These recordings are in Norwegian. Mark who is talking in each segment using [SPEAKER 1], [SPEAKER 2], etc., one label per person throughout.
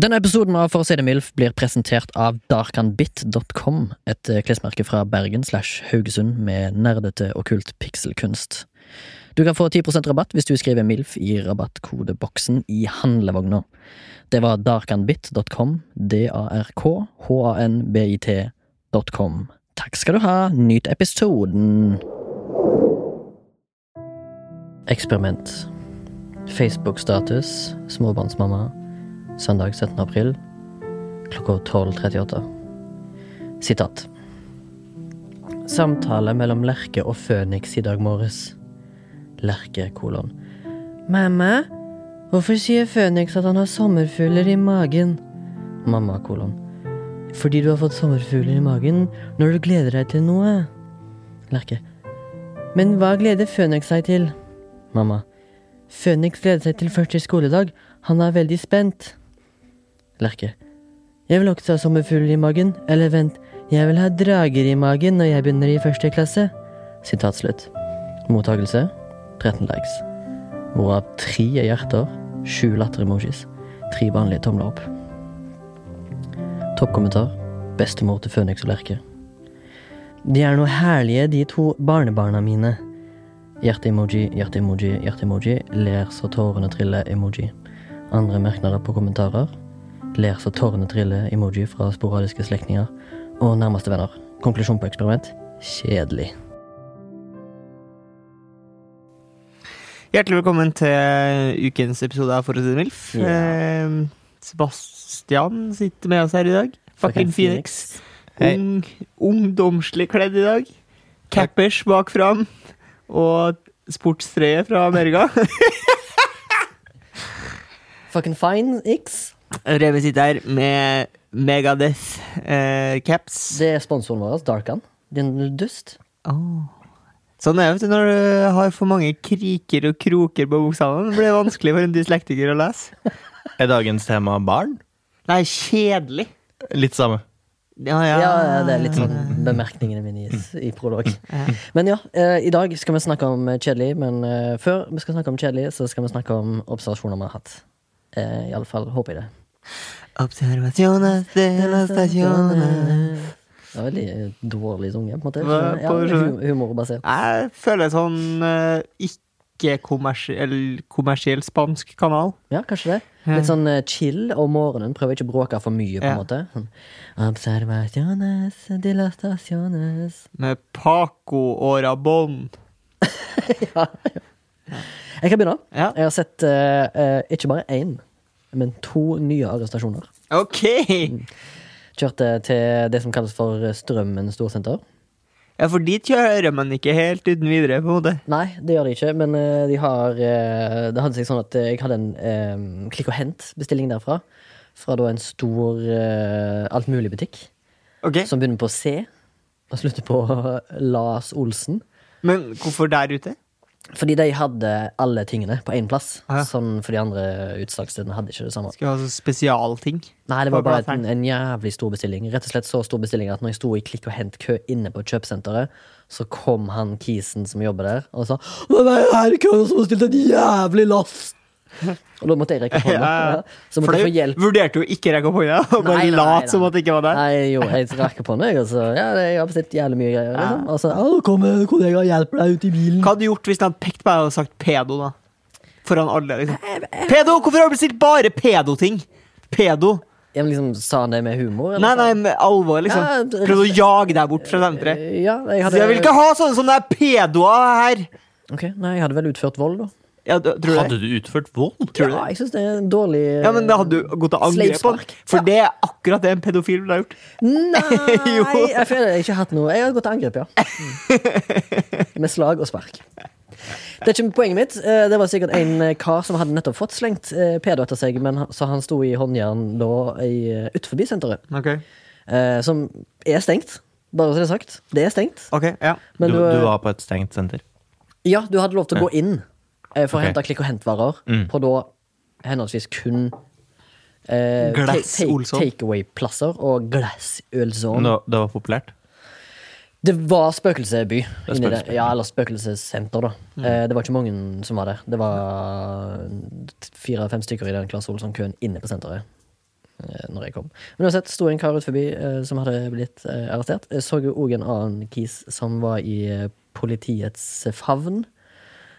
[SPEAKER 1] Denne episoden av For å si det mildt blir presentert av darkanbit.com, et eh, klesmerke fra Bergen slash Haugesund med nerdete okkult pikselkunst. Du kan få 10 rabatt hvis du skriver MILF i rabattkodeboksen i handlevogna. Det var darkanbit.com, d-a-r-k-h-a-n-b-i-t.com. Takk skal du ha, nyt episoden! Eksperiment. Facebook-status, småbarnsmamma søndag 17. april klokka 12.38. Sitat. Samtale mellom Lerke og Føniks i dag morges. Lerke kolon. Mamma, hvorfor sier Føniks at han har sommerfugler i magen? Mamma kolon. Fordi du har fått sommerfugler i magen når du gleder deg til noe. Lerke. Men hva gleder Føniks seg til? Mamma. Føniks gleder seg til første skoledag. Han er veldig spent. Lerke. Jeg vil også ha sommerfugler i magen. Eller vent, jeg vil ha drager i magen når jeg begynner i første klasse. Sitat slutt. Mottagelse 13 likes. Hvorav tre er hjerter, sju latter-emojis, tre vanlige tomler opp. Toppkommentar. Bestemor til Føniks og Lerke. De er noe herlige, de to barnebarna mine. Hjerte-emoji, hjerte-emoji, hjerte-emoji. Ler så tårene triller, emoji. Andre merknader på kommentarer. Ler så tårene triller, emoji fra sporadiske slektninger. Og nærmeste venner. Konklusjon på eksperiment kjedelig.
[SPEAKER 2] Hjertelig velkommen til ukens episode av For å si det MILF.
[SPEAKER 1] Ja.
[SPEAKER 2] Eh, Sebastian sitter med oss her i dag. Fucking Phoenix.
[SPEAKER 3] Hei.
[SPEAKER 2] Ung, ungdomslig kledd i dag. Cappers bak fram. Og sportstrøye fra Amerika.
[SPEAKER 1] Fucking fine X.
[SPEAKER 2] Remi sitter her med Megadeth-caps.
[SPEAKER 1] Det er sponsoren vår, Darkan. Din dust.
[SPEAKER 2] Sånn er det vet du, når du har for mange kriker og kroker på bokstavene. Det blir vanskelig for en dyslektiker å lese.
[SPEAKER 3] Er dagens tema barn?
[SPEAKER 2] Nei, kjedelig.
[SPEAKER 3] Litt samme.
[SPEAKER 1] Ja, ja, det er litt sånn
[SPEAKER 2] Ah.
[SPEAKER 1] bemerkningene mine i, i prolog. Men ja, eh, i dag skal vi snakke om kjedelig, men eh, før vi skal snakke om kjedelig, så skal vi snakke om observasjoner vi har hatt. Eh, i alle fall håper jeg det.
[SPEAKER 2] Observasjoner, stasjoner
[SPEAKER 1] Det var veldig eh, dårlig sunget, på en måte.
[SPEAKER 2] Hva-
[SPEAKER 1] Ja,
[SPEAKER 2] på-
[SPEAKER 1] hu- Humorbasert.
[SPEAKER 2] Jeg føler sånn eh, ikke-kommersiell kommersiell spansk kanal.
[SPEAKER 1] Ja, kanskje det. Litt sånn eh, chill om morgenen. Prøver ikke å bråke for mye, på en
[SPEAKER 2] Ja.
[SPEAKER 1] måte. Sånn, Observaciones de las staciones.
[SPEAKER 2] Med Paco og Rabon.
[SPEAKER 1] Jeg kan begynne.
[SPEAKER 2] Ja.
[SPEAKER 1] Jeg har sett eh, eh, ikke bare én, men to nye arrestasjoner.
[SPEAKER 2] Ok!
[SPEAKER 1] Kjørte til det som kalles for Strømmen storsenter.
[SPEAKER 2] Ja, for dit kjører man ikke helt uten videre, på en måte.
[SPEAKER 1] Nei, det gjør de ikke, men eh, de har eh, Det hadde seg sånn at eh, jeg hadde en eh, klikk og hent-bestilling derfra. Fra da en stor eh, altmuligbutikk
[SPEAKER 2] Ok,
[SPEAKER 1] som begynner på C og slutter på Lars Olsen.
[SPEAKER 2] Men hvorfor der ute?
[SPEAKER 1] Fordi de hadde alle tingene på én plass.
[SPEAKER 2] Ja.
[SPEAKER 1] Sånn for de andre utsalgsstedene hadde ikke det samme.
[SPEAKER 2] Skal vi ha sånn spesialting?
[SPEAKER 1] Nei, det var
[SPEAKER 2] På
[SPEAKER 1] bare en,
[SPEAKER 2] plateren.
[SPEAKER 1] en jævlig stor bestilling. Rett og slett så stor bestilling at når jeg sto i klikk og hent-kø inne på kjøpesenteret, så kom han kisen som jobber der, og sa Men det er her i køen som har stilt et jævlig lass! Og da måtte jeg rekke opp hånda.
[SPEAKER 2] Ja, ja.
[SPEAKER 1] Ja. Så måtte jeg få hjelp.
[SPEAKER 2] Vurderte jo ikke rekke opp hånda og bare
[SPEAKER 1] Nei, nei, nei,
[SPEAKER 2] lat som
[SPEAKER 1] nei.
[SPEAKER 2] at det ikke var der.
[SPEAKER 1] Nei, jo, jeg rakk opp hånda, jeg, og så Ja, det- jeg har bestilt jævlig mye greier, liksom. Og så ja, nå kommer kollega og hjelper deg ut i bilen.
[SPEAKER 2] Hva hadde du gjort hvis de hadde pekt på meg og hadde sagt pedo, da? Foran alle, liksom. Pedo! Hvorfor har du bestilt bare pedo-ting? Pedo.
[SPEAKER 1] Jeg liksom, sa han det med humor?
[SPEAKER 2] Nei, nei, med alvor, liksom.
[SPEAKER 1] Ja, det-
[SPEAKER 2] Prøvde å jage deg bort fra senteret.
[SPEAKER 1] Ja, jeg
[SPEAKER 2] Så
[SPEAKER 1] hadde
[SPEAKER 2] jeg vil ikke ha sånne som er pedoer her!
[SPEAKER 1] Ok, nei, jeg hadde vel utført vold, da.
[SPEAKER 2] Ja, du- tror du det?
[SPEAKER 3] Hadde du utført vold?
[SPEAKER 2] Tror du
[SPEAKER 1] ja,
[SPEAKER 2] det?
[SPEAKER 1] jeg syns det er en dårlig
[SPEAKER 2] Ja, men da hadde du gått til angrep på
[SPEAKER 1] Sleivspark.
[SPEAKER 2] den. For det er akkurat det en pedofil ville ha gjort.
[SPEAKER 1] Nei!
[SPEAKER 2] Jo.
[SPEAKER 1] Jeg føler jeg ikke har hatt noe. Jeg har gått til angrep, ja. Mm. Med slag og spark. Det er ikke poenget mitt. Eh, Det var sikkert en eh, kar som hadde nettopp fått slengt eh, pedo etter seg, men han- så han sto i håndjern da i, eh, utenfor senteret,
[SPEAKER 2] Ok,
[SPEAKER 1] eh, som er stengt. Bare så det er sagt. Det er stengt.
[SPEAKER 2] ok, ja.
[SPEAKER 3] Du,
[SPEAKER 1] Men du,
[SPEAKER 3] du var på et stengt senter.
[SPEAKER 1] ja, du hadde lov til å gå inn eh, for å
[SPEAKER 3] Ok.
[SPEAKER 1] hente klikk og hent-varer på da henholdsvis kun eh, ta-
[SPEAKER 2] Glass
[SPEAKER 1] take-
[SPEAKER 2] Olsson.
[SPEAKER 1] Takeaway-plasser og glass-ølson.
[SPEAKER 3] Men Det var, det var populært.
[SPEAKER 1] Det var spøkelsesby.
[SPEAKER 3] er
[SPEAKER 1] inni der.
[SPEAKER 3] spøkelsesby. Mm.
[SPEAKER 1] Ja, eller spøkelsessenter, da. Eh, det var ikke mange som var der. Det var fire-fem stykker i den Claes Olsson-køen inne på senteret. eh, når jeg kom. Men uansett, sto en kar ut forbi eh, som hadde blitt eh, arrestert. Jeg så jo òg en annen kis som var i eh, politiets favn.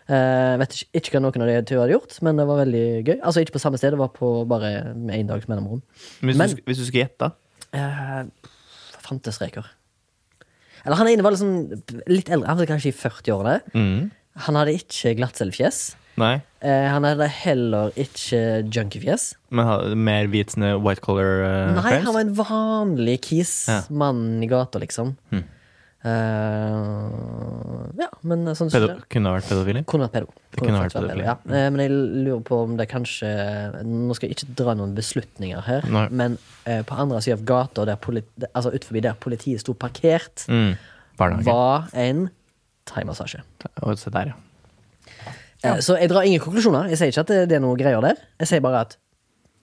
[SPEAKER 1] Eh, vet ikke, ikke hva noen av de to hadde gjort, men det var veldig gøy. Altså ikke på samme sted, det var på bare med en dags mellomrom.
[SPEAKER 3] Hvis,
[SPEAKER 1] Men-
[SPEAKER 3] du, sk- hvis du skulle gjette, da?
[SPEAKER 1] Eh, fantestreker. Eller han ene var liksom litt eldre, han var kanskje i 40-årene.
[SPEAKER 3] Mm.
[SPEAKER 1] Han hadde ikke glattcellefjes.
[SPEAKER 3] Nei.
[SPEAKER 1] Eh, han hadde heller ikke junkiefjes.
[SPEAKER 3] Men ha, mer hvit snø, white color eh,
[SPEAKER 1] Nei,
[SPEAKER 3] frames?
[SPEAKER 1] han var en vanlig kis.
[SPEAKER 3] Ja. Hm.
[SPEAKER 1] Mann i gata, liksom. Eh, ja, men sånn
[SPEAKER 3] Pedo kunne ha vært pedofili?
[SPEAKER 1] Kunne vært pedo.
[SPEAKER 3] Det kunne vært
[SPEAKER 1] faktisk
[SPEAKER 3] pedofili.
[SPEAKER 1] Ja. Eh, Men jeg lurer på om det kanskje Nå skal jeg ikke dra noen beslutninger her,
[SPEAKER 3] Nei.
[SPEAKER 1] men eh, på andre sida av gata, der polit, altså ut forbi der politiet sto parkert,
[SPEAKER 3] Mm. Barnehage.
[SPEAKER 1] var en thaimassasje.
[SPEAKER 3] Og se der, ja.
[SPEAKER 1] Eh, Så jeg drar ingen konklusjoner. Jeg sier ikke at det, det er noe greier der. Jeg sier bare at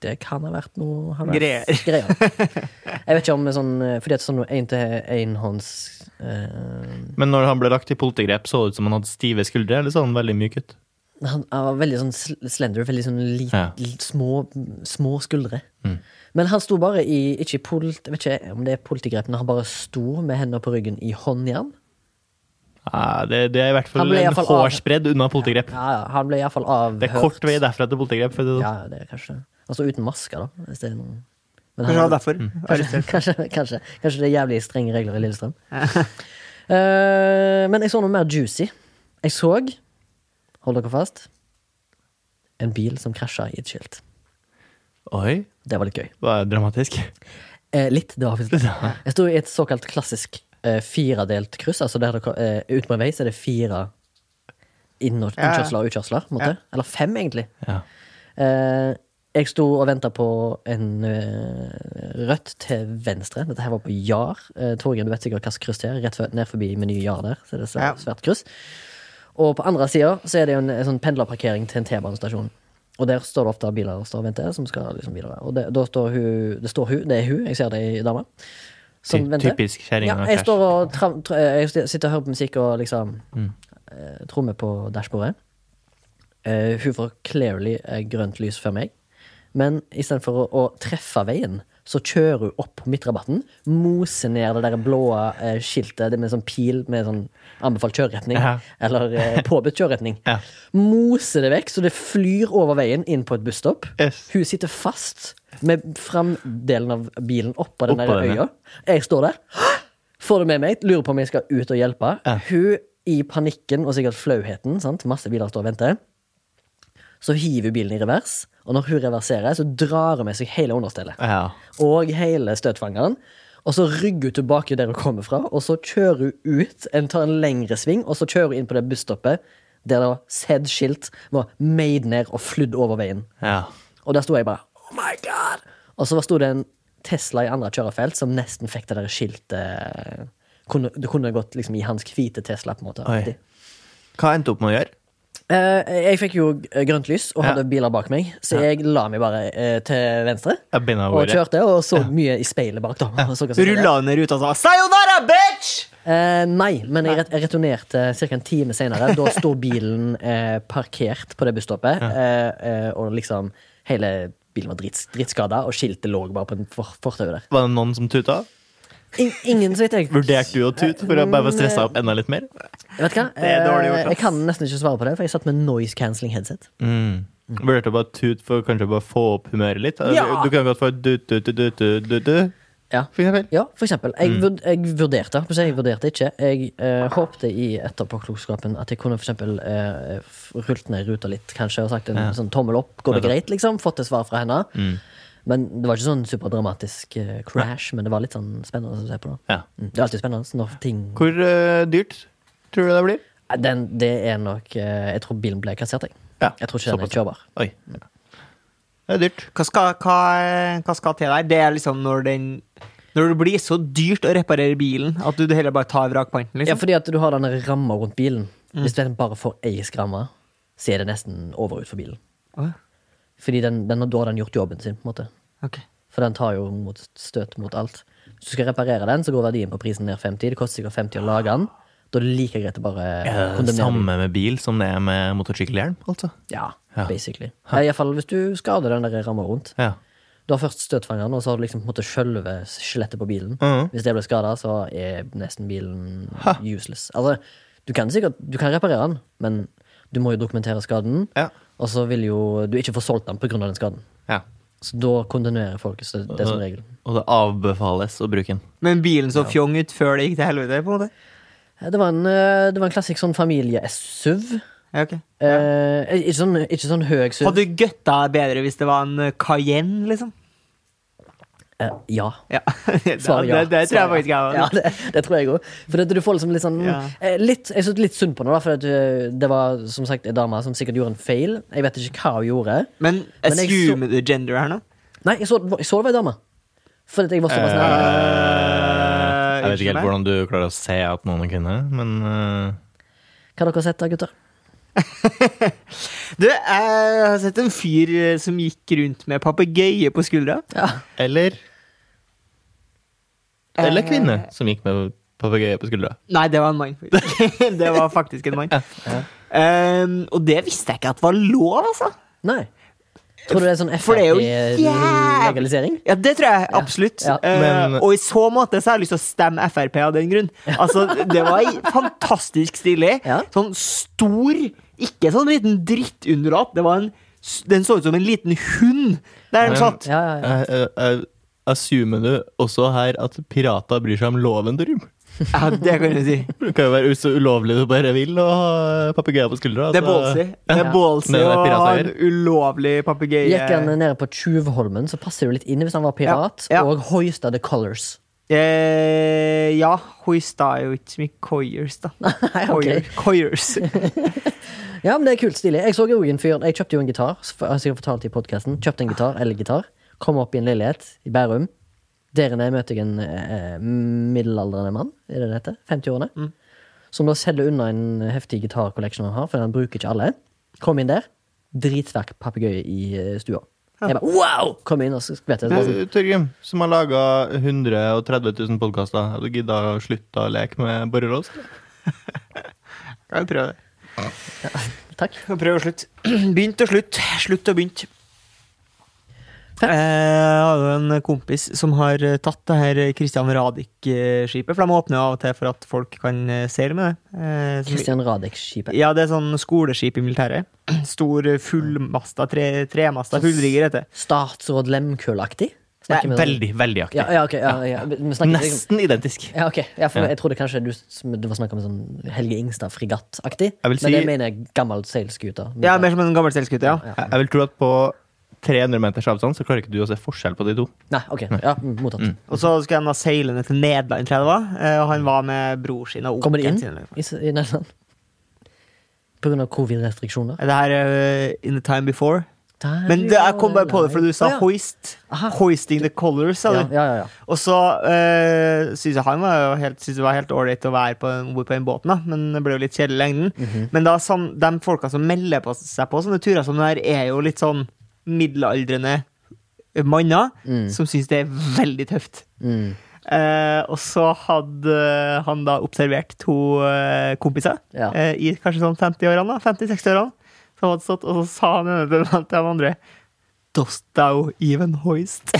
[SPEAKER 1] det kan ha vært noe ha vært
[SPEAKER 2] Greier.
[SPEAKER 1] greier. Jeg vet ikke om sånn eh, Fordi at sånn én-til-én-hånds eh,
[SPEAKER 3] Men når han ble lagt i politigrep, så det ut som han hadde stive skuldre, eller så han veldig myk ut?
[SPEAKER 1] Han han var veldig sånn sl- slender, veldig sånn lit,
[SPEAKER 3] Ja. Mm.
[SPEAKER 1] l- små, små skuldre. Men han sto bare i Ikke i polit, jeg vet ikke om det er politigrep, men han bare sto med hendene på ryggen i håndjern.
[SPEAKER 3] Ja, det, det er i hvert
[SPEAKER 1] Han
[SPEAKER 3] fall
[SPEAKER 1] ble i
[SPEAKER 3] en
[SPEAKER 1] hvert fall av-
[SPEAKER 3] hårsbredd unna politigrep.
[SPEAKER 1] Ja, ja, han ble iallfall avhørt.
[SPEAKER 3] Det er kort vei derfra til politigrep. For det, er sånn.
[SPEAKER 1] Ja, det er kanskje det. Altså uten maske, da. Hvis det er noe. Men
[SPEAKER 2] Kanskje det var derfor.
[SPEAKER 1] Kanskje,
[SPEAKER 2] Arrestert.
[SPEAKER 1] kanskje, kanskje, kanskje det er jævlig strenge regler i Lillestrøm. Eh, men jeg så noe mer juicy. Jeg så Hold dere fast. En bil som krasja i et skilt.
[SPEAKER 3] Oi,
[SPEAKER 1] Det var litt gøy.
[SPEAKER 3] det var sånn. dramatisk.
[SPEAKER 1] Eh, litt, det var faktisk det. Jeg sto i et såkalt klassisk eh, firedelt kryss. Altså der dere, eh, ut på en vei så er det fire inn- og
[SPEAKER 2] Ja, ja.
[SPEAKER 1] innkjørsler og utkjørsler. på en måte. Eller fem, egentlig.
[SPEAKER 3] Ja.
[SPEAKER 1] Eh, jeg sto og venta på en eh, rødt til venstre. Dette her var på Jar. Eh, Torgen, du vet sikkert hvilket kryss det er. Rett før- ned forbi Meny Jar der. Så er det
[SPEAKER 2] Ja.
[SPEAKER 1] svært, svært kryss. Og på andre sida så er det jo en, en sånn pendlerparkering til en T-banestasjon. Og der står det ofte biler og står og venter, som skal liksom videre. Og det, da står hun, det står hun, det er hun, jeg ser det i dama.
[SPEAKER 3] Ty typisk kjerring
[SPEAKER 1] Ja,
[SPEAKER 3] og
[SPEAKER 1] jeg
[SPEAKER 3] krasj.
[SPEAKER 1] står og tram, tr eh, jeg sitter og hører på musikk og liksom
[SPEAKER 3] Mm.
[SPEAKER 1] eh, trommer på dashbordet. Eh, hun får clearly eh, grønt lys før meg, men istedenfor å, å treffe veien, så kjører hun opp midtrabatten, moser ned det der blå eh, skiltet det med sånn pil med sånn anbefalt kjøreretning,
[SPEAKER 3] Ja.
[SPEAKER 1] eller eh, påbudt kjøreretning.
[SPEAKER 3] Ja.
[SPEAKER 1] Moser det vekk, så det flyr over veien inn på et busstopp.
[SPEAKER 3] Yes.
[SPEAKER 1] Hun sitter fast med framdelen av bilen oppå den
[SPEAKER 3] Oppå
[SPEAKER 1] der
[SPEAKER 3] den, ja.
[SPEAKER 1] øya. Jeg står der, får det med meg, lurer på om jeg skal ut og hjelpe. Hun i panikken og sikkert flauheten, sant? masse biler står og venter, så hiver hun bilen i revers. Og når hun reverserer, så drar hun med seg hele understellet
[SPEAKER 3] Ja.
[SPEAKER 1] og hele støtfangeren. Og så rygger hun tilbake der hun kommer fra, og så kjører hun ut, en tar en lengre sving, og så kjører hun inn på det busstoppet der det var sett skilt, var made ned og flydd over veien.
[SPEAKER 3] ja.
[SPEAKER 1] Og der sto jeg bare Oh my god! Og så sto det en Tesla i andre kjørefelt som nesten fikk det der skiltet eh, kunne, Det kunne gått liksom i hans hvite Tesla, på en måte.
[SPEAKER 3] Oi. Hva endte opp med å gjøre?
[SPEAKER 1] Eh, jeg fikk jo eh, grønt lys og hadde
[SPEAKER 3] Ja.
[SPEAKER 1] biler bak meg, så jeg la meg bare eh, til venstre.
[SPEAKER 3] Jeg begynner å
[SPEAKER 1] Og
[SPEAKER 3] ordet.
[SPEAKER 1] kjørte og så mye i speilet bak, da. Og så hva som skjedde.
[SPEAKER 2] Rulla ned ruta og sa 'sayonara, bitch'!
[SPEAKER 1] Eh, nei, men jeg, ret jeg returnerte ca. en time senere. Da står bilen eh, parkert på det busstoppet, eh, eh, og liksom hele bilen var drits dritskada, og skiltet lå bare på en for fortauet der.
[SPEAKER 3] Var det noen som tuta?
[SPEAKER 1] In ingen, så vidt jeg
[SPEAKER 3] Vurderte du å tute for å bare stresse opp enda litt mer?
[SPEAKER 1] Vet du hva?
[SPEAKER 2] Det er dårlig gjort, ass.
[SPEAKER 1] Eh, Jeg kan nesten ikke svare på det, for jeg satt med noise cancelling headset.
[SPEAKER 3] Mm. Vurderte å bare tute for å kanskje bare få opp humøret litt?
[SPEAKER 1] Ja.
[SPEAKER 3] Du kan godt få du-du-du-du-du-du,
[SPEAKER 1] Ja,
[SPEAKER 3] for eksempel.
[SPEAKER 1] ja for eksempel. Jeg,
[SPEAKER 3] Mm.
[SPEAKER 1] vurd jeg vurderte, for å si jeg vurderte ikke. Jeg eh, håpte i etterpåklokskapen at jeg kunne for eksempel eh, f- rullet ned ruta litt, kanskje, og sagt en sånn tommel opp, går det greit, liksom? Fått et svar fra henne.
[SPEAKER 3] Mm.
[SPEAKER 1] Men det var ikke sånn superdramatisk eh, crash, men det var litt sånn spennende å se på. da
[SPEAKER 3] Ja.
[SPEAKER 1] Mm. Det er alltid spennende når ting
[SPEAKER 3] Hvor eh, dyrt tror du det blir?
[SPEAKER 1] Nei, Den, Det er nok eh, Jeg tror bilen ble kassert, jeg.
[SPEAKER 3] Ja,
[SPEAKER 1] Jeg tror ikke den
[SPEAKER 3] såpass.
[SPEAKER 1] er kjørbar.
[SPEAKER 3] Oi. Det er dyrt.
[SPEAKER 2] Hva skal, hva, hva skal til der? Det er liksom når den Når det blir så dyrt å reparere bilen at du heller bare tar vrakpanten,
[SPEAKER 1] Ja,
[SPEAKER 2] liksom.
[SPEAKER 1] fordi at du har denne ramma rundt bilen.
[SPEAKER 3] Mm.
[SPEAKER 1] Hvis den bare får ei skramme, så er det nesten over ut for bilen.
[SPEAKER 2] Åh,
[SPEAKER 1] Fordi den, den, da har den gjort jobben sin, på en måte.
[SPEAKER 2] ok.
[SPEAKER 1] For den tar jo mot, støt mot alt. Hvis du skal reparere den, så går verdien på prisen ned 50. Det koster sikkert 50 å lage den. Da er det like greit å bare kondemnere den.
[SPEAKER 3] Samme med bil som det er med motorsykkelhjelm, altså.
[SPEAKER 1] Ja,
[SPEAKER 3] Ja.
[SPEAKER 1] basically. Ja. Iallfall hvis du skader den der ramma rundt.
[SPEAKER 3] Ja.
[SPEAKER 1] Du har først støtfangeren, og så har du liksom på en måte sjølve skjelettet på bilen.
[SPEAKER 2] Mhm.
[SPEAKER 1] Hvis det blir skada, så er nesten bilen useless. Altså, du kan sikkert Du kan reparere den, men du må jo dokumentere skaden.
[SPEAKER 2] Ja.
[SPEAKER 1] Og så vil jo du ikke få solgt den pga. den skaden.
[SPEAKER 3] Ja.
[SPEAKER 1] Så da kontinuerer folk. Så det er som regel.
[SPEAKER 3] Og det avbefales å bruke den.
[SPEAKER 2] Men bilen så fjong ut før det gikk til helvete, på en måte?
[SPEAKER 1] Det var en, eh, det var en klassisk sånn familie-SUV.
[SPEAKER 2] Ja, ok.
[SPEAKER 1] Eh, ikke, sånn, ikke sånn høy SUV.
[SPEAKER 2] Hadde du gøtta bedre hvis det var en eh, Cayenne, liksom?
[SPEAKER 1] Eh, ja.
[SPEAKER 2] Ja. Det,
[SPEAKER 1] Svar ja.
[SPEAKER 2] det, det tror jeg
[SPEAKER 1] Svar
[SPEAKER 2] faktisk jeg var.
[SPEAKER 1] Ja, det, det tror jeg òg. For det, du får liksom litt sånn
[SPEAKER 2] Ja.
[SPEAKER 1] eh, litt, Jeg synes litt synd på henne, da, for at, eh, det var som sagt ei dame som sikkert gjorde en feil. Jeg vet ikke hva hun gjorde.
[SPEAKER 2] Men
[SPEAKER 1] Men jeg
[SPEAKER 2] assume the gender her nå?
[SPEAKER 1] Nei, jeg så, jeg så det var ei dame. Fordi at jeg var såpass nær.
[SPEAKER 2] Eh,
[SPEAKER 3] Jeg vet ikke
[SPEAKER 2] unnskyld
[SPEAKER 3] helt
[SPEAKER 2] meg?
[SPEAKER 3] hvordan du klarer å se at noen er kvinne, men eh,
[SPEAKER 1] Hva har dere sett, da, gutter?
[SPEAKER 2] Du, jeg har sett en fyr eh, som gikk rundt med papegøye på skuldra.
[SPEAKER 1] Ja.
[SPEAKER 3] Eller Eller kvinne
[SPEAKER 1] Eh.
[SPEAKER 3] som gikk med papegøye på skuldra.
[SPEAKER 2] Nei, det var en mann. faktisk. det var faktisk en mann. Um, og det visste jeg ikke at var lov, altså.
[SPEAKER 1] Nei. Tror du det er sånn
[SPEAKER 2] For det er jo jæv-
[SPEAKER 1] Frp-legalisering?
[SPEAKER 2] Ja, det tror jeg absolutt.
[SPEAKER 1] Ja.
[SPEAKER 2] Eh,
[SPEAKER 3] Men-
[SPEAKER 2] og i så måte så har jeg lyst til å stemme Frp av den grunn. Altså, det var i- fantastisk stilig.
[SPEAKER 1] Ja.
[SPEAKER 2] Sånn stor, ikke sånn liten drittundulat. Det var en, s- den så ut som en liten hund der den
[SPEAKER 3] Men-
[SPEAKER 2] satt.
[SPEAKER 1] Ja, ja, ja.
[SPEAKER 3] Eh, eh, eh, Assumer du også her at pirater bryr seg om loven, Dorum?
[SPEAKER 2] Ja, det kan du si.
[SPEAKER 3] Det kan jo være så ulovlig du bare vil å ha papegøye på skuldra.
[SPEAKER 2] Det er
[SPEAKER 3] altså.
[SPEAKER 2] ballsy. Det er
[SPEAKER 1] Ja.
[SPEAKER 2] ballsy
[SPEAKER 3] Det er
[SPEAKER 2] å ha en
[SPEAKER 3] pirateier.
[SPEAKER 2] ulovlig
[SPEAKER 1] Gikk han
[SPEAKER 2] papegøye.
[SPEAKER 1] nede på Tjuvholmen, så passer det jo litt inn hvis han var pirat.
[SPEAKER 2] eh, Ja, ja.
[SPEAKER 1] Og hoista the colors.
[SPEAKER 2] Eh, ja, hoista er jo ikke så mye coyers, da.
[SPEAKER 1] Nei, ok.
[SPEAKER 2] Coyer- Coyers.
[SPEAKER 1] Ja, men det er kult stilig. Jeg så jo en fyr Jeg kjøpte jo en gitar. s- for- Jeg har sikkert fortalt det i podcasten. Kjøpte en gitar, elgitar. Kom opp i en leilighet i Bærum. Der inne møtte jeg en eh, middelaldrende mann, er det det heter? 50-årene.
[SPEAKER 2] Mm.
[SPEAKER 1] Som da selger unna en heftig gitarkolleksjon han har, fordi han bruker ikke alle. Kom inn der. Dritsterk papegøye i eh, skua. Jeg bare wow! Kom inn, og så vet jeg det. var
[SPEAKER 2] Mm.
[SPEAKER 1] sånn-
[SPEAKER 3] Du, Torgrim, Eh, som har laga 130 000 podkaster, hadde du gidda å slutte å leke med borrelås?
[SPEAKER 2] Kan vi prøve det?
[SPEAKER 1] sånn, Takk.
[SPEAKER 2] Skal prøve å slutte. Begynt og slutt. Slutt og begynt. Eh, Jeg har jo en kompis som har eh, tatt det her Christian Radich-skipet. For de åpner jo av og til for at folk kan eh, seile med det. Eh, som-
[SPEAKER 1] Christian Radich-skipet.
[SPEAKER 2] Ja, det er sånn skoleskip i militæret. Stor eh, fullmasta, tre, tremasta fullrigger heter det.
[SPEAKER 1] Statsråd Lemkøl-aktig?
[SPEAKER 2] Nei,
[SPEAKER 1] Snakker vi om-
[SPEAKER 3] Veldig, veldig aktiv.
[SPEAKER 1] Ja, ja, ok. Ja, ja. Vi snakker ikke om-
[SPEAKER 3] Nesten identisk.
[SPEAKER 1] Ja, ok. Ja, for
[SPEAKER 3] Ja.
[SPEAKER 1] Jeg trodde kanskje du, det var snakk om sånn Helge Ingstad-fregatt-aktig.
[SPEAKER 3] Jeg vil
[SPEAKER 1] Men
[SPEAKER 3] si-
[SPEAKER 1] det mener jeg gammel seilskute.
[SPEAKER 2] Ja, Mer som en gammel seilskute, ja.
[SPEAKER 1] Ja.
[SPEAKER 3] Jeg jeg vil tro at på 300 meters avstand så klarer ikke du å se forskjell på de to.
[SPEAKER 1] Nei, ok. Ja, mm, mottatt.
[SPEAKER 2] Og så skulle de da seile ned til Nederland, tror jeg det var. Eh, Og han var med bror sin og
[SPEAKER 1] Kommer de
[SPEAKER 2] onkelen
[SPEAKER 1] inn
[SPEAKER 2] sin. liksom. eller noe.
[SPEAKER 1] i, s- i Nederland? På grunn av covid-restriksjoner?
[SPEAKER 2] Det her er eh, In the Time Before.
[SPEAKER 1] Der
[SPEAKER 2] Men det, jeg kom bare på det, for du
[SPEAKER 1] Å,
[SPEAKER 2] sa
[SPEAKER 1] ja.
[SPEAKER 2] hoist.
[SPEAKER 1] Aha.
[SPEAKER 2] Hoisting the colors, sa
[SPEAKER 1] Ja,
[SPEAKER 2] du.
[SPEAKER 1] ja, ja, ja.
[SPEAKER 2] Og så øh, syns jeg han var jo helt, synes det var helt ålreit å være på, den- ombord på den båten, da. men det ble jo litt kjedelig i lengden.
[SPEAKER 1] Mhm.
[SPEAKER 2] Men da, sånn, de folka som melder på seg på sånne turer som det her, er jo litt sånn middelaldrende manner som syns det er veldig tøft.
[SPEAKER 1] Mm.
[SPEAKER 2] Eh, og så hadde han da observert to eh, kompiser
[SPEAKER 1] Ja.
[SPEAKER 2] eh, i kanskje sånn 50-årene, da, 50-60-årene, som hadde stått, og så sa han ene til den- til den andre Dost thou even hoist?
[SPEAKER 1] Det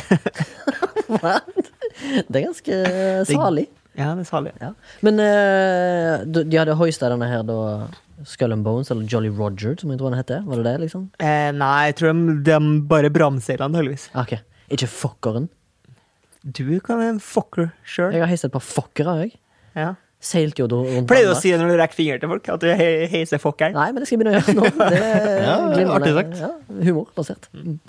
[SPEAKER 1] er ganske eh, salig.
[SPEAKER 2] ja, det er salig.
[SPEAKER 1] Ja. Men eh, du- de hadde hoista denne her da Skull and Bones, eller Jolly Roger, som jeg tror han heter. Var det det, liksom?
[SPEAKER 2] Eh, nei, jeg tror de, de bare bramseila antakeligvis.
[SPEAKER 1] Ah, Ok. Ikke fuckeren.
[SPEAKER 2] Du kan være en fucker sjøl.
[SPEAKER 1] Jeg har heist et par fuckere, jeg.
[SPEAKER 2] Ja.
[SPEAKER 1] Seilt jo da rundt
[SPEAKER 2] Pleier du å
[SPEAKER 1] Danmark.
[SPEAKER 2] si det når du rekker fingeren til folk? At du he heiser fuckeren?
[SPEAKER 1] Nei, men det skal jeg begynne å gjøre nå. Det er
[SPEAKER 3] Ja,
[SPEAKER 1] glimrende.
[SPEAKER 3] artig sagt.
[SPEAKER 1] Ja, humorbasert. Mm.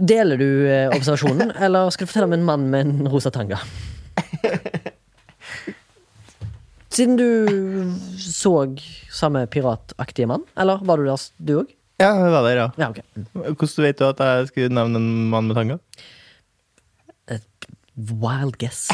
[SPEAKER 1] Deler du eh, observasjonen, eller skal du fortelle om en mann med en rosa tanga? Siden du så samme pirataktige mann, eller var du der, s- du òg?
[SPEAKER 3] Ja, det var der, ja.
[SPEAKER 1] Ja, ok. Mm.
[SPEAKER 3] Hvordan vet du at jeg skulle nevne en mann med tanga?
[SPEAKER 1] Wild guess.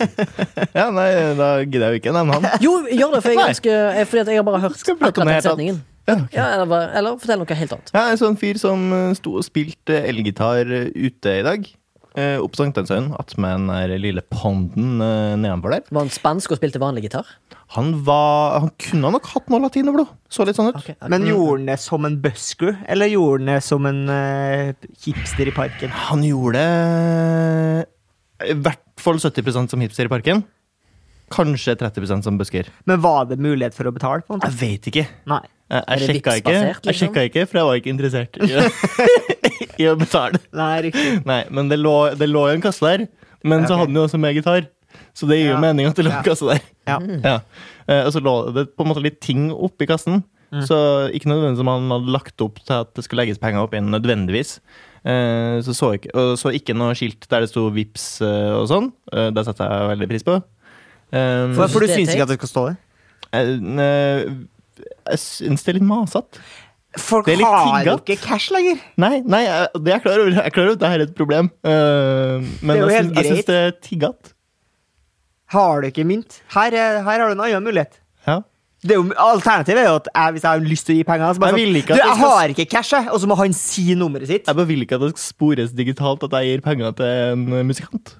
[SPEAKER 3] Ja, nei, da gidder jeg jo ikke å nevne han.
[SPEAKER 1] Jo, gjør det, for jeg,
[SPEAKER 3] Nei.
[SPEAKER 1] er ganske, eh, fordi at jeg har bare hørt
[SPEAKER 3] Skal vi
[SPEAKER 1] akkurat
[SPEAKER 3] prate om
[SPEAKER 1] den
[SPEAKER 3] det helt
[SPEAKER 1] setningen.
[SPEAKER 3] Ja, ok.
[SPEAKER 1] Ja, eller, bare- eller fortell noe helt annet.
[SPEAKER 3] Ja, en sånn fyr som eh, sto og spilte eh, elgitar eh, ute i dag. eh, opp Sankthanshaugen, attmed den der lille panden eh, nedenfor der.
[SPEAKER 1] Var han spansk og spilte vanlig gitar?
[SPEAKER 3] Han var Han kunne nok hatt noe latinoblod. Så litt sånn ut.
[SPEAKER 1] Ok, ok.
[SPEAKER 2] Men gjorde han det som en busker, eller gjorde han det som en eh, hipster i parken?
[SPEAKER 3] Han gjorde eh, i hvert fall 70 som hipster i parken. Kanskje 30 som busker.
[SPEAKER 2] Men var det mulighet for å betale? på en måte?
[SPEAKER 3] Jeg vet ikke.
[SPEAKER 2] Nei.
[SPEAKER 3] Jeg,
[SPEAKER 1] Er
[SPEAKER 3] jeg,
[SPEAKER 1] det
[SPEAKER 3] sjekka, ikke.
[SPEAKER 1] Vipps-basert,
[SPEAKER 3] jeg
[SPEAKER 1] liksom?
[SPEAKER 3] sjekka ikke, for jeg var ikke interessert i å, i å betale.
[SPEAKER 2] Nei, riktig.
[SPEAKER 3] Nei, men det lå, det lå jo en kasse der. Men så
[SPEAKER 2] ok.
[SPEAKER 3] hadde han jo også med gitar, så det gir jo
[SPEAKER 2] Ja.
[SPEAKER 3] mening at det lå
[SPEAKER 2] Ja.
[SPEAKER 3] en kasse der.
[SPEAKER 2] Ja.
[SPEAKER 3] Ja. Eh, Og så lå det på en måte litt ting oppi kassen,
[SPEAKER 2] Mm.
[SPEAKER 3] så ikke nødvendigvis om han hadde lagt opp til at det skulle legges penger opp inn nødvendigvis. Eh, Så så ikke, og så ikke noe skilt der det sto VIPS eh, og sånn. Eh, Det setter jeg veldig pris på. Um,
[SPEAKER 2] For, for du
[SPEAKER 1] Det er
[SPEAKER 2] syns
[SPEAKER 1] teit.
[SPEAKER 2] ikke at det skal stå der?
[SPEAKER 3] eh, jeg syns det er litt masete.
[SPEAKER 2] Folk
[SPEAKER 3] Det er litt
[SPEAKER 2] har jo
[SPEAKER 3] tiggat.
[SPEAKER 2] ikke cash lenger.
[SPEAKER 3] Nei, nei, jeg- det er jeg klar over. Jeg er klar over at det her er et problem. Eh, men
[SPEAKER 2] Det er jo
[SPEAKER 3] jeg
[SPEAKER 2] helt
[SPEAKER 3] syns- jeg syns
[SPEAKER 2] greit.
[SPEAKER 3] det er tiggete.
[SPEAKER 2] Har du ikke mynt? Her, er- her har du en annen mulighet.
[SPEAKER 3] Ja.
[SPEAKER 2] Det er jo, alternativet er jo at jeg, hvis jeg har lyst til å gi penger, så bare
[SPEAKER 3] Jeg
[SPEAKER 2] sånn,
[SPEAKER 3] vil ikke
[SPEAKER 2] du,
[SPEAKER 3] at
[SPEAKER 2] jeg
[SPEAKER 3] det skal-
[SPEAKER 2] har ikke cash, jeg. og så må han si nummeret sitt.
[SPEAKER 3] Jeg bare vil ikke at det skal spores digitalt at jeg gir penger til en eh, musikant.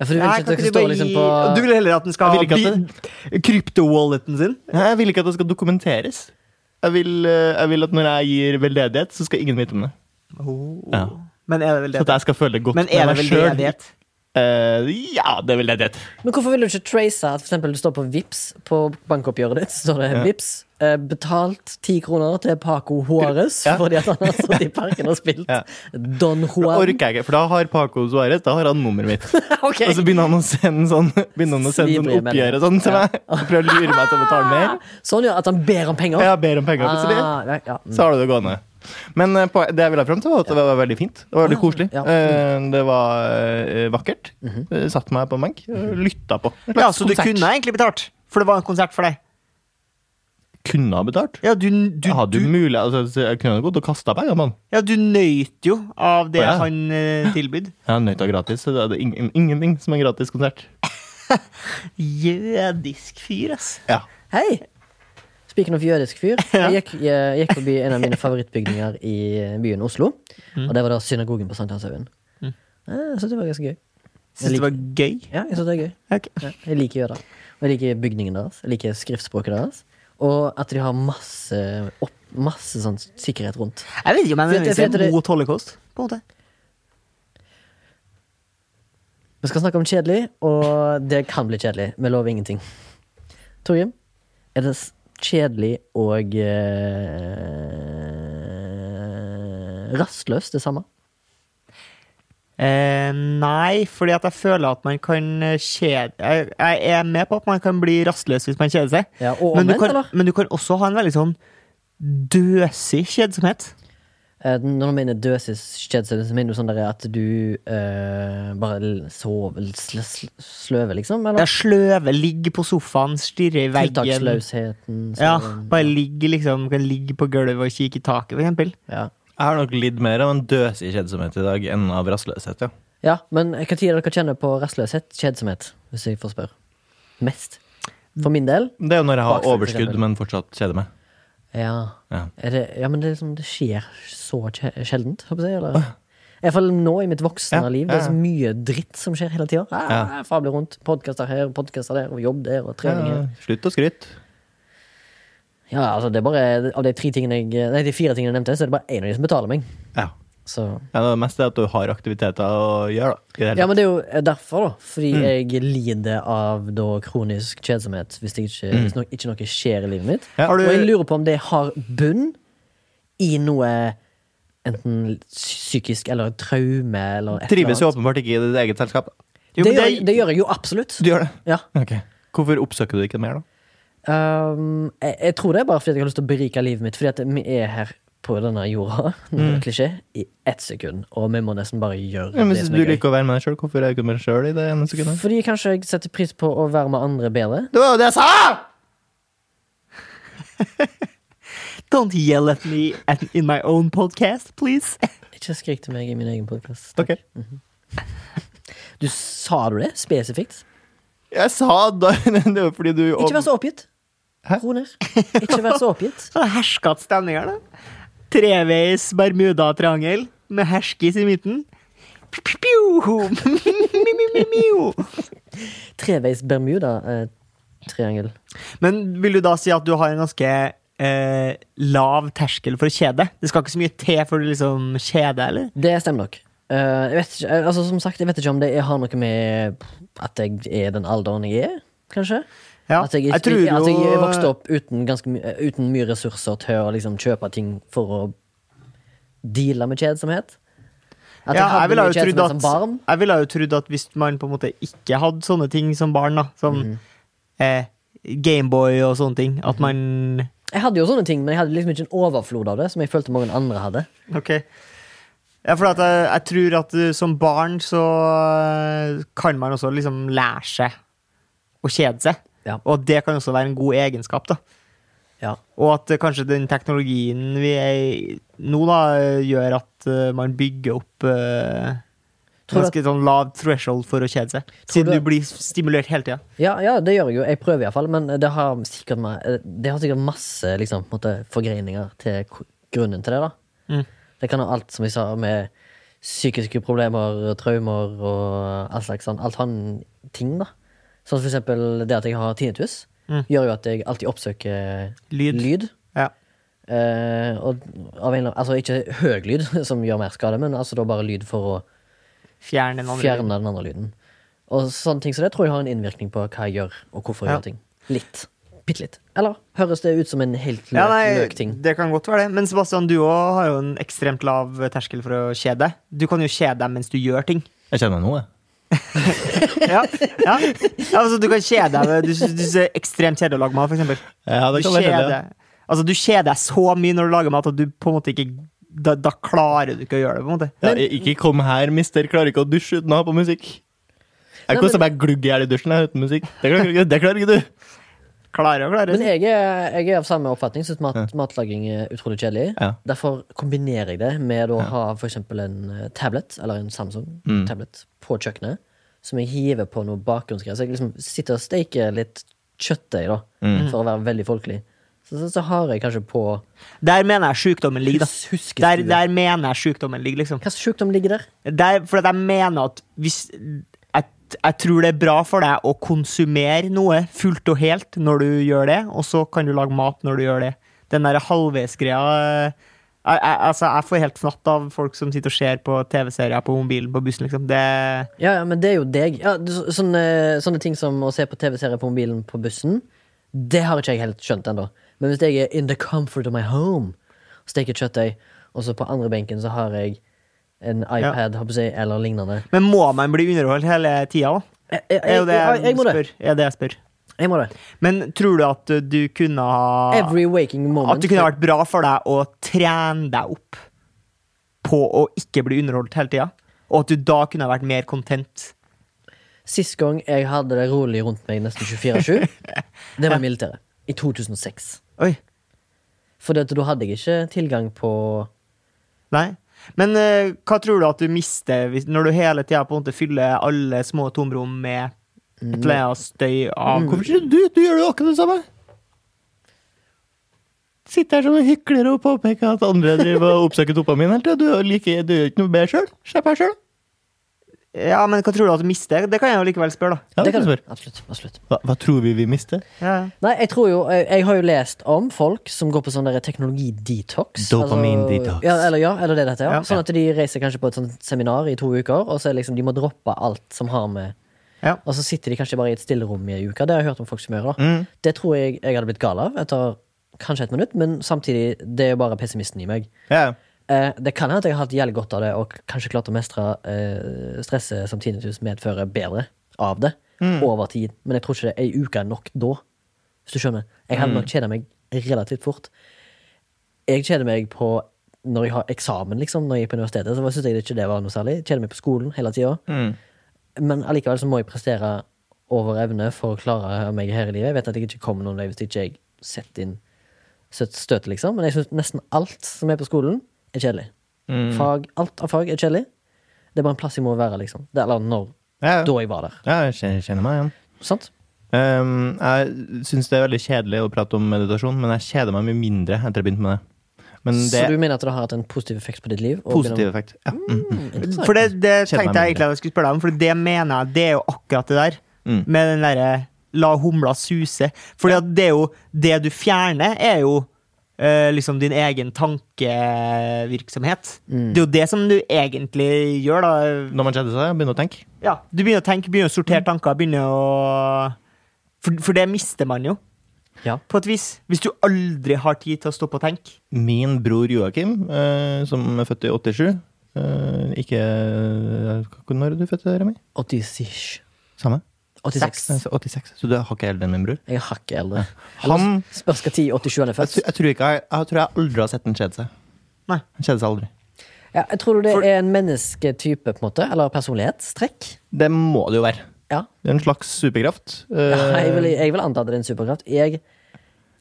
[SPEAKER 1] Ja, for du vil
[SPEAKER 2] Nei,
[SPEAKER 1] ikke at
[SPEAKER 2] kan
[SPEAKER 1] det skal
[SPEAKER 2] ikke du,
[SPEAKER 1] stå
[SPEAKER 2] bare
[SPEAKER 1] liksom
[SPEAKER 2] gi...
[SPEAKER 1] på
[SPEAKER 2] du vil heller at den skal
[SPEAKER 3] Jeg vil
[SPEAKER 2] ha
[SPEAKER 3] ikke
[SPEAKER 2] bi- krypto-walleten sin?
[SPEAKER 3] Nei, Jeg vil ikke at det skal dokumenteres. Jeg vil, eh, jeg vil at når jeg gir veldedighet, så skal ingen vite om det. Ja.
[SPEAKER 2] Men er det vel
[SPEAKER 3] Så
[SPEAKER 2] det?
[SPEAKER 3] at jeg skal føle det godt
[SPEAKER 2] Men er det
[SPEAKER 3] med meg
[SPEAKER 2] vel
[SPEAKER 3] selv.
[SPEAKER 2] ledighet?
[SPEAKER 3] Eh, ja, det er veldedighet.
[SPEAKER 1] Men hvorfor vil du ikke trace at for eksempel det står på VIPS på bankoppgjøret ditt? Så står det
[SPEAKER 3] Ja.
[SPEAKER 1] VIPS eh, betalt ti kroner til Paco Juarez
[SPEAKER 3] Ja.
[SPEAKER 1] fordi at han har stått i parken og spilt
[SPEAKER 3] Ja.
[SPEAKER 1] Don
[SPEAKER 3] Da
[SPEAKER 1] Juan.
[SPEAKER 3] orker jeg ikke, for da har Paco Suárez da har han nummeret mitt.
[SPEAKER 1] Ok.
[SPEAKER 3] Og så begynner han å sende sånn, begynner han å sende sånn
[SPEAKER 1] Svibrige
[SPEAKER 3] oppgjør og sånn til
[SPEAKER 1] meldinger.
[SPEAKER 3] meg. Og prøver å lure meg til å betale mer.
[SPEAKER 1] Sånn, ja. At han ber om penger.
[SPEAKER 3] Jeg ber om penger. plutselig.
[SPEAKER 1] Ah, nei, ja.
[SPEAKER 3] så har du det gående. Men eh, på, det jeg ville ha fram til, var at det var veldig fint. Det var veldig koselig.
[SPEAKER 1] Ah, Ja. Mhm.
[SPEAKER 3] Eh, Det var eh, vakkert. Eh, Satt meg på en benk og lytta på.
[SPEAKER 2] Ja, så du
[SPEAKER 3] Konsert.
[SPEAKER 2] kunne egentlig betalt, for det var en konsert for deg.
[SPEAKER 3] Kunne ha betalt.
[SPEAKER 2] Ja, du, du,
[SPEAKER 3] jeg hadde
[SPEAKER 2] du,
[SPEAKER 3] jo mulig, altså, så jeg kunne ha gått og kasta penger, mann.
[SPEAKER 2] ja, du nøyt jo av det
[SPEAKER 3] Ja.
[SPEAKER 2] han eh, tilbød.
[SPEAKER 3] Jeg nøt av gratis. så Det er ing ingenting som en gratis konsert.
[SPEAKER 2] Jødisk fyr, ass.
[SPEAKER 3] Ja.
[SPEAKER 1] Hei! Speaking of jødisk fyr.
[SPEAKER 2] Ja.
[SPEAKER 1] Jeg gikk, jeg gikk forbi en av mine favorittbygninger i eh, byen Oslo.
[SPEAKER 2] Mm.
[SPEAKER 1] Og det var da synagogen på Sankthanshaugen. Eh, Jeg synes det var ganske gøy.
[SPEAKER 2] Syns Mm. det var gøy.
[SPEAKER 1] Ja, jeg synes det er gøy.
[SPEAKER 2] Ok.
[SPEAKER 1] Ja, jeg liker jøder. Og jeg liker bygningen deres. Jeg liker skriftspråket deres. Og at de har masse, opp, masse sånn sikkerhet rundt.
[SPEAKER 2] Jeg vet ikke
[SPEAKER 1] Fint,
[SPEAKER 2] om jeg nødvendigvis
[SPEAKER 1] fint,
[SPEAKER 2] er
[SPEAKER 1] det-
[SPEAKER 2] mot holocaust. På en måte.
[SPEAKER 1] Vi skal snakke om kjedelig, og det kan bli kjedelig. Vi lover ingenting. Torgrim, er det s- kjedelig og eh, rastløst det samme?
[SPEAKER 2] Eh, nei, fordi at jeg føler at man kan eh, kjede jeg, jeg er med på at man kan bli rastløs hvis man kjeder seg.
[SPEAKER 1] Ja, og
[SPEAKER 2] men, du
[SPEAKER 1] omvendt,
[SPEAKER 2] kan,
[SPEAKER 1] eller?
[SPEAKER 2] men du kan også ha en veldig sånn døsig kjedsomhet.
[SPEAKER 1] Eh, Når du mener døsis kjedsel, så mener du sånn der at du eh, bare l- sover, sl sl sløver, liksom? Eller?
[SPEAKER 2] Jeg sløver, ligger på sofaen, stirrer i veggen.
[SPEAKER 1] Tiltaksløsheten.
[SPEAKER 2] Ja,
[SPEAKER 1] sover-
[SPEAKER 2] bare ligger liksom, kan ligge på gulvet og kikke i taket, for eksempel.
[SPEAKER 1] ja.
[SPEAKER 3] Jeg har nok lidd mer av en døsig kjedsomhet i dag enn av rastløshet, ja.
[SPEAKER 1] ja, men eh, hva tid er det dere kjenner på rastløshet, kjedsomhet, hvis jeg får spørre? Mest. For min del?
[SPEAKER 3] Det er jo når jeg har
[SPEAKER 1] Bakfra, for
[SPEAKER 3] overskudd,
[SPEAKER 1] eksempel.
[SPEAKER 3] men fortsatt kjeder meg.
[SPEAKER 1] Ja.
[SPEAKER 3] Ja.
[SPEAKER 1] Er det, ja, men det, er liksom, det skjer så kje- sjeldent, håper jeg, eller? I hvert fall nå i mitt voksne
[SPEAKER 3] Ja,
[SPEAKER 1] liv. Det
[SPEAKER 3] ja,
[SPEAKER 1] er så mye dritt som skjer hele tida. Ah,
[SPEAKER 3] Ja.
[SPEAKER 1] Fabler rundt. Podkaster her, podkaster der, og jobb der, og trening her.
[SPEAKER 3] Ja, slutt å skryte.
[SPEAKER 1] Ja, altså, det er bare Av de, tre tingene jeg, nei, de fire tingene jeg nevnte, så er det bare én av de som betaler meg.
[SPEAKER 3] Ja.
[SPEAKER 1] Så.
[SPEAKER 3] Ja, det meste er at du har aktiviteter å gjøre, da. I det hele
[SPEAKER 1] Ja, men det er jo eh, derfor, da. Fordi
[SPEAKER 3] Mm.
[SPEAKER 1] jeg lider av da kronisk kjedsomhet hvis, det ikke, hvis no, ikke noe skjer i livet mitt.
[SPEAKER 3] Mm. Ja. Har du-
[SPEAKER 1] Og jeg lurer på om det har bunn i noe enten psykisk eller traume eller et
[SPEAKER 3] Trives jo
[SPEAKER 1] eller annet.
[SPEAKER 3] åpenbart ikke i ditt eget selskap.
[SPEAKER 2] Jo,
[SPEAKER 1] det,
[SPEAKER 2] men
[SPEAKER 1] gjør, det gjør jeg jo absolutt.
[SPEAKER 3] Du gjør det?
[SPEAKER 1] Ja.
[SPEAKER 3] Ok. Hvorfor oppsøker du det ikke mer, da?
[SPEAKER 1] Um, jeg, jeg tror det er bare fordi at jeg har lyst til å berike livet mitt. Fordi at vi er her på denne jorda, mm. klisjé, i ett sekund. Og vi må nesten bare gjøre
[SPEAKER 3] Ja, men
[SPEAKER 1] det
[SPEAKER 3] Hvis
[SPEAKER 1] som
[SPEAKER 3] du
[SPEAKER 1] er gøy.
[SPEAKER 3] liker å være med deg sjøl, hvorfor er du ikke med deg sjøl i det ene sekundet?
[SPEAKER 1] Fordi kanskje jeg setter pris på å være med andre bedre.
[SPEAKER 3] Det var jo det jeg sa!
[SPEAKER 2] Don't yell at me at, in my own podcast, please.
[SPEAKER 1] Ikke skrik til meg i min egen podkast.
[SPEAKER 3] Ok.
[SPEAKER 1] Du sa du det spesifikt?
[SPEAKER 3] Jeg sa da Det er jo fordi du
[SPEAKER 1] Ikke vær så oppgitt.
[SPEAKER 3] Hæ?
[SPEAKER 1] Ro ned. Ikke vær så oppgitt.
[SPEAKER 2] Så det hersket stemninger, da. Treveis Bermuda-triangel med herskis i midten. Pju! Mi, mi, mi, miu.
[SPEAKER 1] Treveis eh, Bermuda-triangel.
[SPEAKER 2] Men vil du da si at du har en ganske eh, lav terskel for å kjede? Det skal ikke så mye til før du liksom kjeder, eller?
[SPEAKER 1] det stemmer nok. Eh, jeg vet ikke, eh, altså Som sagt, jeg vet ikke om det jeg har noe med at jeg er den alderen jeg er, kanskje.
[SPEAKER 2] Ja,
[SPEAKER 1] At jeg,
[SPEAKER 2] jeg tror
[SPEAKER 1] at jeg
[SPEAKER 2] jo-
[SPEAKER 1] vokste opp uten, ganske, my- eh, uten mye ressurser til å liksom kjøpe ting for å deale med kjedsomhet. At jeg
[SPEAKER 2] Ja, jeg
[SPEAKER 1] hadde
[SPEAKER 2] ville
[SPEAKER 1] mye
[SPEAKER 2] jo trodd
[SPEAKER 1] kjedsomhet
[SPEAKER 2] at,
[SPEAKER 1] som barn.
[SPEAKER 2] jeg ville jo trodd at hvis man på en måte ikke hadde sånne ting som barn, da, som
[SPEAKER 1] Mhm.
[SPEAKER 2] eh, Gameboy og sånne ting, at man
[SPEAKER 1] Jeg hadde jo sånne ting, men jeg hadde liksom ikke en overflod av det, som jeg følte mange andre hadde.
[SPEAKER 2] Ok. Ja, for at jeg, jeg tror at uh, som barn så uh, kan man også liksom lære seg å kjede seg.
[SPEAKER 1] Ja.
[SPEAKER 2] Og det kan også være en god egenskap, da.
[SPEAKER 1] Ja.
[SPEAKER 2] Og at uh, kanskje den teknologien vi er i nå, da, uh, gjør at uh, man bygger opp uh,
[SPEAKER 1] Tror du
[SPEAKER 2] ganske sånn lav threshold for å kjede seg. Siden
[SPEAKER 1] du-
[SPEAKER 2] du blir stimulert hele tida.
[SPEAKER 1] Ja, ja, det gjør jeg jo. Jeg prøver iallfall. Men det har sikkert, ma- eh, det har sikkert masse liksom, på en måte, forgreininger til k- grunnen til det. da.
[SPEAKER 2] Mm.
[SPEAKER 1] Det kan ha alt, som jeg sa, med psykiske problemer, traumer og all slags sånn. Alt han ting, da. Sånn for eksempel det at jeg har tinnitus,
[SPEAKER 2] Mm.
[SPEAKER 1] gjør jo at jeg alltid oppsøker
[SPEAKER 2] Lyd. Ja.
[SPEAKER 1] Eh, og av en, eller annen- altså ikke høy lyd, som gjør mer skade, men altså da bare lyd for å
[SPEAKER 2] Fjern den andre.
[SPEAKER 1] fjerne den andre lyden. Og sånne ting, Så det tror jeg har en innvirkning på hva jeg gjør, og hvorfor jeg
[SPEAKER 2] Ja.
[SPEAKER 1] gjør ting. Litt. Bitte litt. Eller høres det ut som en helt løk,
[SPEAKER 2] Ja, nei,
[SPEAKER 1] løk ting?
[SPEAKER 2] det kan godt være det. Men Sebastian, du òg har jo en ekstremt lav terskel for å kjede. Du kan jo kjede deg mens du gjør ting.
[SPEAKER 3] Jeg kjenner noe, jeg.
[SPEAKER 2] Ja, ja. ja altså, Du kan kjede deg. ved- Du syns du syns det er ekstremt kjedelig å lage mat, for eksempel.
[SPEAKER 3] Ja,
[SPEAKER 2] Du
[SPEAKER 3] det kan være
[SPEAKER 2] kjeder
[SPEAKER 3] heldig. ja.
[SPEAKER 2] deg- altså, du kjeder deg så mye når du lager mat at du på en måte ikke Da, da klarer du ikke å gjøre det, på en måte.
[SPEAKER 3] Ja, ikke kom her, mister. Klarer ikke å dusje uten å ha på musikk.
[SPEAKER 1] Nei,
[SPEAKER 3] Jeg koser meg glugg i hjel i dusjen jeg, uten musikk. Det klarer, ikke- det klarer ikke du.
[SPEAKER 2] Klarer og
[SPEAKER 1] Men
[SPEAKER 2] klarer.
[SPEAKER 1] jeg er, jeg er av samme oppfatning. Syns mat, matlaging er utrolig kjedelig.
[SPEAKER 3] Ja.
[SPEAKER 1] Derfor kombinerer jeg det med å ha for eksempel en eh, tablet, eller en Samsung-tablet, på kjøkkenet. Som jeg hiver på noe bakgrunnsgreier. Så jeg liksom sitter og steiker litt kjøttdeig, da. For å være veldig folkelig. Så, så, så har jeg kanskje på
[SPEAKER 2] Der mener jeg sjukdommen ligger,
[SPEAKER 1] hus,
[SPEAKER 2] da. Der,
[SPEAKER 1] huskestue.
[SPEAKER 2] der mener jeg sjukdommen ligger, liksom.
[SPEAKER 1] Hva slags sjukdom ligger der?
[SPEAKER 2] Der, for at jeg mener at hvis jeg, jeg tror det er bra for deg å konsumere noe fullt og helt når du gjør det, og så kan du lage mat når du gjør det. Den derre halvveisgreia eh, jeg, jeg, altså, jeg får helt fnatt av folk som sitter og ser på TV-serier på mobilen på bussen, liksom. Det
[SPEAKER 1] Ja, ja, men det er jo deg. Ja, det- så- sånne, sånne ting som å se på TV-serier på mobilen på bussen, det har ikke jeg helt skjønt ennå. Men hvis jeg er in the comfort of my home, steker kjøttdeig, og så på andre benken så har jeg en iPad håper jeg, å si, eller lignende.
[SPEAKER 2] Men må man bli underholdt hele tida òg?
[SPEAKER 1] Jeg, jeg,
[SPEAKER 2] Er jo
[SPEAKER 1] jeg,
[SPEAKER 2] det
[SPEAKER 1] jeg,
[SPEAKER 2] jeg
[SPEAKER 1] må det.
[SPEAKER 2] spør. Er det jeg spør.
[SPEAKER 1] Jeg må det.
[SPEAKER 2] Men tror du at du kunne ha
[SPEAKER 1] Every waking moment.
[SPEAKER 2] Ah. At det kunne vært bra for deg å trene deg opp på å ikke bli underholdt hele tida, og at du da kunne vært mer content.
[SPEAKER 1] Sist gang jeg hadde det rolig rundt meg nesten 24-7, det var i militæret. I 2006.
[SPEAKER 2] Oi,
[SPEAKER 1] For det, at da hadde jeg ikke tilgang på
[SPEAKER 2] nei. Men eh, hva tror du at du mister hvis, når du hele tida på en måte fyller alle små tomrom med et eller annet støy av
[SPEAKER 3] Hvorfor ikke du? Du gjør jo akkurat det samme. Sitter her som en hykler og påpeker at andre driver og oppsøker dopamin hele tida. Du, er like, du gjør ikke noe bedre sjøl. Slipp her sjøl.
[SPEAKER 2] Ja, men hva tror du at du mister? Det kan jeg jo likevel spørre, da.
[SPEAKER 3] Ja,
[SPEAKER 1] det kan du.
[SPEAKER 3] spørre.
[SPEAKER 1] Absolutt. absolutt.
[SPEAKER 3] hva, hva tror vi vi mister?
[SPEAKER 2] Ja.
[SPEAKER 1] Nei, jeg tror jo Jeg, jeg har jo lest om folk som går på sånn der teknologi-detox. Altså,
[SPEAKER 3] Dopamin-detox.
[SPEAKER 1] ja, eller, ja, eller det dette, ja.
[SPEAKER 2] Ja.
[SPEAKER 1] Sånn at de reiser kanskje på et sånt seminar i to uker, og så er liksom de må droppe alt som har med
[SPEAKER 2] Ja.
[SPEAKER 1] Og så sitter de kanskje bare i et stillerom i ei uke. Det har jeg hørt om folk som gjør. da Det tror jeg jeg hadde blitt gal av etter kanskje et minutt, men samtidig, det er jo bare pessimisten i meg.
[SPEAKER 3] Ja.
[SPEAKER 1] Eh, det kan hende at jeg har hatt jævlig godt av det, og kanskje klart å mestre eh, stresset som tinnitus medfører bedre av det, over tid. Men jeg tror ikke det ei uke er nok da, hvis du skjønner. Jeg hadde nok kjeda meg relativt fort. Jeg kjeder meg på når jeg har eksamen, liksom, når jeg gikk på universitetet. Så syntes jeg ikke det var noe særlig. Kjeder meg på skolen hele tida.
[SPEAKER 3] Mm.
[SPEAKER 1] Men allikevel så må jeg prestere over evne for å klare meg her i livet. Jeg vet at jeg ikke kommer noen vei hvis ikke jeg setter inn søtt støtet, liksom. Men jeg syns nesten alt som er på skolen, er kjedelig.
[SPEAKER 3] Mm.
[SPEAKER 1] Fag, alt av fag er kjedelig. Det er bare en plass jeg må være, liksom. Det, eller når.
[SPEAKER 3] Ja, ja.
[SPEAKER 1] Da jeg var der.
[SPEAKER 3] ja jeg kjenner- kjenner meg igjen. Ehm,
[SPEAKER 1] Sant?
[SPEAKER 3] Um, jeg syns det er veldig kjedelig å prate om meditasjon, men jeg kjeder meg mye mindre etter jeg begynte med det. Men det
[SPEAKER 1] Så du mener at det har hatt en positiv effekt på ditt liv? og
[SPEAKER 3] positiv
[SPEAKER 1] gjennom-
[SPEAKER 3] effekt. Ja. Mm, mm.
[SPEAKER 1] Interessant.
[SPEAKER 2] For det, det
[SPEAKER 3] Kjenner meg
[SPEAKER 2] tenkte jeg
[SPEAKER 3] mindre.
[SPEAKER 2] egentlig at jeg skulle spørre deg om, for det mener jeg, det er jo akkurat det der.
[SPEAKER 3] Mm.
[SPEAKER 2] Med den derre la humla suse. Fordi at det er jo Det du fjerner, er jo eh, liksom din egen tankevirksomhet.
[SPEAKER 3] Mm.
[SPEAKER 2] Det er jo det som du egentlig gjør, da.
[SPEAKER 3] Når man kjeder seg, begynner å tenke.
[SPEAKER 2] Ja, du begynner å tenke, begynner å
[SPEAKER 3] Mm.
[SPEAKER 2] sortere tanker, begynner å for, for det mister man jo,
[SPEAKER 1] Ja.
[SPEAKER 2] på et vis. Hvis du aldri har tid til å stoppe og tenke.
[SPEAKER 3] Min bror Joakim, eh, som er født i 87 eh, Ikke Hva- Når er du født, Remi?
[SPEAKER 1] 86.
[SPEAKER 3] Samme?
[SPEAKER 1] 86.
[SPEAKER 3] Altså, 86. Så du er hakket eldre enn min bror?
[SPEAKER 1] Jeg er hakket eldre.
[SPEAKER 3] Han-
[SPEAKER 1] Spørs hva tid 87 han er
[SPEAKER 3] Jeg,
[SPEAKER 1] født.
[SPEAKER 3] tr- jeg, tror ikke, jeg, jeg tror jeg aldri har sett den kjede seg.
[SPEAKER 2] Nei.
[SPEAKER 3] Han kjeder seg aldri.
[SPEAKER 1] Ja, jeg tror det
[SPEAKER 2] For-
[SPEAKER 1] er en mennesketype, på en måte. Eller personlighetstrekk.
[SPEAKER 3] Det må det jo være.
[SPEAKER 1] Ja.
[SPEAKER 3] Det er en slags superkraft. Eh,
[SPEAKER 1] Ja, Jeg vil, jeg vil anta at det er en superkraft. Jeg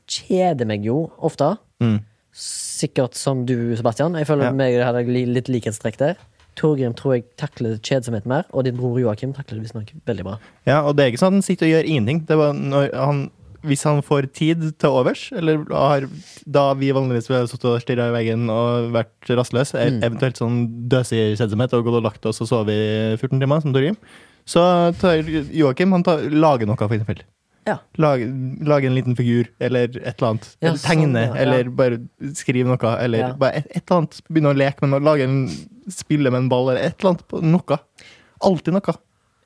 [SPEAKER 1] kjeder meg jo ofte.
[SPEAKER 3] Mm.
[SPEAKER 1] Sikkert som du, Sebastian. Jeg føler
[SPEAKER 3] Ja.
[SPEAKER 1] meg hadde li- litt likhetstrekk der. Torgrim tror jeg takler kjedsomhet mer, og din bror Joakim takler det visstnok veldig bra.
[SPEAKER 3] Ja, og det er ikke sånn at han sitter og gjør ingenting. Det var når han, hvis han får tid til overs, eller har, da vi vanligvis ville sittet og stirra i veggen og vært rastløse, e-
[SPEAKER 1] Mm.
[SPEAKER 3] eventuelt sånn døsig kjedsomhet og gått og lagt oss og sovet i 14 timer, som Torgrim, så tar Joakim han tar, lager noe, for eksempel.
[SPEAKER 1] Ja.
[SPEAKER 3] Lage, lage en liten figur, eller et eller annet.
[SPEAKER 1] Ja,
[SPEAKER 3] eller tegne,
[SPEAKER 1] sånn, ja, ja.
[SPEAKER 3] eller bare skrive noe. Eller
[SPEAKER 1] Ja.
[SPEAKER 3] bare et, et eller annet. Begynne å leke med noe, lage en, spille med en ball, eller et eller annet. på- Noe. Alltid noe.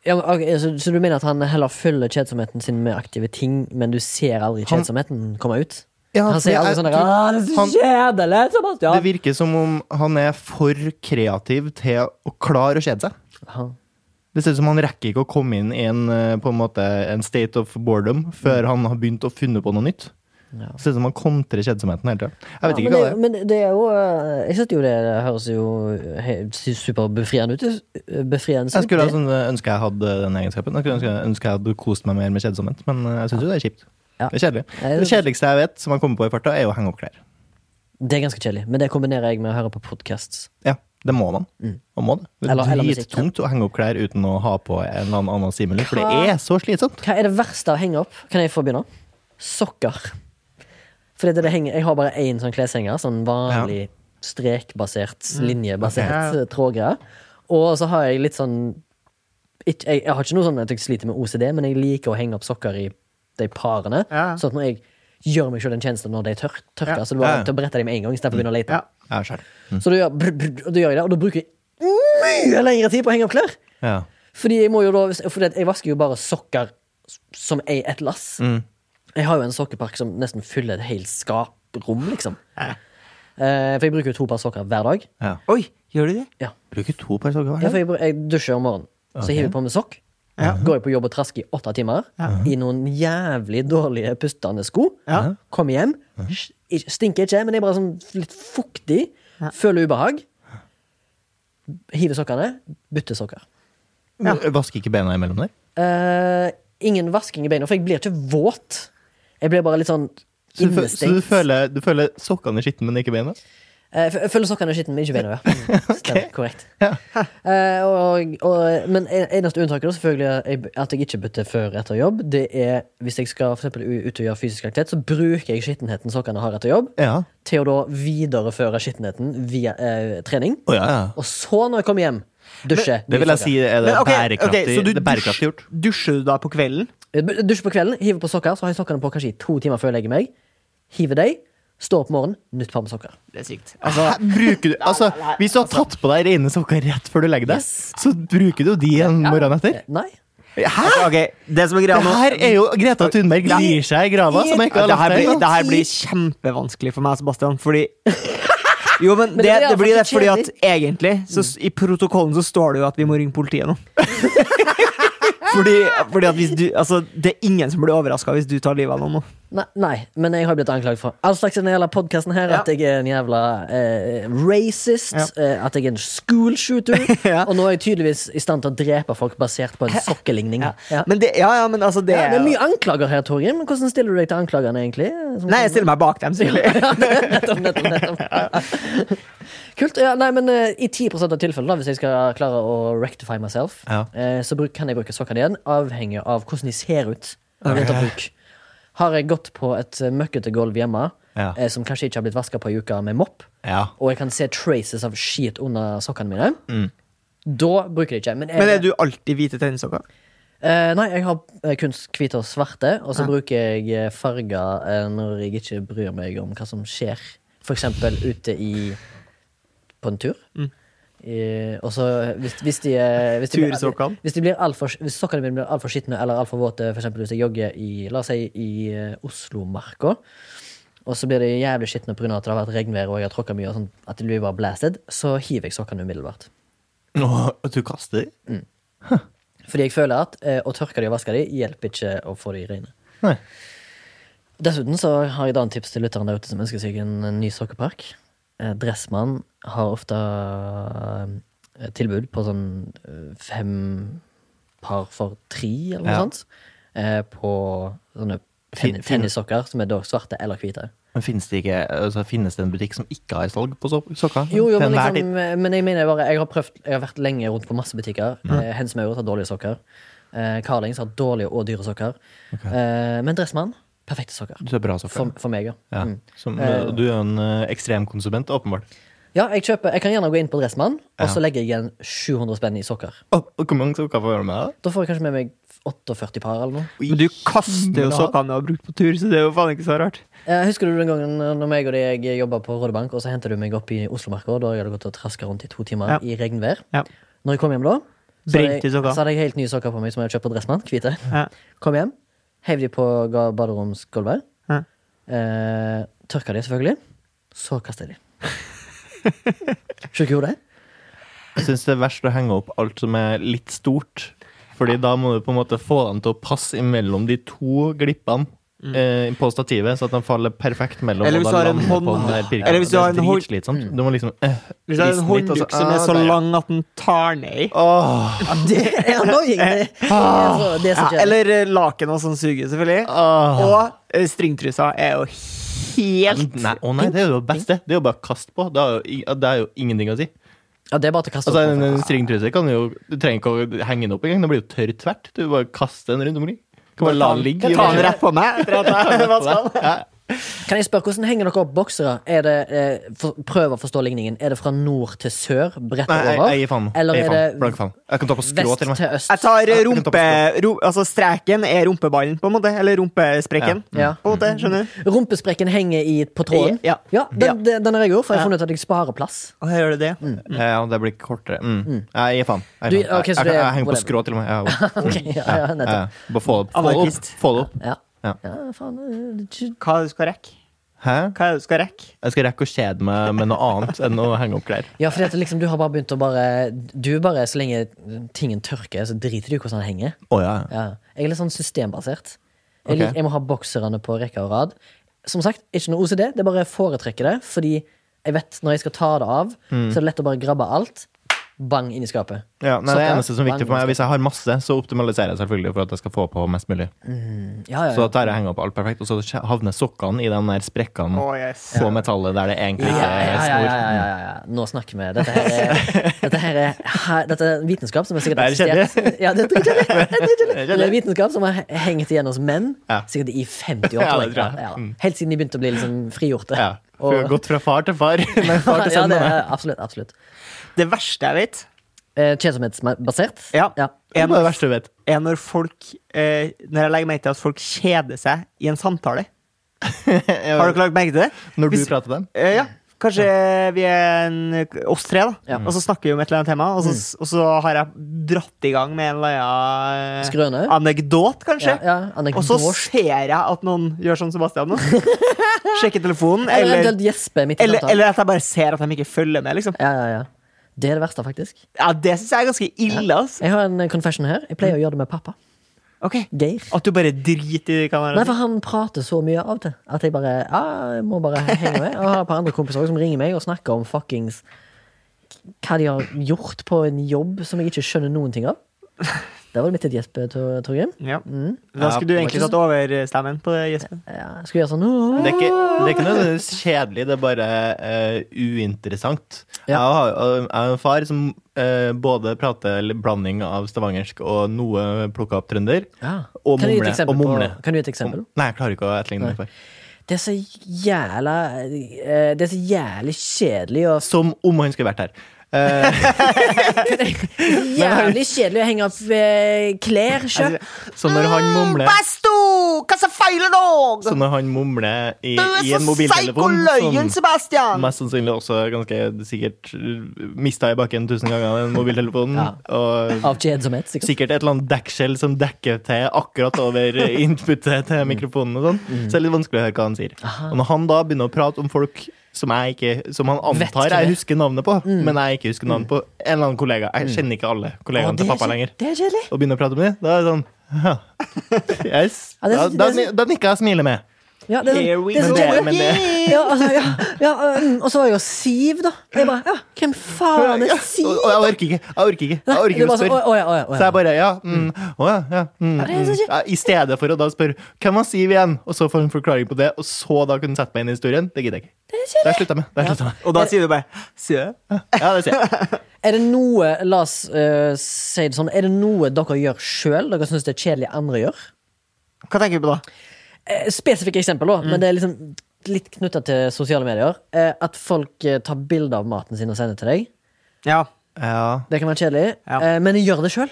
[SPEAKER 1] Ja, men, ok, så, så du mener at han heller fyller kjedsomheten sin med aktive ting, men du ser aldri
[SPEAKER 3] Han-
[SPEAKER 1] kjedsomheten komme ut?
[SPEAKER 3] Ja,
[SPEAKER 1] han
[SPEAKER 3] fordi
[SPEAKER 1] sier aldri
[SPEAKER 3] jeg
[SPEAKER 1] sånn der,
[SPEAKER 3] tror-
[SPEAKER 1] «Ah, det er så
[SPEAKER 3] han-
[SPEAKER 1] kjedelig, Sebastian!
[SPEAKER 3] Det virker som om han er for kreativ til å klare å kjede seg.
[SPEAKER 1] Aha.
[SPEAKER 3] Det ser ut som han rekker ikke å komme inn i en, eh, på en, måte, en state of boredom før han har begynt å funne på noe nytt.
[SPEAKER 1] Mm. Ja.
[SPEAKER 3] Det ser ut som han kontrer kjedsomheten hele tida. Jeg vet
[SPEAKER 1] Ja,
[SPEAKER 3] ikke hva det er.
[SPEAKER 1] men det, men det er jo eh, Jeg synes jo det, det høres jo he- superbefriende ut. eh, Befriende
[SPEAKER 3] Jeg
[SPEAKER 1] ut.
[SPEAKER 3] skulle
[SPEAKER 1] det.
[SPEAKER 3] sånn, ønske jeg hadde den egenskapen. Jeg skulle ønske, ønske jeg hadde kost meg mer med kjedsomhet, men eh, jeg syns jo det er kjipt.
[SPEAKER 1] Ja.
[SPEAKER 3] Det er kjedelig.
[SPEAKER 1] Nei,
[SPEAKER 3] Det kjedeligste jeg vet, som jeg kommer på i farta, er å henge opp klær.
[SPEAKER 1] det er ganske kjedelig, men det kombinerer jeg med å høre på podkast.
[SPEAKER 3] Ja, det må man. Man må det. Det
[SPEAKER 1] Mm. Eller-
[SPEAKER 3] er
[SPEAKER 1] eller musikk, ja.
[SPEAKER 3] drittungt å henge opp klær uten å ha på en eller annen annen simuli, for
[SPEAKER 1] Hva?
[SPEAKER 3] det er så slitsomt.
[SPEAKER 1] Hva er det verste av å henge opp? Kan jeg få begynne? Sokker. Fordi det, det henger, jeg har bare én sånn kleshenger. Sånn vanlig strekbasert,
[SPEAKER 2] Mm.
[SPEAKER 1] linjebasert
[SPEAKER 2] Ok.
[SPEAKER 1] eh, trådgreie. Og så har jeg litt sånn ikke, jeg, jeg har ikke noe sånn at jeg sliter med OCD, men jeg liker å henge opp sokker i de parene.
[SPEAKER 2] Ja.
[SPEAKER 1] Sånn at når jeg gjør meg selv den tjenesten når de tør, tørker,
[SPEAKER 2] Ja. Mm.
[SPEAKER 1] så er det bare
[SPEAKER 3] Ja.
[SPEAKER 1] til å brette dem med en gang. Istedenfor å begynne å lete.
[SPEAKER 2] Ja.
[SPEAKER 3] Ja, skjønner.
[SPEAKER 1] Så da gjør, brr, brr, og da gjør jeg det, og da bruker jeg mye lengre tid på å henge opp klær.
[SPEAKER 3] Ja.
[SPEAKER 1] Fordi jeg må jo da Fordi at jeg vasker jo bare sokker s- som ei et lass.
[SPEAKER 2] Mm.
[SPEAKER 1] Jeg har jo en sokkepark som nesten fyller et helt skaprom, liksom. Eh, for jeg bruker jo to par sokker hver dag.
[SPEAKER 3] ja.
[SPEAKER 2] Oi, gjør du det?
[SPEAKER 1] Ja.
[SPEAKER 3] Bruker to par sokker
[SPEAKER 1] Ja, for
[SPEAKER 3] hver dag?
[SPEAKER 1] jeg, bru- jeg dusjer om morgenen, så
[SPEAKER 3] Ok.
[SPEAKER 1] hiver jeg på meg sokk. Går jeg på jobb og trasker i åtte timer i noen jævlig dårlige pustende sko.
[SPEAKER 2] Ja.
[SPEAKER 1] Kommer hjem. s- ikke- Stinker ikke, men jeg er bare sånn litt fuktig. Føler ubehag. Hiver sokkene. Bytter sokker.
[SPEAKER 3] Ja. Vasker ikke bena imellom der?
[SPEAKER 1] Eh, ingen vasking i beina, for jeg blir ikke våt. Jeg blir bare litt sånn
[SPEAKER 3] Så du, fø-
[SPEAKER 1] innestengt.
[SPEAKER 3] så du føler, du føler sokkene er skitne, men ikke beina?
[SPEAKER 1] Eh, f- jeg føler sokkene er skitne, men ikke beina. Ja. Mm, Stemmer, korrekt. Eh, og, og, men en- eneste unntaket da, selvfølgelig er jeg- at jeg ikke bytter før etter jobb, det er hvis jeg skal for eksempel, u- ut og gjøre fysisk aktivitet, så bruker jeg skittenheten sokkene har etter jobb,
[SPEAKER 3] Ja.
[SPEAKER 1] til å da videreføre skittenheten via eh, trening.
[SPEAKER 3] Å, ja, ja.
[SPEAKER 1] Og så, når jeg kommer hjem, dusje.
[SPEAKER 3] Det vil jeg si er det
[SPEAKER 2] Men ok,
[SPEAKER 3] bærekraftig,
[SPEAKER 2] ok, så du
[SPEAKER 3] det er bærekraftig gjort.
[SPEAKER 2] dusj- Dusjer du da på kvelden?
[SPEAKER 1] Jeg Dusjer Eh, på kvelden, hiver på sokker, så har jeg sokkene på kanskje i to timer før jeg legger meg. Hiver deg, står opp om morgenen, nytt par med sokker.
[SPEAKER 2] Det er sykt.
[SPEAKER 3] Hæ, bruker du, altså, hvis du har tatt på deg rene sokker rett før du legger deg, så bruker du de en morgen etter?
[SPEAKER 1] Eh, Nei.
[SPEAKER 3] Hæ?!
[SPEAKER 2] Altså, ok, det som er
[SPEAKER 3] Det
[SPEAKER 2] greia nå
[SPEAKER 3] her er jo Greta Thunberg
[SPEAKER 2] Ja.
[SPEAKER 3] glir seg i grava, som jeg ikke
[SPEAKER 2] Ja,
[SPEAKER 3] har
[SPEAKER 2] det, her
[SPEAKER 3] lagt
[SPEAKER 2] blir,
[SPEAKER 3] deg
[SPEAKER 2] det her blir kjempevanskelig for meg, Sebastian, fordi Jo, men det,
[SPEAKER 1] det er
[SPEAKER 2] det blir det
[SPEAKER 1] faktisk
[SPEAKER 2] fordi at egentlig så s- I protokollen så står det jo at vi må ringe politiet nå. Fordi, fordi at hvis du Altså, det er ingen som blir overraska hvis du tar livet av noen nå.
[SPEAKER 1] Nei, nei, men jeg har blitt anklaget for all slags i denne jævla podkasten her.
[SPEAKER 2] Ja.
[SPEAKER 1] At jeg er en jævla eh, racist.
[SPEAKER 2] Ja.
[SPEAKER 1] Eh, at jeg er en school shooter.
[SPEAKER 2] Ja.
[SPEAKER 1] Og nå er jeg tydeligvis i stand til å drepe folk basert på en sokkeligning. Ja. Ja.
[SPEAKER 2] Men det, ja, ja, men altså, det,
[SPEAKER 1] det er mye anklager her, Torgrim. men Hvordan stiller du deg til anklagene, egentlig? eh, Som-
[SPEAKER 2] Nei, jeg stiller meg bak dem, selvfølgelig.
[SPEAKER 1] Ja, nettopp, nettopp, nettopp. Kult. Ja, nei, men eh, I 10 av tilfellene, da, hvis jeg skal klare å rectify myself,
[SPEAKER 3] Ja.
[SPEAKER 1] eh, så bruk, kan jeg bruke sokkene igjen, avhengig av hvordan de ser ut. ved etterbruk. Har jeg gått på et eh, møkkete gulv hjemme,
[SPEAKER 3] Ja.
[SPEAKER 1] eh, som kanskje ikke har blitt vaska på ei uke med mopp,
[SPEAKER 3] Ja.
[SPEAKER 1] og jeg kan se traces av skit under sokkene mine,
[SPEAKER 3] Mm.
[SPEAKER 1] da bruker jeg det ikke. Men, jeg,
[SPEAKER 2] Men er du alltid hvite tennissokker?
[SPEAKER 1] eh, nei, jeg har eh, kun hvite og svarte, og så bruker jeg eh, farger eh, når jeg ikke bryr meg om hva som skjer. For eksempel ute i på en tur. Eh, og så hvis, hvis de eh, hvis de blir-
[SPEAKER 2] Tursokkene?
[SPEAKER 1] Hvis, de blir alt for- hvis sokkene mine blir altfor skitne eller altfor våte, f.eks. hvis jeg jogger i la oss si, i eh, Oslomarka, og så blir de jævlig skitne pga. at det har vært regnvær og jeg har tråkka mye, og sånn, at de blir bare blasted, så hiver jeg sokkene umiddelbart.
[SPEAKER 3] Nå, du kaster?
[SPEAKER 1] Fordi jeg føler at eh, å tørke de og vaske de hjelper ikke å få de rene.
[SPEAKER 3] Nei.
[SPEAKER 1] Dessuten så har jeg et annet tips til lytterne der ute som ønsker seg en, en ny sokkepark. Eh, Dressmann har ofte eh, tilbud på sånn eh, fem par for tre, eller noe
[SPEAKER 3] Ja.
[SPEAKER 1] sånt. Eh, på sånne
[SPEAKER 3] Fin-
[SPEAKER 1] ten, tennissokker som er da svarte eller hvite.
[SPEAKER 3] Men finnes det, ikke, altså, finnes det en butikk som ikke har salg på so sokker?
[SPEAKER 1] Jo, jo,
[SPEAKER 3] Til
[SPEAKER 1] men,
[SPEAKER 3] enhver
[SPEAKER 1] liksom, men jeg mener bare Jeg har prøvd, jeg har vært lenge rundt på masse butikker. Eh, Hens Maurits har dårlige sokker. Eh, Carlings har dårlige og dyre sokker. Eh, men Dressmann, perfekte sokker.
[SPEAKER 3] tid? Du har bra sokker.
[SPEAKER 1] For, for meg, ja.
[SPEAKER 3] ja.
[SPEAKER 1] Mm.
[SPEAKER 3] Som,
[SPEAKER 1] Eh.
[SPEAKER 3] du er en eh, ekstrem konsument, åpenbart.
[SPEAKER 1] Ja, jeg, kjøper, jeg kan gjerne gå inn på Dressmann, og
[SPEAKER 3] Ja.
[SPEAKER 1] så legger jeg igjen 700 spenn i sokker.
[SPEAKER 3] Å, og Hvor mange sokker får du med deg?
[SPEAKER 1] Da får jeg kanskje med meg 48 par eller noe.
[SPEAKER 2] Men du kaster jo sokkene du har brukt på tur, så det er jo faen ikke så rart.
[SPEAKER 1] Eh, husker du den gangen eh, når meg og deg jobba på Rådebank, og så hentet du meg opp i Oslomarka, og da jeg hadde gått og traska rundt i to timer
[SPEAKER 2] Ja.
[SPEAKER 1] i regnvær?
[SPEAKER 2] Ja.
[SPEAKER 1] Når jeg kom hjem da, så hadde,
[SPEAKER 2] Brente
[SPEAKER 1] jeg,
[SPEAKER 2] sokker.
[SPEAKER 1] så hadde jeg helt nye sokker på meg som jeg hadde kjøpt på Dressmann, hvite.
[SPEAKER 2] Ja.
[SPEAKER 1] Kom hjem, heiv de på ga baderomsgulvet.
[SPEAKER 2] Ja.
[SPEAKER 1] Eh, tørka de, selvfølgelig. Så kasta jeg de. Sjukt gjorde det.
[SPEAKER 3] Jeg syns det er verst å henge opp alt som er litt stort. Fordi da må du på en måte få dem til å passe imellom de to glippene eh, på stativet, så at de faller perfekt mellom.
[SPEAKER 2] Mm. Eller
[SPEAKER 3] og
[SPEAKER 2] hvis
[SPEAKER 3] da
[SPEAKER 2] du har en
[SPEAKER 3] lander
[SPEAKER 2] hånd-
[SPEAKER 3] på den der pirkanten.
[SPEAKER 2] Eller hvis du har en
[SPEAKER 3] Det er
[SPEAKER 2] hånd-
[SPEAKER 3] dritslitsomt. Du må liksom eh,
[SPEAKER 2] Hvis det er en
[SPEAKER 3] riste litt, og
[SPEAKER 2] håndduk som er så
[SPEAKER 3] ah, der, ja. Ah,
[SPEAKER 2] lang at den tar ned i.
[SPEAKER 3] Åh,
[SPEAKER 1] Det er annoying! Det, det er
[SPEAKER 3] Ah,
[SPEAKER 1] så, det er så
[SPEAKER 2] Ja,
[SPEAKER 1] kjedelig.
[SPEAKER 2] eller eh, laken og sånn suger, selvfølgelig.
[SPEAKER 3] åh.
[SPEAKER 2] Og eh, stringtrusa er jo helt
[SPEAKER 3] Nei, å nei, det er jo det beste. Det er jo bare å kaste på. Det er jo, i- det er jo ingenting å si.
[SPEAKER 1] Ja, det er bare til å kaste
[SPEAKER 3] Altså,
[SPEAKER 1] opp.
[SPEAKER 3] en,
[SPEAKER 1] på,
[SPEAKER 3] en
[SPEAKER 1] faktisk.
[SPEAKER 3] stringtruse kan jo Du trenger ikke å henge den opp engang. Det blir jo tørr tvert. Du bare kaster den rundt omkring. Kan bare la den ligge.
[SPEAKER 2] Ta den rett på meg etter at jeg vasker den.
[SPEAKER 3] Ja.
[SPEAKER 1] Kan jeg spørre, Hvordan henger dere opp boksere? Er det, eh, for, prøv å forstå ligningen. Er det fra nord til sør? Bredt
[SPEAKER 3] Nei, jeg,
[SPEAKER 1] over?
[SPEAKER 3] jeg gir faen.
[SPEAKER 1] Eller
[SPEAKER 3] jeg gir
[SPEAKER 1] er
[SPEAKER 3] faen.
[SPEAKER 1] det
[SPEAKER 3] Blank faen. Jeg kan ta på skrå
[SPEAKER 1] vest
[SPEAKER 3] til og med.
[SPEAKER 1] til øst?
[SPEAKER 2] Jeg tar eh,
[SPEAKER 3] Jeg kan ta på
[SPEAKER 2] rumpe... Ro, altså streken er rumpeballen, på en måte. Eller rumpesprekken.
[SPEAKER 1] Ja. Mm. Ja.
[SPEAKER 2] På en måte, skjønner du?
[SPEAKER 1] Rumpesprekken henger i, på tråden?
[SPEAKER 2] Ja.
[SPEAKER 1] den, den- den har jeg gjort, for jeg har
[SPEAKER 2] Ja.
[SPEAKER 1] funnet ut at jeg sparer plass.
[SPEAKER 2] Og jeg gjør det. det.
[SPEAKER 3] Ja, det blir kortere. Mm. Nei, Jeg gir faen. Jeg,
[SPEAKER 1] Du-
[SPEAKER 3] gir faen.
[SPEAKER 1] ok, så
[SPEAKER 3] jeg, jeg,
[SPEAKER 1] det
[SPEAKER 3] jeg,
[SPEAKER 1] er
[SPEAKER 3] henger på
[SPEAKER 1] whatever.
[SPEAKER 3] skrå til og med. Ja,
[SPEAKER 1] Ok, ja, ja,
[SPEAKER 3] ja,
[SPEAKER 1] nettopp.
[SPEAKER 3] ja. Bare få det opp. Få det opp.
[SPEAKER 2] Anarkist.
[SPEAKER 3] Få det opp.
[SPEAKER 1] Ja.
[SPEAKER 3] Mm. Ja.
[SPEAKER 1] ja, faen eh, det er ikke-
[SPEAKER 2] Hva er det du skal rekke?
[SPEAKER 3] Hæ?
[SPEAKER 2] Hva er det du skal rekke?
[SPEAKER 3] Jeg skal rekke å kjede meg med noe annet enn å henge opp klær.
[SPEAKER 1] Ja, fordi at liksom, du har bare begynt å bare Du bare, så lenge tingen tørker, så driter du i hvordan den henger.
[SPEAKER 3] Å ja.
[SPEAKER 1] Ja. Jeg er litt sånn systembasert. Jeg,
[SPEAKER 3] Ok.
[SPEAKER 1] liker, jeg må ha bokserne på rekke og rad. Som sagt, ikke noe OCD, det er bare jeg foretrekker det. Fordi jeg vet når jeg skal ta det av, så er det lett å bare grabbe alt. Bang inn i skapet.
[SPEAKER 3] Mm. ja. Nei, det
[SPEAKER 1] Sokker,
[SPEAKER 3] eneste som er viktig for meg, er hvis jeg har masse, så optimaliserer jeg selvfølgelig for at jeg skal få på mest mulig.
[SPEAKER 1] Ja, ja,
[SPEAKER 3] Så
[SPEAKER 1] ja.
[SPEAKER 3] tar jeg henger opp alt perfekt, og så havner sokkene i den der sprekkene
[SPEAKER 2] Å, yes.
[SPEAKER 3] på metallet der det egentlig
[SPEAKER 1] Ja,
[SPEAKER 3] ikke
[SPEAKER 1] ja,
[SPEAKER 3] er
[SPEAKER 1] ja, ja, ja,
[SPEAKER 3] snor.
[SPEAKER 1] ja, ja, ja. Nå snakker vi. Dette her er, dette her er, he- dette er vitenskap som er sikkert
[SPEAKER 3] Det er
[SPEAKER 1] eksistert Ja, det er dritkjedelig. Det er dritkjedelig.
[SPEAKER 3] kjedelig.
[SPEAKER 1] Det er vitenskap som har he- hengt igjen hos menn
[SPEAKER 3] Ja.
[SPEAKER 1] sikkert i 50 år.
[SPEAKER 3] Ja,
[SPEAKER 1] tror
[SPEAKER 3] det
[SPEAKER 1] jeg.
[SPEAKER 3] tror jeg.
[SPEAKER 1] Ja, Helt siden de begynte å bli liksom frigjorte.
[SPEAKER 3] Ja. For jeg har gått fra far til far. Nei, far til
[SPEAKER 1] ja,
[SPEAKER 3] sønn.
[SPEAKER 1] det
[SPEAKER 3] mener jeg.
[SPEAKER 1] er, absolutt. absolutt.
[SPEAKER 2] Det verste jeg vet,
[SPEAKER 1] Eh, Kjedsomhetsbasert?
[SPEAKER 2] Ja.
[SPEAKER 3] Det
[SPEAKER 2] er
[SPEAKER 3] er bare det verste du vet.
[SPEAKER 2] er når folk eh, Når jeg legger merke til at folk kjeder seg i en samtale. Har dere lagt merke til det?
[SPEAKER 3] Når du
[SPEAKER 2] Hvis-
[SPEAKER 3] prater til dem.
[SPEAKER 2] Eh, ja. Kanskje vi er en, oss tre, da.
[SPEAKER 1] Ja. Mm.
[SPEAKER 2] Og så snakker vi om et eller annet tema, og så, og så har jeg dratt i gang med en eller annen eh,
[SPEAKER 1] Skrøne?
[SPEAKER 2] anekdot, kanskje.
[SPEAKER 1] Ja, ja, anekdot.
[SPEAKER 2] Og så ser jeg at noen gjør sånn Sebastian nå. Sjekker telefonen.
[SPEAKER 1] Eller
[SPEAKER 2] Eller,
[SPEAKER 1] eventuelt gjespe midt i
[SPEAKER 2] eller,
[SPEAKER 1] samtalen.
[SPEAKER 2] eller at jeg bare ser at de ikke følger med, liksom.
[SPEAKER 1] Ja, ja, ja. Det er det verste, faktisk.
[SPEAKER 2] Ja, Det syns jeg er ganske ille, altså.
[SPEAKER 1] Jeg har en eh, confession her. Jeg pleier å gjøre det med pappa.
[SPEAKER 2] Ok,
[SPEAKER 1] Geir.
[SPEAKER 2] At du bare driter i hva
[SPEAKER 1] Nei,
[SPEAKER 2] han
[SPEAKER 1] for han prater så mye av og til at jeg bare ja, jeg må bare henge med. Og har et par andre kompiser også som ringer meg og snakker om fuckings hva de har gjort på en jobb som jeg ikke skjønner noen ting av. Der var det mitt et gjesp, Tor- Torgrim.
[SPEAKER 2] ja.
[SPEAKER 1] Mm.
[SPEAKER 2] Da skulle du
[SPEAKER 3] Ja,
[SPEAKER 2] egentlig tatt overstemmen på det, Jesper.
[SPEAKER 1] Ja, jeg skulle gjøre sånn «Åh».
[SPEAKER 3] Det er ikke, det er ikke noe kjedelig, det er bare eh, uinteressant. Jeg,
[SPEAKER 1] Ja.
[SPEAKER 3] har, jeg har en far som eh, både prater litt blanding av stavangersk og noe plukka opp trønder.
[SPEAKER 1] ja.
[SPEAKER 3] Og
[SPEAKER 1] Kan du gi et
[SPEAKER 3] mumle,
[SPEAKER 1] eksempel
[SPEAKER 3] og mumle.
[SPEAKER 1] På, kan du gi et eksempel?
[SPEAKER 3] Nei, jeg klarer ikke å etterligne det. for.
[SPEAKER 1] Det er så jævla eh, Det er så jævlig kjedelig å
[SPEAKER 3] Som om han skulle vært her. Eh,
[SPEAKER 1] Jævlig kjedelig å henge opp eh, klær
[SPEAKER 3] Altså,
[SPEAKER 1] sjøl.
[SPEAKER 3] så når han mumler
[SPEAKER 2] Basto! Hva som feiler deg?
[SPEAKER 3] Så når han mumler i,
[SPEAKER 2] Du er
[SPEAKER 3] i
[SPEAKER 2] så
[SPEAKER 3] en
[SPEAKER 2] psyko
[SPEAKER 3] mobiltelefon
[SPEAKER 2] løyen,
[SPEAKER 3] som
[SPEAKER 2] Sebastian!
[SPEAKER 3] Mest sannsynlig også ganske sikkert mista i bakken tusen ganger, den mobiltelefonen.
[SPEAKER 1] Ja.
[SPEAKER 3] Og
[SPEAKER 1] Av kjedsomhet, sikkert.
[SPEAKER 3] sikkert et eller annet dekkskjell som dekker til akkurat over inputet
[SPEAKER 1] Mm.
[SPEAKER 3] til mikrofonen. og sånn Så det er litt vanskelig å høre hva han sier. Og når han da begynner å prate om folk som, jeg ikke, som han
[SPEAKER 1] Vet Mm.
[SPEAKER 3] antar
[SPEAKER 1] hvem er.
[SPEAKER 3] jeg husker navnet på, men jeg ikke husker navnet på, en eller annen kollega Jeg kjenner ikke alle
[SPEAKER 1] Mm. Å,
[SPEAKER 3] kollegaene
[SPEAKER 1] det,
[SPEAKER 3] til
[SPEAKER 1] er
[SPEAKER 3] pappa
[SPEAKER 1] kje-
[SPEAKER 3] lenger.
[SPEAKER 1] det er kjedelig.
[SPEAKER 3] Og begynner å prate om det, da er det sånn «Huh, Yes.
[SPEAKER 1] Ja, det er
[SPEAKER 3] Da,
[SPEAKER 1] så-
[SPEAKER 3] da,
[SPEAKER 1] det er
[SPEAKER 3] da nikker jeg og smiler med.
[SPEAKER 1] Ja, det er sånn-
[SPEAKER 2] Here we
[SPEAKER 1] det er
[SPEAKER 2] go
[SPEAKER 1] sånn-
[SPEAKER 3] Men det- men
[SPEAKER 2] again!
[SPEAKER 1] ja, altså, ja, ja, mm, og så var det jo Siv, da. Jeg bare, ja, hvem faen er
[SPEAKER 3] Ja,
[SPEAKER 1] Siv?
[SPEAKER 3] Og, og jeg orker ikke. Jeg orker ikke, jeg orker
[SPEAKER 1] Det
[SPEAKER 3] ikke
[SPEAKER 1] var
[SPEAKER 3] å
[SPEAKER 1] sånn,
[SPEAKER 3] spørre.
[SPEAKER 1] å, å, ja, å, ja, å,
[SPEAKER 3] Så
[SPEAKER 1] ja.
[SPEAKER 3] jeg bare ja, mm, å ja, ja, mm,
[SPEAKER 1] Ja, det er så
[SPEAKER 3] mm.
[SPEAKER 1] kjipt.
[SPEAKER 3] ja. I stedet for å da spørre hvem var Siv igjen, og så få en forklaring på det, og så da kunne sette meg inn i historien, det gidder jeg ikke.
[SPEAKER 1] Det er kjedelig.
[SPEAKER 3] Der slutta jeg med. Der slutta jeg med.
[SPEAKER 2] Og da sier du bare Sier jeg?
[SPEAKER 3] Ja, det ser jeg.
[SPEAKER 1] Er det noe La oss eh, si det sånn. Er det noe dere gjør sjøl dere syns det er kjedelig andre gjør?
[SPEAKER 2] Hva tenker du på da?
[SPEAKER 1] Eh, Spesifikke eksempel,
[SPEAKER 3] Mm.
[SPEAKER 1] da, men det er liksom litt knytta til sosiale medier. Eh, at folk eh, tar bilder av maten sin og sender til deg.
[SPEAKER 2] Ja.
[SPEAKER 3] Ja.
[SPEAKER 1] Det kan være kjedelig.
[SPEAKER 2] Ja.
[SPEAKER 1] Eh, men jeg gjør det sjøl.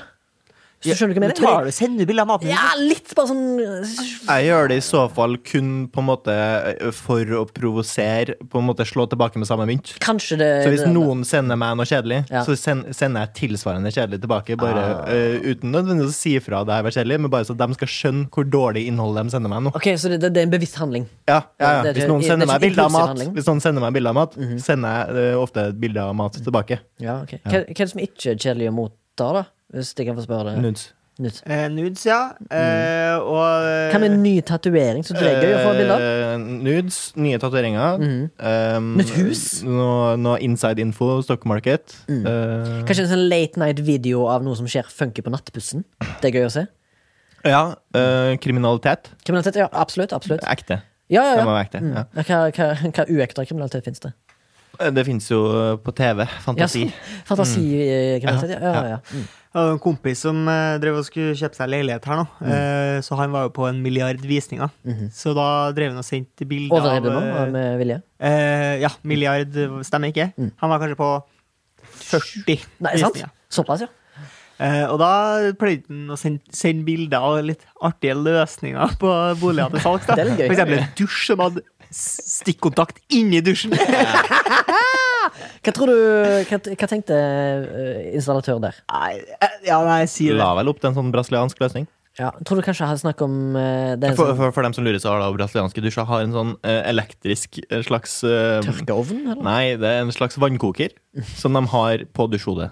[SPEAKER 1] Så skjønner du hva jeg
[SPEAKER 2] Du tar
[SPEAKER 1] mener?
[SPEAKER 2] du sender bilder av maten din?
[SPEAKER 1] Ja, litt bare sånn
[SPEAKER 3] Jeg gjør det i så fall kun på en måte for å provosere, på en måte slå tilbake med samme mynt.
[SPEAKER 1] Kanskje det
[SPEAKER 3] Så hvis noen sender meg noe kjedelig,
[SPEAKER 1] Ja. Ah.
[SPEAKER 3] så sen- sender jeg tilsvarende kjedelig tilbake. Bare eh, Uten nødvendigvis å si fra at det her var kjedelig, men bare så de skal skjønne hvor dårlig innhold de sender meg nå.
[SPEAKER 1] Ok, så det, det, det er en bevisst handling.
[SPEAKER 3] Ja,
[SPEAKER 1] Det
[SPEAKER 3] ja, ja.
[SPEAKER 1] er
[SPEAKER 3] Hvis
[SPEAKER 1] ikke-
[SPEAKER 3] noen
[SPEAKER 1] det er
[SPEAKER 3] sender
[SPEAKER 1] ikke
[SPEAKER 3] meg bilde av
[SPEAKER 1] impulsiv
[SPEAKER 3] mat,
[SPEAKER 1] handling.
[SPEAKER 3] hvis noen sender meg bilde av mat
[SPEAKER 1] Mhm.
[SPEAKER 3] sender jeg eh, ofte et bilde av mat tilbake.
[SPEAKER 1] Ja, ok Hva, hva er det som ikke er kjedelig å motta, da? Hvis jeg kan få spørre det.
[SPEAKER 3] Nudes.
[SPEAKER 1] Nytt.
[SPEAKER 2] Eh, nudes, ja.
[SPEAKER 3] Mm.
[SPEAKER 2] Eh, og eh,
[SPEAKER 1] Hva med en ny tatovering? Så det er gøy å få bilde av. Mhm.
[SPEAKER 3] Eh, nudes, nye tatoveringer. Um,
[SPEAKER 1] Nytt hus.
[SPEAKER 3] Noe, noe inside info, stock market. Eh,
[SPEAKER 1] Kanskje en sånn late night-video av noe som skjer funky på nattbussen. Det er gøy å se.
[SPEAKER 3] ja, eh, kriminalitet.
[SPEAKER 1] Kriminalitet? Ja, absolutt. absolutt
[SPEAKER 3] Ekte.
[SPEAKER 1] Ja, ja,
[SPEAKER 3] Det må
[SPEAKER 1] ja.
[SPEAKER 3] være ekte.
[SPEAKER 1] Mm.
[SPEAKER 3] Ja.
[SPEAKER 1] Hva, hva, hva uekte kriminalitet finnes det?
[SPEAKER 3] Eh, Det fins jo eh, på TV.
[SPEAKER 1] Ja,
[SPEAKER 3] Fantasi.
[SPEAKER 1] sånn. Fantasikriminalitet? Ja, ja, ja. Mm.
[SPEAKER 2] Jeg hadde en kompis som eh, drev og skulle kjøpe seg leilighet her nå.
[SPEAKER 3] Mm.
[SPEAKER 2] Eh, så han var jo på en milliard visninger.
[SPEAKER 3] Mm-hmm.
[SPEAKER 2] Så da drev han og sendte bilder
[SPEAKER 1] Overdrev du nå
[SPEAKER 2] eh,
[SPEAKER 1] eh, med vilje?
[SPEAKER 2] eh, Ja, milliard eh, stemmer ikke.
[SPEAKER 3] Mm.
[SPEAKER 2] Han var kanskje på 40
[SPEAKER 1] Nei, sant?
[SPEAKER 2] visninger.
[SPEAKER 1] Såpass, ja.
[SPEAKER 2] Eh, og da pleide han å sende, sende bilder av litt artige løsninger på boliger til salgs. da.
[SPEAKER 1] Det er litt gøy.
[SPEAKER 2] For eksempel en dusj som hadde s- stikkontakt inni dusjen.
[SPEAKER 1] Hva tror du Hva, hva tenkte eh, installatør der?
[SPEAKER 2] Nei, eh, ja, nei, si det.
[SPEAKER 3] La vel opp til en sånn brasiliansk løsning.
[SPEAKER 1] Ja, tror du kanskje jeg hadde snakk om eh, det er en
[SPEAKER 3] For,
[SPEAKER 1] sånn
[SPEAKER 3] for, for dem som lurer, så har da brasilianske dusjer har en sånn eh, elektrisk eh, slags eh,
[SPEAKER 1] tørkeovn? Eller?
[SPEAKER 3] Nei, det er en slags vannkoker som de har på dusjhodet.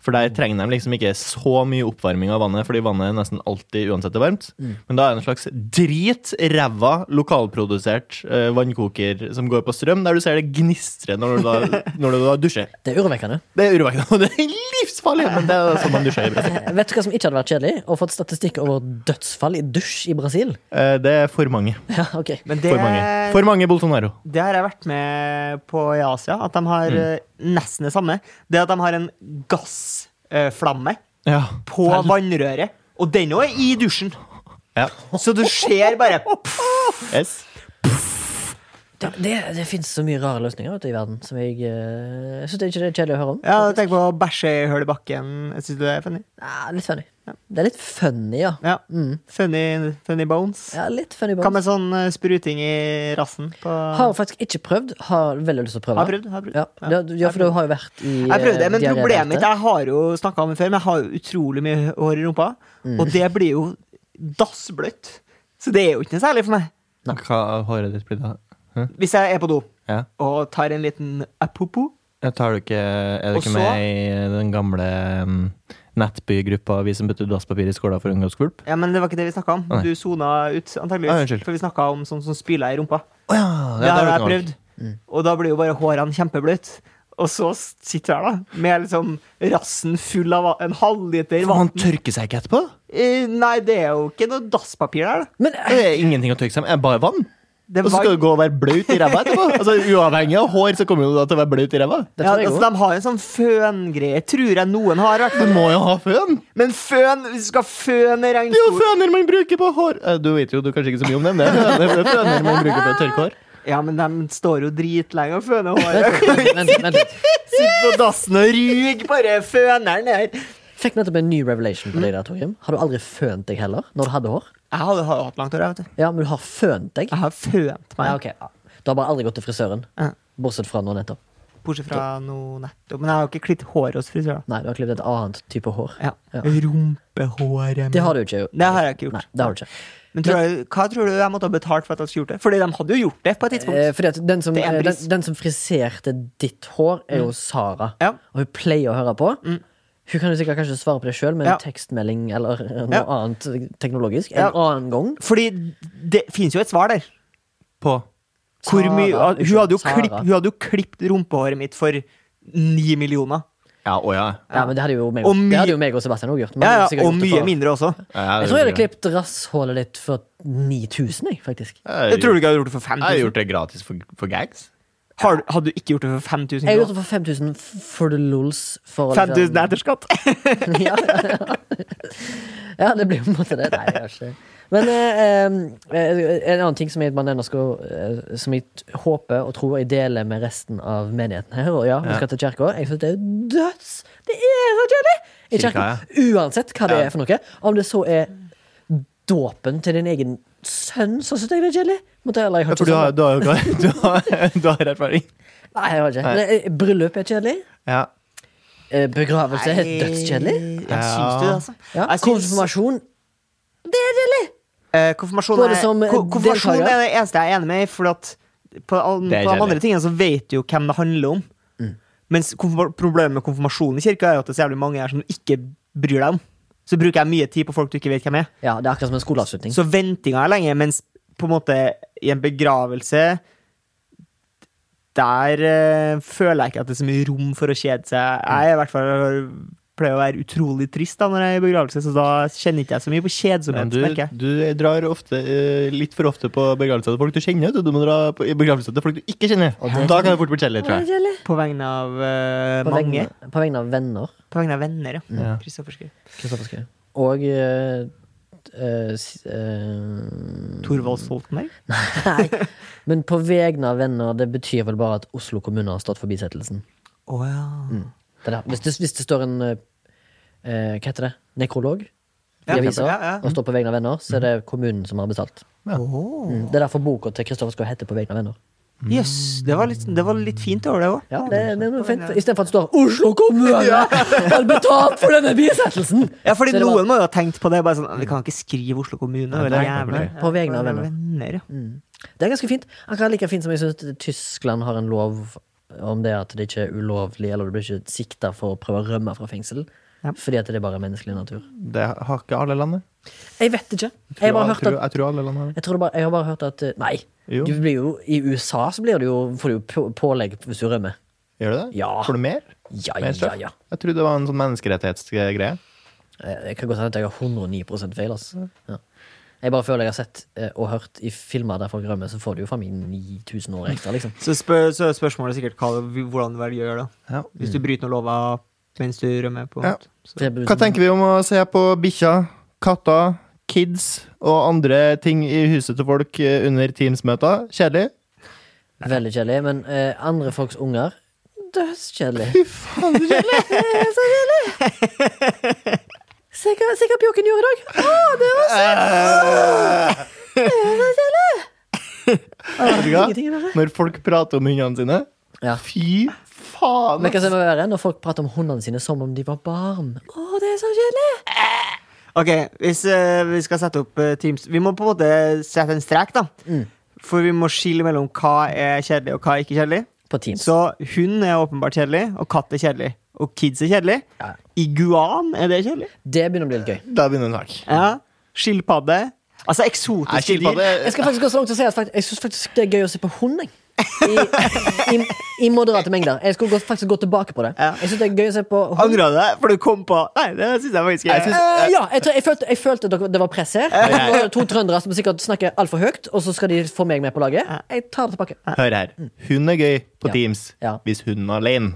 [SPEAKER 3] For der trenger de liksom ikke så mye oppvarming av vannet, fordi vannet er nesten alltid uansett er varmt. Men da er det en slags drit, ræva, lokalprodusert eh, vannkoker som går på strøm, der du ser det gnistre når du da, når du da dusjer.
[SPEAKER 1] Det er urovekkende.
[SPEAKER 3] Det er urovekkende, og det er livsfarlig, men det er sånn man dusjer i Brasil.
[SPEAKER 1] Eh, Vet du hva som ikke hadde vært kjedelig? Å få et statistikk over dødsfall i dusj i Brasil?
[SPEAKER 3] Eh, Det er for mange.
[SPEAKER 1] Ja, ok
[SPEAKER 2] Men det,
[SPEAKER 3] For mange. For mange Bolsonaro.
[SPEAKER 2] Det har jeg vært med på i Asia, at de har eh,
[SPEAKER 3] Mm.
[SPEAKER 2] nesten det samme. Det at de har en gassflamme eh,
[SPEAKER 3] Ja.
[SPEAKER 2] på vannrøret, og den òg er i dusjen.
[SPEAKER 3] ja.
[SPEAKER 2] Så du ser bare
[SPEAKER 3] Yes.
[SPEAKER 1] Det, det, det finnes så mye rare løsninger ute i verden som jeg uh, syns ikke det er kjedelig å høre om.
[SPEAKER 2] Ja, tenk på å bæsje i hull i bakken. Jeg synes det er funny.
[SPEAKER 1] Ja, litt funny. Det er litt funny, ja.
[SPEAKER 2] Ja. Funny, funny bones.
[SPEAKER 1] ja litt funny
[SPEAKER 2] Hva
[SPEAKER 1] bones.
[SPEAKER 2] med sånn eh, spruting i rassen? På
[SPEAKER 1] Har faktisk ikke prøvd. Har veldig lyst til å prøve.
[SPEAKER 2] Har prøvd, har prøvd.
[SPEAKER 1] Ja,
[SPEAKER 2] Ja.
[SPEAKER 1] du- ja for du har jo vært i
[SPEAKER 2] jeg prøvde,
[SPEAKER 1] eh,
[SPEAKER 2] men
[SPEAKER 1] diaré
[SPEAKER 2] problemet mitt
[SPEAKER 1] direkte.
[SPEAKER 2] Jeg har jo snakka om det før, men jeg har jo utrolig mye hår i rumpa.
[SPEAKER 1] Mm.
[SPEAKER 2] Og det blir jo dassbløtt. Så det er jo ikke noe særlig for meg.
[SPEAKER 3] Hva har håret ditt blitt da?
[SPEAKER 2] Hvis jeg er på do.
[SPEAKER 3] Ja.
[SPEAKER 2] og tar en liten apopo.
[SPEAKER 3] Jeg tar du ikke, er du
[SPEAKER 2] Og
[SPEAKER 3] ikke
[SPEAKER 2] så-
[SPEAKER 3] med i den gamle mm, nettbygruppa Vi som putter dasspapir i skåla for å unngå skvulp?
[SPEAKER 2] Ja, men det var ikke det vi snakka om.
[SPEAKER 3] Nei.
[SPEAKER 2] Du sona ut,
[SPEAKER 3] Ah,
[SPEAKER 2] antageligvis.
[SPEAKER 3] unnskyld.
[SPEAKER 2] for vi snakka om sånn som spyler i rumpa.
[SPEAKER 3] Oh, ja,
[SPEAKER 2] det har jeg prøvd.
[SPEAKER 1] Mm.
[SPEAKER 2] Og da blir jo bare hårene kjempebløte. Og så sitter jeg her, da, med liksom rassen full av va- en halvliter vann.
[SPEAKER 3] Man tørker seg ikke etterpå?
[SPEAKER 2] Eh, Nei, det er jo ikke noe dasspapir der, da.
[SPEAKER 1] Men eh,
[SPEAKER 3] Det er ingenting å tørke seg med. Er det bare vann?
[SPEAKER 2] Det
[SPEAKER 3] Og
[SPEAKER 2] var,
[SPEAKER 3] så skal du gå og være blaut i ræva etterpå? Altså, uavhengig av hår, så kommer du da til å være blaut i ræva.
[SPEAKER 1] Det
[SPEAKER 2] ja,
[SPEAKER 1] tror jeg
[SPEAKER 2] altså,
[SPEAKER 1] òg.
[SPEAKER 2] de har en sånn føngreie, tror jeg noen har. i hvert
[SPEAKER 3] Du
[SPEAKER 2] fall.
[SPEAKER 3] må jo ha føn!
[SPEAKER 2] Men føn, hvis du skal føne
[SPEAKER 3] Det er jo
[SPEAKER 2] regnskog
[SPEAKER 3] føner man bruker på hår! Eh, Du vet jo du kanskje ikke så mye om det, men det er det er føner man bruker på å tørke hår.
[SPEAKER 2] Ja, men de står jo dritlenge og føner håret.
[SPEAKER 1] Vent, vent litt.
[SPEAKER 2] Sitter på dassen og ruger bare føneren der.
[SPEAKER 1] Fikk nettopp en ny revelation på deg der, Torgrim. Har du aldri fønt deg heller, når du hadde hår?
[SPEAKER 2] Jeg hadde har hatt langt hår, jeg, vet du.
[SPEAKER 1] Ja, men du har fønt deg?
[SPEAKER 2] Jeg har fønt meg.
[SPEAKER 1] Ja, ok. Ja. Du har bare aldri gått til frisøren?
[SPEAKER 2] Ja.
[SPEAKER 1] Bortsett fra nå nettopp.
[SPEAKER 2] Bortsett fra noe nettopp. Men jeg har jo ikke klippet håret hos frisøren.
[SPEAKER 1] Nei, du har klippet et annet type hår.
[SPEAKER 2] Ja.
[SPEAKER 1] Ja.
[SPEAKER 2] Rumpehåret. men-
[SPEAKER 1] Det har du ikke gjort.
[SPEAKER 2] Det har jeg ikke gjort.
[SPEAKER 1] Nei, det har du ikke.
[SPEAKER 2] Men tror jeg, hva tror du jeg måtte ha betalt for at jeg skulle gjort det? Fordi de hadde jo gjort det på et tidspunkt.
[SPEAKER 1] Eh, fordi at den som,
[SPEAKER 2] Det er en
[SPEAKER 1] eh, den,
[SPEAKER 2] pris.
[SPEAKER 1] den som friserte ditt hår, er jo Sara.
[SPEAKER 2] Ja. Mm.
[SPEAKER 1] Og hun pleier å høre på. Hun kan jo sikkert kanskje svare på det sjøl med en
[SPEAKER 2] Ja.
[SPEAKER 1] tekstmelding eller noe
[SPEAKER 2] Ja.
[SPEAKER 1] annet teknologisk en
[SPEAKER 2] Ja.
[SPEAKER 1] annen gang.
[SPEAKER 2] Fordi det fins jo et svar der.
[SPEAKER 3] På.
[SPEAKER 2] Hvor
[SPEAKER 1] Sara,
[SPEAKER 2] mye, at- hun, hadde jo
[SPEAKER 1] Sara.
[SPEAKER 2] klipp, hun hadde jo klippet rumpehåret mitt for ni millioner.
[SPEAKER 3] Ja, å ja.
[SPEAKER 1] Ja, men det hadde jo meg
[SPEAKER 2] Og
[SPEAKER 1] og, det
[SPEAKER 2] mye-
[SPEAKER 1] hadde jo meg og Sebastian òg gjort. men
[SPEAKER 2] Ja,
[SPEAKER 1] sikkert
[SPEAKER 2] ja, og
[SPEAKER 1] gjort det
[SPEAKER 2] mye
[SPEAKER 1] for-
[SPEAKER 2] mindre også.
[SPEAKER 1] Jeg tror jeg hadde klippet rasshålet ditt for 9000, jeg, faktisk.
[SPEAKER 2] Jeg tror du ikke jeg hadde gjort det for
[SPEAKER 3] Jeg har
[SPEAKER 2] 5000.
[SPEAKER 3] gjort det gratis for, for gags.
[SPEAKER 2] Har, du- hadde du ikke gjort det for 5000
[SPEAKER 1] Jeg har gjort
[SPEAKER 2] kroner?
[SPEAKER 1] det for 5000 for the lols. For å
[SPEAKER 2] 5000
[SPEAKER 1] liksom-
[SPEAKER 2] etter skatt?
[SPEAKER 1] ja, ja. ja, det blir på en måte det. Nei, jeg har ikke Men eh, eh, en annen ting som jeg, bare nevner skal, eh, som jeg t- håper og tror jeg deler med resten av menigheten her, og ja, vi skal til kirka Jeg syns det er døds Det er så kjedelig! I
[SPEAKER 3] Kirka,
[SPEAKER 1] kirka. Uansett hva det er for noe. Om det så er dåpen til din egen sønn, så syns jeg det er kjedelig. Måtte, eller, jeg har
[SPEAKER 3] For
[SPEAKER 1] ikke
[SPEAKER 3] du
[SPEAKER 1] sånn-
[SPEAKER 3] har, du har jo du har, du har erfaring.
[SPEAKER 1] Nei, jeg har ikke. Men, eh, bryllup er kjedelig.
[SPEAKER 3] Ja.
[SPEAKER 1] Eh, Begravelse er dødskjedelig.
[SPEAKER 2] Ja, syns du det, altså?
[SPEAKER 1] Ja.
[SPEAKER 2] Jeg syns-
[SPEAKER 1] Konfirmasjon
[SPEAKER 2] Eh, konfirmasjon
[SPEAKER 1] Både
[SPEAKER 2] er,
[SPEAKER 1] som, eh,
[SPEAKER 2] ko- konfirmasjon
[SPEAKER 1] deltaker.
[SPEAKER 2] er det eneste jeg er enig med i, for at på, an,
[SPEAKER 3] Det er
[SPEAKER 2] på de andre
[SPEAKER 3] kjedelig.
[SPEAKER 2] tingene så vet du jo hvem det handler om.
[SPEAKER 1] Mm.
[SPEAKER 2] Mens konfirma- problemet med konfirmasjonen i kirka er jo at det er så jævlig mange her som du ikke bryr deg om. Så bruker jeg mye tid på folk du ikke vet hvem er.
[SPEAKER 1] Ja, det er akkurat som en skoleavslutning.
[SPEAKER 2] Så ventinga er lenge, mens på en måte i en begravelse der eh, føler jeg ikke at det er så mye rom for å kjede
[SPEAKER 1] Mm.
[SPEAKER 2] seg. Jeg er i hvert fall pleier å være utrolig trist da når jeg er i begravelse, så da kjenner ikke jeg så mye på
[SPEAKER 3] Men
[SPEAKER 2] kjedsomhet.
[SPEAKER 3] du,
[SPEAKER 2] merker jeg.
[SPEAKER 3] du drar ofte, eh, litt for ofte på begravelser til folk du kjenner. Du, du må dra på i begravelser til folk du ikke kjenner. Da kan det fort bli kjedelig, tror jeg.
[SPEAKER 2] På vegne av eh,
[SPEAKER 1] På
[SPEAKER 2] mange.
[SPEAKER 1] vegne, Mm. på vegne av venner.
[SPEAKER 2] På vegne av venner, ja.
[SPEAKER 3] Ja.
[SPEAKER 2] Kristoffer Schou.
[SPEAKER 1] Kristoffer Schou. Og eh, eh, s- eh,
[SPEAKER 2] Thorvald Stoltenberg.
[SPEAKER 1] Nei. Men på vegne av venner, det betyr vel bare at Oslo kommune har stått for bisettelsen.
[SPEAKER 2] Oh, ja.
[SPEAKER 3] Mm.
[SPEAKER 1] Det der. Hvis, det, hvis det står en eh, eh, Hva heter det? Nekrolog? I
[SPEAKER 2] Ja,
[SPEAKER 1] avisa,
[SPEAKER 2] ja, ja.
[SPEAKER 1] og står på vegne av venner, så er det kommunen som har betalt.
[SPEAKER 2] Åh.
[SPEAKER 1] Det er derfor boka til Kristoffer Schou heter På vegne av venner.
[SPEAKER 2] Jøss, det, var litt- det var litt fint over det òg.
[SPEAKER 1] Ja, det, det er noe fint. Istedenfor at det står 'Oslo kommune har betalt for denne bisettelsen'!
[SPEAKER 2] Ja, fordi
[SPEAKER 1] Så det var-
[SPEAKER 2] noen må jo ha tenkt på det. Bare sånn, Vi kan ikke skrive Oslo kommune. det er
[SPEAKER 3] nei,
[SPEAKER 2] jævlig.
[SPEAKER 3] nei.
[SPEAKER 1] På vegne av
[SPEAKER 2] Ja, på
[SPEAKER 1] venner. Mm.
[SPEAKER 2] venner. ja.
[SPEAKER 1] Det er ganske fint. Akkurat like fint som jeg syns Tyskland har en lov om det at det ikke er ulovlig, eller du blir ikke sikta for å prøve å rømme fra fengsel.
[SPEAKER 2] Ja.
[SPEAKER 1] Fordi at det er bare menneskelig natur.
[SPEAKER 3] Det har ikke alle land, det.
[SPEAKER 1] Jeg vet ikke. Jeg, bare
[SPEAKER 3] tror,
[SPEAKER 1] hørte at,
[SPEAKER 3] jeg tror alle land har det.
[SPEAKER 1] jeg, tror det bare, jeg har bare hørt at eh, Nei.
[SPEAKER 3] Jo.
[SPEAKER 1] Du blir jo, I USA så blir du jo, får du jo på- pålegg hvis du rømmer.
[SPEAKER 3] Gjør du det?
[SPEAKER 1] Ja.
[SPEAKER 3] Får du mer?
[SPEAKER 1] Ja,
[SPEAKER 3] Mer
[SPEAKER 1] ja,
[SPEAKER 3] straff?
[SPEAKER 1] ja.
[SPEAKER 3] Jeg trodde det var en sånn menneskerettighetsgreie.
[SPEAKER 1] Eh, Jeg kan godt hende at jeg har 109 feil. Altså. Ja. Jeg bare føler jeg har sett eh, og hørt i filmer der folk rømmer, så får du jo faen meg 9000 år ekstra, liksom.
[SPEAKER 2] Så, spør, så er spørsmålet sikkert hva, du- hvordan du velger å gjøre det.
[SPEAKER 3] Ja. Mm.
[SPEAKER 2] Hvis du bryter noen lover mens du rømmer. på
[SPEAKER 3] Ja.
[SPEAKER 2] så.
[SPEAKER 3] Hva tenker vi om å se på bikkja, katter, kids og andre ting i huset til folk eh, under Teams-møter? Kjedelig?
[SPEAKER 1] Veldig kjedelig. Men eh, andre folks unger Dødskjedelig. Eh,
[SPEAKER 3] Fy faen, så kjedelig!
[SPEAKER 1] Se hva, se hva Bjørken gjorde i dag! Å, det var
[SPEAKER 3] Vet du hva?
[SPEAKER 1] ingenting å gjøre.
[SPEAKER 3] Når folk prater om hundene sine
[SPEAKER 1] Ja.
[SPEAKER 3] Fy faen!
[SPEAKER 1] Men hva
[SPEAKER 3] ass.
[SPEAKER 1] som er verre, når folk prater om hundene sine som om de var barn. Å, det er så kjedelig!
[SPEAKER 2] Ok, hvis eh, vi skal sette opp eh, Teams Vi må på en måte sette en strek, da.
[SPEAKER 1] Mm.
[SPEAKER 2] For vi må skille mellom hva er kjedelig, og hva er ikke kjedelig.
[SPEAKER 1] På Teams.
[SPEAKER 2] Så hund er åpenbart kjedelig, og katt er kjedelig. Og kids er kjedelig.
[SPEAKER 1] Ja.
[SPEAKER 2] Iguan, er det kjedelig?
[SPEAKER 1] Det begynner å bli litt gøy.
[SPEAKER 3] Da begynner en sak.
[SPEAKER 2] Ja. Skilpadde. Altså
[SPEAKER 3] Er
[SPEAKER 2] eksotiske dyr.
[SPEAKER 3] skilpadde
[SPEAKER 1] Jeg skal faktisk gå så langt til å si at fakt- jeg syns faktisk det er gøy å se på hund. Jeg. I, i, I moderate mengder. Jeg skulle gå- faktisk gå tilbake på det.
[SPEAKER 2] Ja.
[SPEAKER 1] Jeg synes det er gøy å se på
[SPEAKER 2] Angrer du deg? For du kom på Nei, det syns jeg faktisk
[SPEAKER 3] Jeg
[SPEAKER 2] ikke.
[SPEAKER 3] synes-
[SPEAKER 1] Eh, ja, jeg, tror- jeg, følte, jeg følte dere- det var press her. Det var to trøndere som sikkert snakker altfor høyt, og så skal de få meg med på laget. Jeg tar det tilbake.
[SPEAKER 3] Hør her. Hun er gøy
[SPEAKER 1] Mm.
[SPEAKER 3] på
[SPEAKER 1] Ja.
[SPEAKER 3] Teams
[SPEAKER 1] Ja.
[SPEAKER 3] hvis hunden er alene.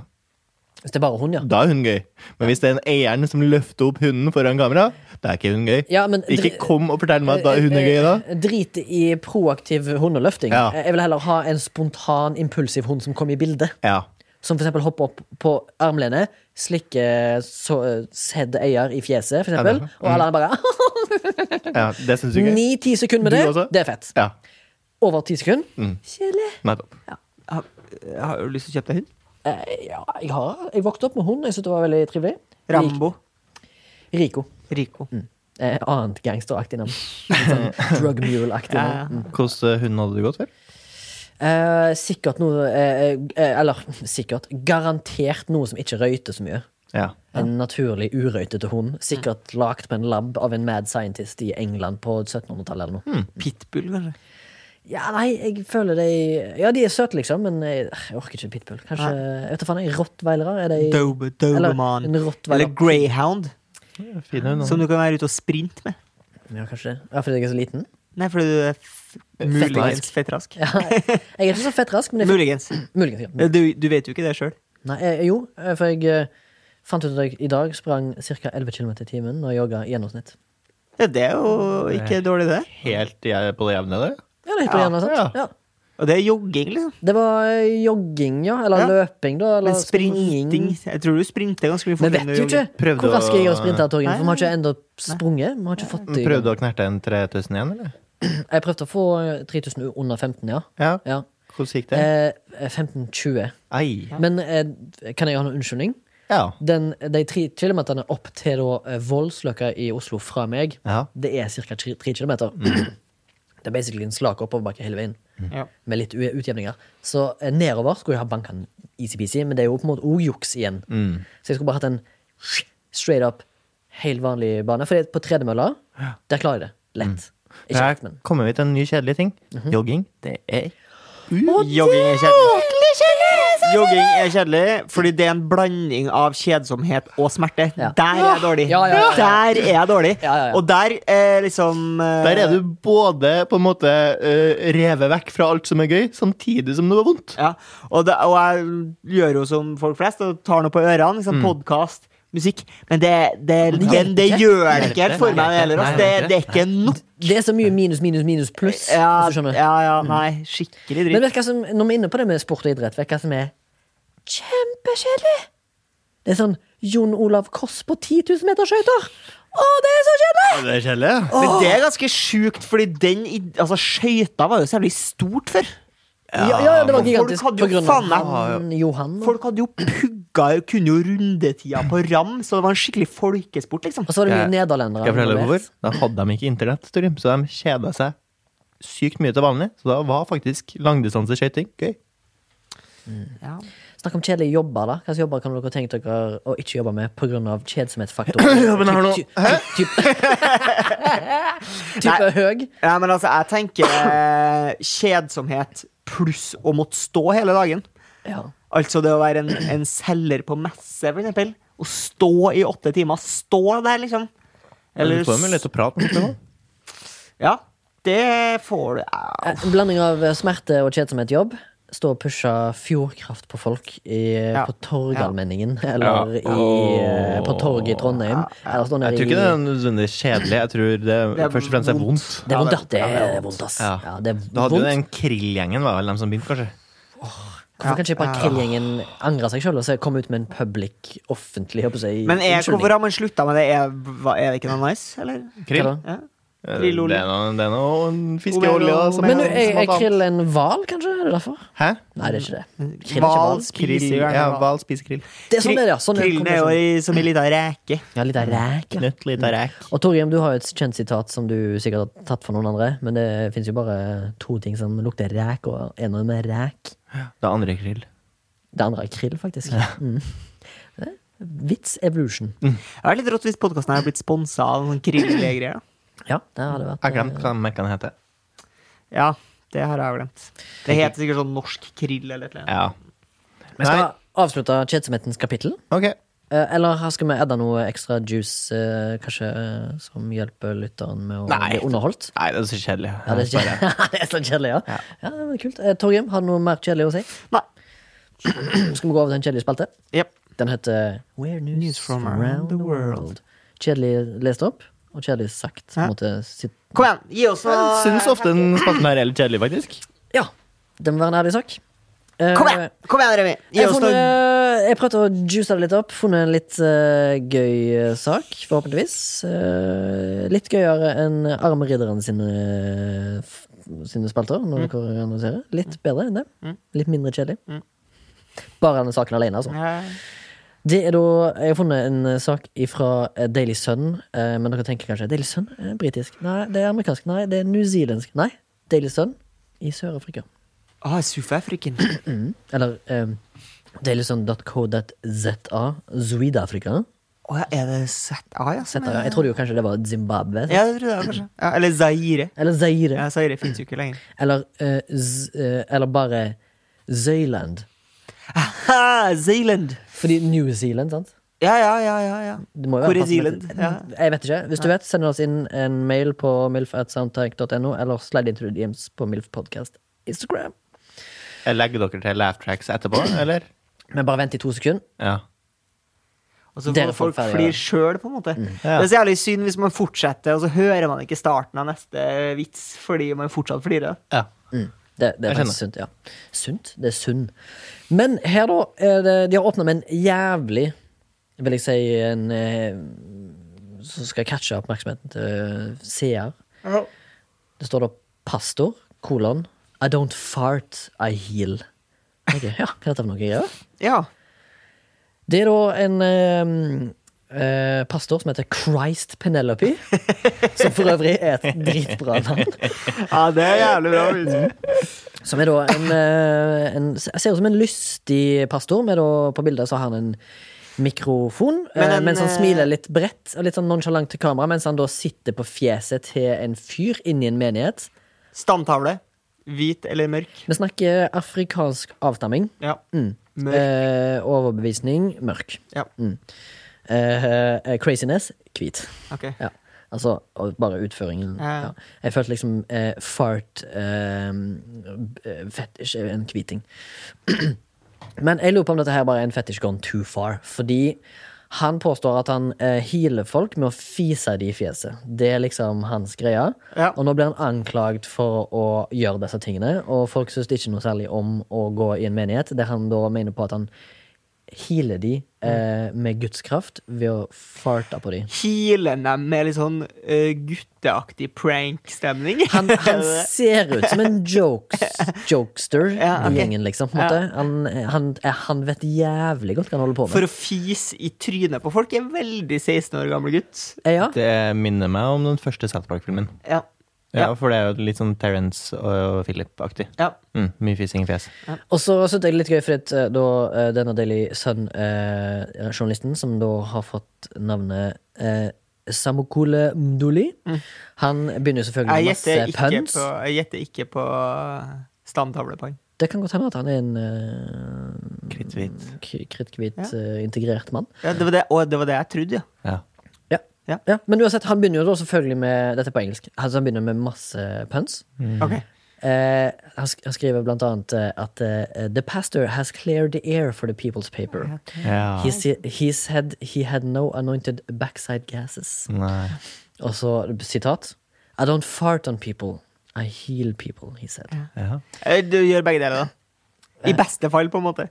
[SPEAKER 1] Hvis det er bare hun, ja.
[SPEAKER 3] Da er hun gøy. Men hvis det er en eieren som løfter opp hunden foran kamera, da er ikke hun gøy.
[SPEAKER 1] Ja, men dri-
[SPEAKER 3] Ikke kom og fortell meg at da er hun er gøy, da.
[SPEAKER 1] Eh, Drit i proaktiv hundeløfting.
[SPEAKER 3] Ja.
[SPEAKER 1] Eh, Jeg vil heller ha en spontan, impulsiv hund som kommer i bildet.
[SPEAKER 3] Ja.
[SPEAKER 1] Som for eksempel hopper opp på armlenet, slikker så, sedd eier i fjeset, for eksempel.
[SPEAKER 3] det er-
[SPEAKER 1] Og alle andre bare
[SPEAKER 3] ja det syns du er gøy.
[SPEAKER 1] Ni-ti sekunder med
[SPEAKER 3] Du
[SPEAKER 1] det,
[SPEAKER 3] også? Mm.
[SPEAKER 1] det er fett.
[SPEAKER 3] Ja.
[SPEAKER 1] Over ti sekunder. Kjedelig.
[SPEAKER 3] Nettopp.
[SPEAKER 2] Har, har du lyst til å kjøpe deg hund?
[SPEAKER 1] Eh, ja, jeg har Jeg vokste opp med hund. Jeg syntes det var veldig trivelig.
[SPEAKER 2] Rambo.
[SPEAKER 1] Rik- Rico.
[SPEAKER 2] Rico.
[SPEAKER 3] Mm.
[SPEAKER 1] Eh, annet gangsteraktig navn. Litt Sånn drug mule-aktig
[SPEAKER 2] Ja,
[SPEAKER 1] navn.
[SPEAKER 2] ja.
[SPEAKER 3] Hvordan hund hadde du gått for?
[SPEAKER 1] Eh, sikkert noe eh, eh, Eller sikkert. Garantert noe som ikke røyter så mye.
[SPEAKER 3] Ja.
[SPEAKER 1] En naturlig urøytete hund. Sikkert
[SPEAKER 2] Mm.
[SPEAKER 1] lagd på en lab av en mad scientist i England på 1700-tallet eller
[SPEAKER 2] Hmm.
[SPEAKER 1] noe.
[SPEAKER 2] Pitbull, kanskje.
[SPEAKER 1] Ja, nei, jeg føler de Ja, de er søte, liksom, men jeg, jeg orker ikke pitbull. Kanskje Jeg vet da faen, jeg. Rottweilere? Er de
[SPEAKER 2] Dobe, Doberman.
[SPEAKER 1] en
[SPEAKER 2] Eller,
[SPEAKER 1] rottweiler.
[SPEAKER 2] Greyhound,
[SPEAKER 3] Fin hund.
[SPEAKER 2] som du kan være ute og sprinte med.
[SPEAKER 1] Ja, kanskje det. Ja, fordi jeg er så liten?
[SPEAKER 2] Nei, fordi du er f muligens fettrask.
[SPEAKER 1] Ja, jeg er ikke så fett rask, men jeg
[SPEAKER 2] Muligens.
[SPEAKER 3] Mm.
[SPEAKER 1] Muligens. ja.
[SPEAKER 2] Du, du vet jo ikke det sjøl.
[SPEAKER 1] Nei, eh, jo, eh, for jeg eh, fant ut at jeg i dag sprang ca. 11 km i timen når jeg jogga i gjennomsnitt.
[SPEAKER 2] Ja, det er jo ikke dårlig, det.
[SPEAKER 3] Helt jeg på det jevne, det.
[SPEAKER 1] Ja, det, er helt på
[SPEAKER 2] Ja,
[SPEAKER 1] det jevne, sant? Ja.
[SPEAKER 2] Og det er jogging, liksom.
[SPEAKER 1] det var eh, jogging, ja. Eller
[SPEAKER 2] Ja.
[SPEAKER 1] løping, da. Eller
[SPEAKER 2] Men sprinting Jeg tror du sprinter ganske mye
[SPEAKER 1] Vi
[SPEAKER 2] fortere
[SPEAKER 1] vet
[SPEAKER 2] enn du
[SPEAKER 1] jo ikke
[SPEAKER 2] jogger.
[SPEAKER 3] Prøvde
[SPEAKER 1] hvor rask jeg er å
[SPEAKER 3] å-
[SPEAKER 1] sprinte av togen,
[SPEAKER 2] Nei.
[SPEAKER 1] for vi har ikke ennå sprunget. Vi har ikke fått det. i gang.
[SPEAKER 3] Prøvde å knerte en 3000 igjen, eller?
[SPEAKER 1] Jeg prøvde å få eh, 3000 under 15, ja.
[SPEAKER 3] Ja.
[SPEAKER 1] ja.
[SPEAKER 3] Hvordan gikk det?
[SPEAKER 1] Eh, 15-20.
[SPEAKER 3] Ei.
[SPEAKER 1] Men eh, kan jeg ha noen unnskyldning?
[SPEAKER 3] Ja.
[SPEAKER 1] Den, de tre kilometerne opp til da, eh, Voldsløkka i Oslo fra meg,
[SPEAKER 3] Ja.
[SPEAKER 1] det er ca. tre kilometer. Det er basically en slak oppoverbakke hele veien,
[SPEAKER 2] Ja.
[SPEAKER 1] med litt u- utjevninger. Så eh, nedover skulle jeg ha banka den easy-peasy, men det er jo på en måte òg juks igjen. Så jeg skulle bare hatt en straight up, helt vanlig bane. For på tredemølla, der klarer jeg det. Lett. Ikke
[SPEAKER 3] Her
[SPEAKER 1] lett, men
[SPEAKER 3] kommer vi til en ny kjedelig ting. Jogging. Det er
[SPEAKER 2] Jogging er kjedelig. Jogging er kjedelig fordi det er en blanding av kjedsomhet og smerte.
[SPEAKER 1] Ja.
[SPEAKER 2] Der er jeg dårlig.
[SPEAKER 1] Ja, ja, ja, ja.
[SPEAKER 2] Der er jeg dårlig.
[SPEAKER 1] Ja, ja, ja.
[SPEAKER 2] Og der er liksom eh,
[SPEAKER 3] Der er du både på en måte eh, revet vekk fra alt som er gøy, samtidig som det var vondt.
[SPEAKER 2] Ja, og, det, og jeg gjør jo som folk flest og tar noe på ørene. Liksom, Podkast, musikk. Men det, det,
[SPEAKER 1] det
[SPEAKER 2] men det
[SPEAKER 1] hjelper ikke.
[SPEAKER 2] gjør det ikke helt for meg, det heller. ass.
[SPEAKER 3] Nei,
[SPEAKER 2] Det,
[SPEAKER 3] det
[SPEAKER 2] det er ikke nok.
[SPEAKER 1] Det er så mye minus, minus, minus, pluss.
[SPEAKER 2] Ja,
[SPEAKER 1] hvis du skjønner. Mm.
[SPEAKER 2] ja, ja, nei. Skikkelig
[SPEAKER 1] Men
[SPEAKER 2] dritt.
[SPEAKER 1] vet du hva som, når vi er inne på det med sport og idrett, vet du hva som er kjempekjedelig? Det er sånn Jon Olav Koss på 10 000 meter skøyter! Å, det er så kjedelig!
[SPEAKER 3] Det er kjedelig, ja.
[SPEAKER 2] Men det er ganske sjukt, fordi den i- altså, skøyta var jo så jævlig stort før.
[SPEAKER 1] Ja, ja, det var
[SPEAKER 2] folk
[SPEAKER 1] gigantisk
[SPEAKER 2] hadde
[SPEAKER 1] på
[SPEAKER 2] jo
[SPEAKER 1] grunn
[SPEAKER 2] faen
[SPEAKER 1] av
[SPEAKER 2] meg-
[SPEAKER 1] han Johan. Og
[SPEAKER 2] Folk hadde jo pugga kunne jo rundetida på ram, så det var en skikkelig folkesport, liksom.
[SPEAKER 1] og så var det mye
[SPEAKER 3] Jeg-
[SPEAKER 1] nederlendere.
[SPEAKER 3] Skal jeg fortelle deg
[SPEAKER 1] involvert.
[SPEAKER 3] hvorfor? Da hadde de ikke internett, Torim, så de kjeda seg sykt mye til vanlig. Så da var faktisk langdistanseskøyting gøy.
[SPEAKER 2] Ja.
[SPEAKER 1] Snakk om kjedelige jobber, da. Hvilke jobber kan dere tenke dere å ikke jobbe med pga. kjedsomhetsfaktoren?
[SPEAKER 3] Ja, men jeg har noe-
[SPEAKER 1] Typ- typ- typ- Type høg.
[SPEAKER 2] Nei, men altså, jeg tenker eh, kjedsomhet pluss å måtte stå hele dagen.
[SPEAKER 1] Ja.
[SPEAKER 2] Altså det å være en, en selger på messe, for eksempel. Å stå i åtte timer. Stå der, liksom.
[SPEAKER 3] Eller
[SPEAKER 2] Eller
[SPEAKER 3] du får jo mulighet til å prate med folk.
[SPEAKER 2] Ja. Det får du ja.
[SPEAKER 1] Eh, En blanding av smerte og kjedsomhet jobb. Stå og pushe fjordkraft på folk i, eh,
[SPEAKER 2] Ja.
[SPEAKER 1] på Torgallmenningen, eller i, eh, på torget i Trondheim. Eller stå
[SPEAKER 3] Jeg
[SPEAKER 1] nede
[SPEAKER 3] tror ikke det er
[SPEAKER 1] i
[SPEAKER 3] nødvendigvis kjedelig. Jeg tror det,
[SPEAKER 2] Det er
[SPEAKER 3] først og fremst er vondt.
[SPEAKER 1] Det er vondt,
[SPEAKER 2] Ja,
[SPEAKER 1] da.
[SPEAKER 2] det-
[SPEAKER 1] Det
[SPEAKER 2] ja, det er
[SPEAKER 1] er
[SPEAKER 2] vondt.
[SPEAKER 1] vondt, ass.
[SPEAKER 3] Ja.
[SPEAKER 1] Ja, det er
[SPEAKER 3] Du hadde jo
[SPEAKER 1] vondt.
[SPEAKER 3] den krillgjengen, var vel dem som begynte, kanskje?
[SPEAKER 1] Hvorfor kan ikke bare Krill-gjengen angre seg sjøl og så komme ut med en public, offentlig jeg håper å si,
[SPEAKER 2] Men er, hvorfor
[SPEAKER 1] unnskyldning?
[SPEAKER 2] har man slutta med det? Er, hva- er det ikke noe nice, eller?
[SPEAKER 3] Krill?
[SPEAKER 1] Hva da?
[SPEAKER 2] Ja.
[SPEAKER 3] Eh, Det
[SPEAKER 2] Krillolje.
[SPEAKER 3] er noe, det er noe fiskeolje
[SPEAKER 2] Omero-
[SPEAKER 3] som
[SPEAKER 1] Men nå,
[SPEAKER 2] Omero-
[SPEAKER 1] er, er
[SPEAKER 3] smak av-
[SPEAKER 1] krill en hval, kanskje? Er det derfor?
[SPEAKER 3] Hæ?
[SPEAKER 1] Nei, det er ikke det. Krill er ikke
[SPEAKER 2] Hval
[SPEAKER 1] hval.
[SPEAKER 2] spiser
[SPEAKER 3] Krill,
[SPEAKER 2] jo
[SPEAKER 3] ja,
[SPEAKER 2] gjerne hval.
[SPEAKER 3] hval spiser krill.
[SPEAKER 1] Det er sånn det er, ja. Sånn er
[SPEAKER 2] Krillen er jo i, som ei lita reke.
[SPEAKER 1] Ja, litt av ræk, ja.
[SPEAKER 3] Nøtt lita ræk.
[SPEAKER 1] Og Torgrim, du har jo et kjent sitat som du sikkert har tatt for noen andre, men det fins jo bare to ting som lukter ræk, og en av dem er ræk.
[SPEAKER 3] Det er andre krill. Det
[SPEAKER 1] Det andre er krill, faktisk. Mm. Det er Vits evolution.
[SPEAKER 3] Mm.
[SPEAKER 2] Det hadde vært litt rått hvis podkasten hadde blitt sponsa av noen krillgreier.
[SPEAKER 1] Ja, det hadde vært
[SPEAKER 3] Jeg glemte hva mekken heter.
[SPEAKER 2] Ja, Det har jeg glemt. Det heter sikkert sånn norsk krill eller et eller annet.
[SPEAKER 3] Ja.
[SPEAKER 1] Vi skal
[SPEAKER 3] Nei.
[SPEAKER 1] avslutte kjedsomhetens kapittel.
[SPEAKER 3] Ok.
[SPEAKER 1] Eh, Eller her skal vi edda noe ekstra juice, eh, kanskje, eh, som hjelper lytteren med å
[SPEAKER 3] Nei.
[SPEAKER 1] bli underholdt?
[SPEAKER 3] Nei, det er så kjedelig.
[SPEAKER 1] Ja, det er, kjedelig. det er så kjedelig, ja. ja. men kult. Eh, Torgrim, har du noe mer kjedelig å si?
[SPEAKER 2] Nei.
[SPEAKER 1] Skal vi gå over til en kjedelig spalte?
[SPEAKER 2] Jep.
[SPEAKER 1] Den heter Where News,
[SPEAKER 2] from
[SPEAKER 1] from
[SPEAKER 2] around
[SPEAKER 1] Around
[SPEAKER 2] the
[SPEAKER 1] the World. Kjedelig lest opp, og kjedelig sagt. På
[SPEAKER 2] Ja.
[SPEAKER 1] en måte. sitt-
[SPEAKER 2] Kom igjen, gi oss noe
[SPEAKER 3] Jeg syns ofte den spalten her er litt kjedelig, faktisk.
[SPEAKER 1] Ja, det må være en ærlig sak. Eh,
[SPEAKER 2] Kom igjen, kom igjen, Remi. Gi
[SPEAKER 1] Jeg, har
[SPEAKER 2] oss noe
[SPEAKER 1] funnet, jeg prøvde å juice det litt opp. Funnet en litt eh, gøy eh, sak, forhåpentligvis. Eh, litt gøyere enn Arme ridderen sine, eh, f- sine spalter.
[SPEAKER 2] Mm.
[SPEAKER 1] Når dere analyserer. Litt bedre enn det. Litt mindre kjedelig. Bare denne saken alene, altså.
[SPEAKER 2] Ja.
[SPEAKER 1] Det er da, Jeg har funnet en eh, sak fra Daily Sun. eh, Men dere tenker kanskje Daily Sun er britisk. Nei, det er amerikansk. Nei, det er newzealandsk. Nei, Daily Sun i Sør-Afrika.
[SPEAKER 2] Ah, Sufafriken.
[SPEAKER 1] Eller eh, dailysun.co.za. Zuid-Afrika.
[SPEAKER 2] Å ja, er det ZA, ja? som
[SPEAKER 1] Zeta,
[SPEAKER 2] er-
[SPEAKER 1] ja. Jeg trodde jo kanskje det var Zimbabwe. sant?
[SPEAKER 2] Ja, det trodde jeg kanskje. Ja, eller Zaire.
[SPEAKER 1] Eller Zaire.
[SPEAKER 2] Ja, Zaire fins jo ikke lenger.
[SPEAKER 1] Eller, eh, z, eh, eller bare Zøyland.
[SPEAKER 2] Ha, Zealand.
[SPEAKER 1] Fordi New Zealand, sant?
[SPEAKER 2] Ja, ja, ja, ja. ja.
[SPEAKER 1] Det må jo
[SPEAKER 2] Hvor
[SPEAKER 1] være
[SPEAKER 2] er
[SPEAKER 1] pass med-
[SPEAKER 2] Zealand? Ja.
[SPEAKER 1] Jeg vet ikke. Hvis du vet, send oss inn en mail på milf.soundtank.no, eller slide into the DMs på milfpodcast Instagram.
[SPEAKER 3] Jeg legger dere til laugh tracks etterpå, eller?
[SPEAKER 1] Men bare vent i to sekunder.
[SPEAKER 3] Ja.
[SPEAKER 2] Og så
[SPEAKER 1] Dere
[SPEAKER 2] får folk
[SPEAKER 1] får ferdig,
[SPEAKER 2] flir
[SPEAKER 1] ja. Mm.
[SPEAKER 2] sjøl, på en måte.
[SPEAKER 3] Ja.
[SPEAKER 2] Det er så jævlig synd hvis man fortsetter, og så hører man ikke starten av neste vits fordi man fortsatt flirer.
[SPEAKER 3] ja.
[SPEAKER 1] Det, det er
[SPEAKER 3] Jeg
[SPEAKER 1] faktisk sunt, ja. Sunt? Det er sunn. Men her, da. Er det, de har åpna med en jævlig Vil jeg si en eh, Som skal catche oppmerksomheten til eh, seer. Det står da 'pastor', kolon 'I don't fart, I heal'. Ok, ja, Hva er dette for noe greier?
[SPEAKER 2] Ja.
[SPEAKER 1] Det er da en eh, eh, pastor som heter Christ Penelope. Som for øvrig er et dritbra navn.
[SPEAKER 2] ja, det er jævlig bra. vits.
[SPEAKER 1] Som er da en, eh, en Ser ut som en lystig pastor, men da på bildet så har han en mikrofon.
[SPEAKER 2] Men
[SPEAKER 1] eh,
[SPEAKER 2] en,
[SPEAKER 1] mens han
[SPEAKER 2] eh,
[SPEAKER 1] smiler litt bredt og litt sånn nonchalant til kamera, mens han da sitter på fjeset til en fyr inni en menighet.
[SPEAKER 2] Stamtavle. Hvit eller mørk?
[SPEAKER 1] Vi snakker afrikansk avstamming.
[SPEAKER 2] Ja.
[SPEAKER 1] Mm.
[SPEAKER 2] Mørk.
[SPEAKER 1] Eh, mm. overbevisning mørk.
[SPEAKER 2] Ja.
[SPEAKER 1] Eh, eh, craziness hvit.
[SPEAKER 2] Ok.
[SPEAKER 1] Ja. Altså og bare utføringen.
[SPEAKER 2] Ja.
[SPEAKER 1] Ja. Jeg følte liksom eh, fart eh, b- eh, Fetisj er jo en kviting. Men jeg lurer på om dette her bare er en fetisj gone too far. Fordi han påstår at han eh, healer folk med å fise de i fjeset. Det er liksom hans greie.
[SPEAKER 2] Ja.
[SPEAKER 1] Og nå blir han anklagd for å gjøre disse tingene, og folk syns det ikke noe særlig om å gå i en menighet der han da mener på at han healer de eh,
[SPEAKER 2] Mm.
[SPEAKER 1] med Guds kraft ved å farte på de.
[SPEAKER 2] Healer dem med litt sånn eh, gutteaktig prank-stemning?
[SPEAKER 1] Han, han ser ut som en jokes, jokester
[SPEAKER 2] Ja, ok.
[SPEAKER 1] i gjengen, liksom. På en måte. Han, han, eh, han vet jævlig godt hva han holder på med.
[SPEAKER 2] For å fise i trynet på folk. En veldig 16 år gammel gutt.
[SPEAKER 1] Eh, ja.
[SPEAKER 3] Det minner meg om den første South Park-filmen.
[SPEAKER 2] Ja.
[SPEAKER 3] Ja,
[SPEAKER 2] Ja.
[SPEAKER 3] For det er jo litt sånn Terence og Philip-aktig.
[SPEAKER 2] Ja.
[SPEAKER 3] Mm, mye fising i fjes.
[SPEAKER 1] Og så synes jeg det er litt gøy, fordi at, eh, da eh, denne Daily Sun-journalisten, eh, som da har fått navnet eh, Samokole Mdoli, han begynner jo selvfølgelig
[SPEAKER 2] Mm. Jeg
[SPEAKER 1] med
[SPEAKER 2] gjetter
[SPEAKER 1] masse
[SPEAKER 2] ikke
[SPEAKER 1] puns.
[SPEAKER 2] på, jeg gjetter ikke på eh, stamtavle på han.
[SPEAKER 1] Det kan godt hende at han er en eh,
[SPEAKER 3] Kritthvit.
[SPEAKER 1] k- kritthvit, eh, integrert mann.
[SPEAKER 2] Ja, det, var det, og det var det jeg trodde, ja.
[SPEAKER 3] Ja.
[SPEAKER 1] Ja.
[SPEAKER 2] Ja.
[SPEAKER 1] Ja, men uansett, han begynner jo da selvfølgelig med Dette er på engelsk. Altså, han begynner med masse puns.
[SPEAKER 2] Ok.
[SPEAKER 1] Eh, han, sk han skriver blant annet eh, at eh, The pastor has cleared the air for the people's paper.
[SPEAKER 3] ja.
[SPEAKER 1] He, si- he said he had no anointed backside gases.
[SPEAKER 3] Nei.
[SPEAKER 1] Og så sitat. I don't fart on people. I heal people, he said.
[SPEAKER 3] Ja.
[SPEAKER 2] Eh, Du gjør begge deler, da.
[SPEAKER 1] Eh.
[SPEAKER 2] I beste fall, på en måte.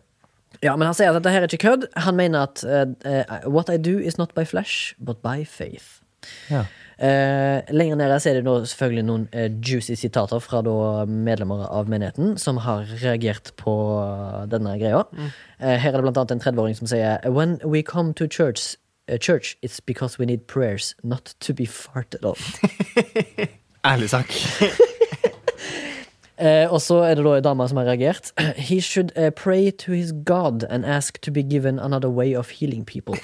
[SPEAKER 1] Ja, men han sier at dette her er ikke kødd. Han mener at eh, eh, what I do is not by flesh, but by faith.
[SPEAKER 3] Ja.
[SPEAKER 1] Eh, lenger nede så er det nå selvfølgelig noen eh, juicy sitater fra da medlemmer av menigheten som har reagert på denne greia. Eh, her er det blant annet en 30-åring som sier When we come to church, eh, church it's because we need prayers not to be farted on.
[SPEAKER 3] Ærlig sak.
[SPEAKER 1] Eh, og så er det da ei dame som har reagert. He should eh, pray to his God and ask to be given another way of healing people.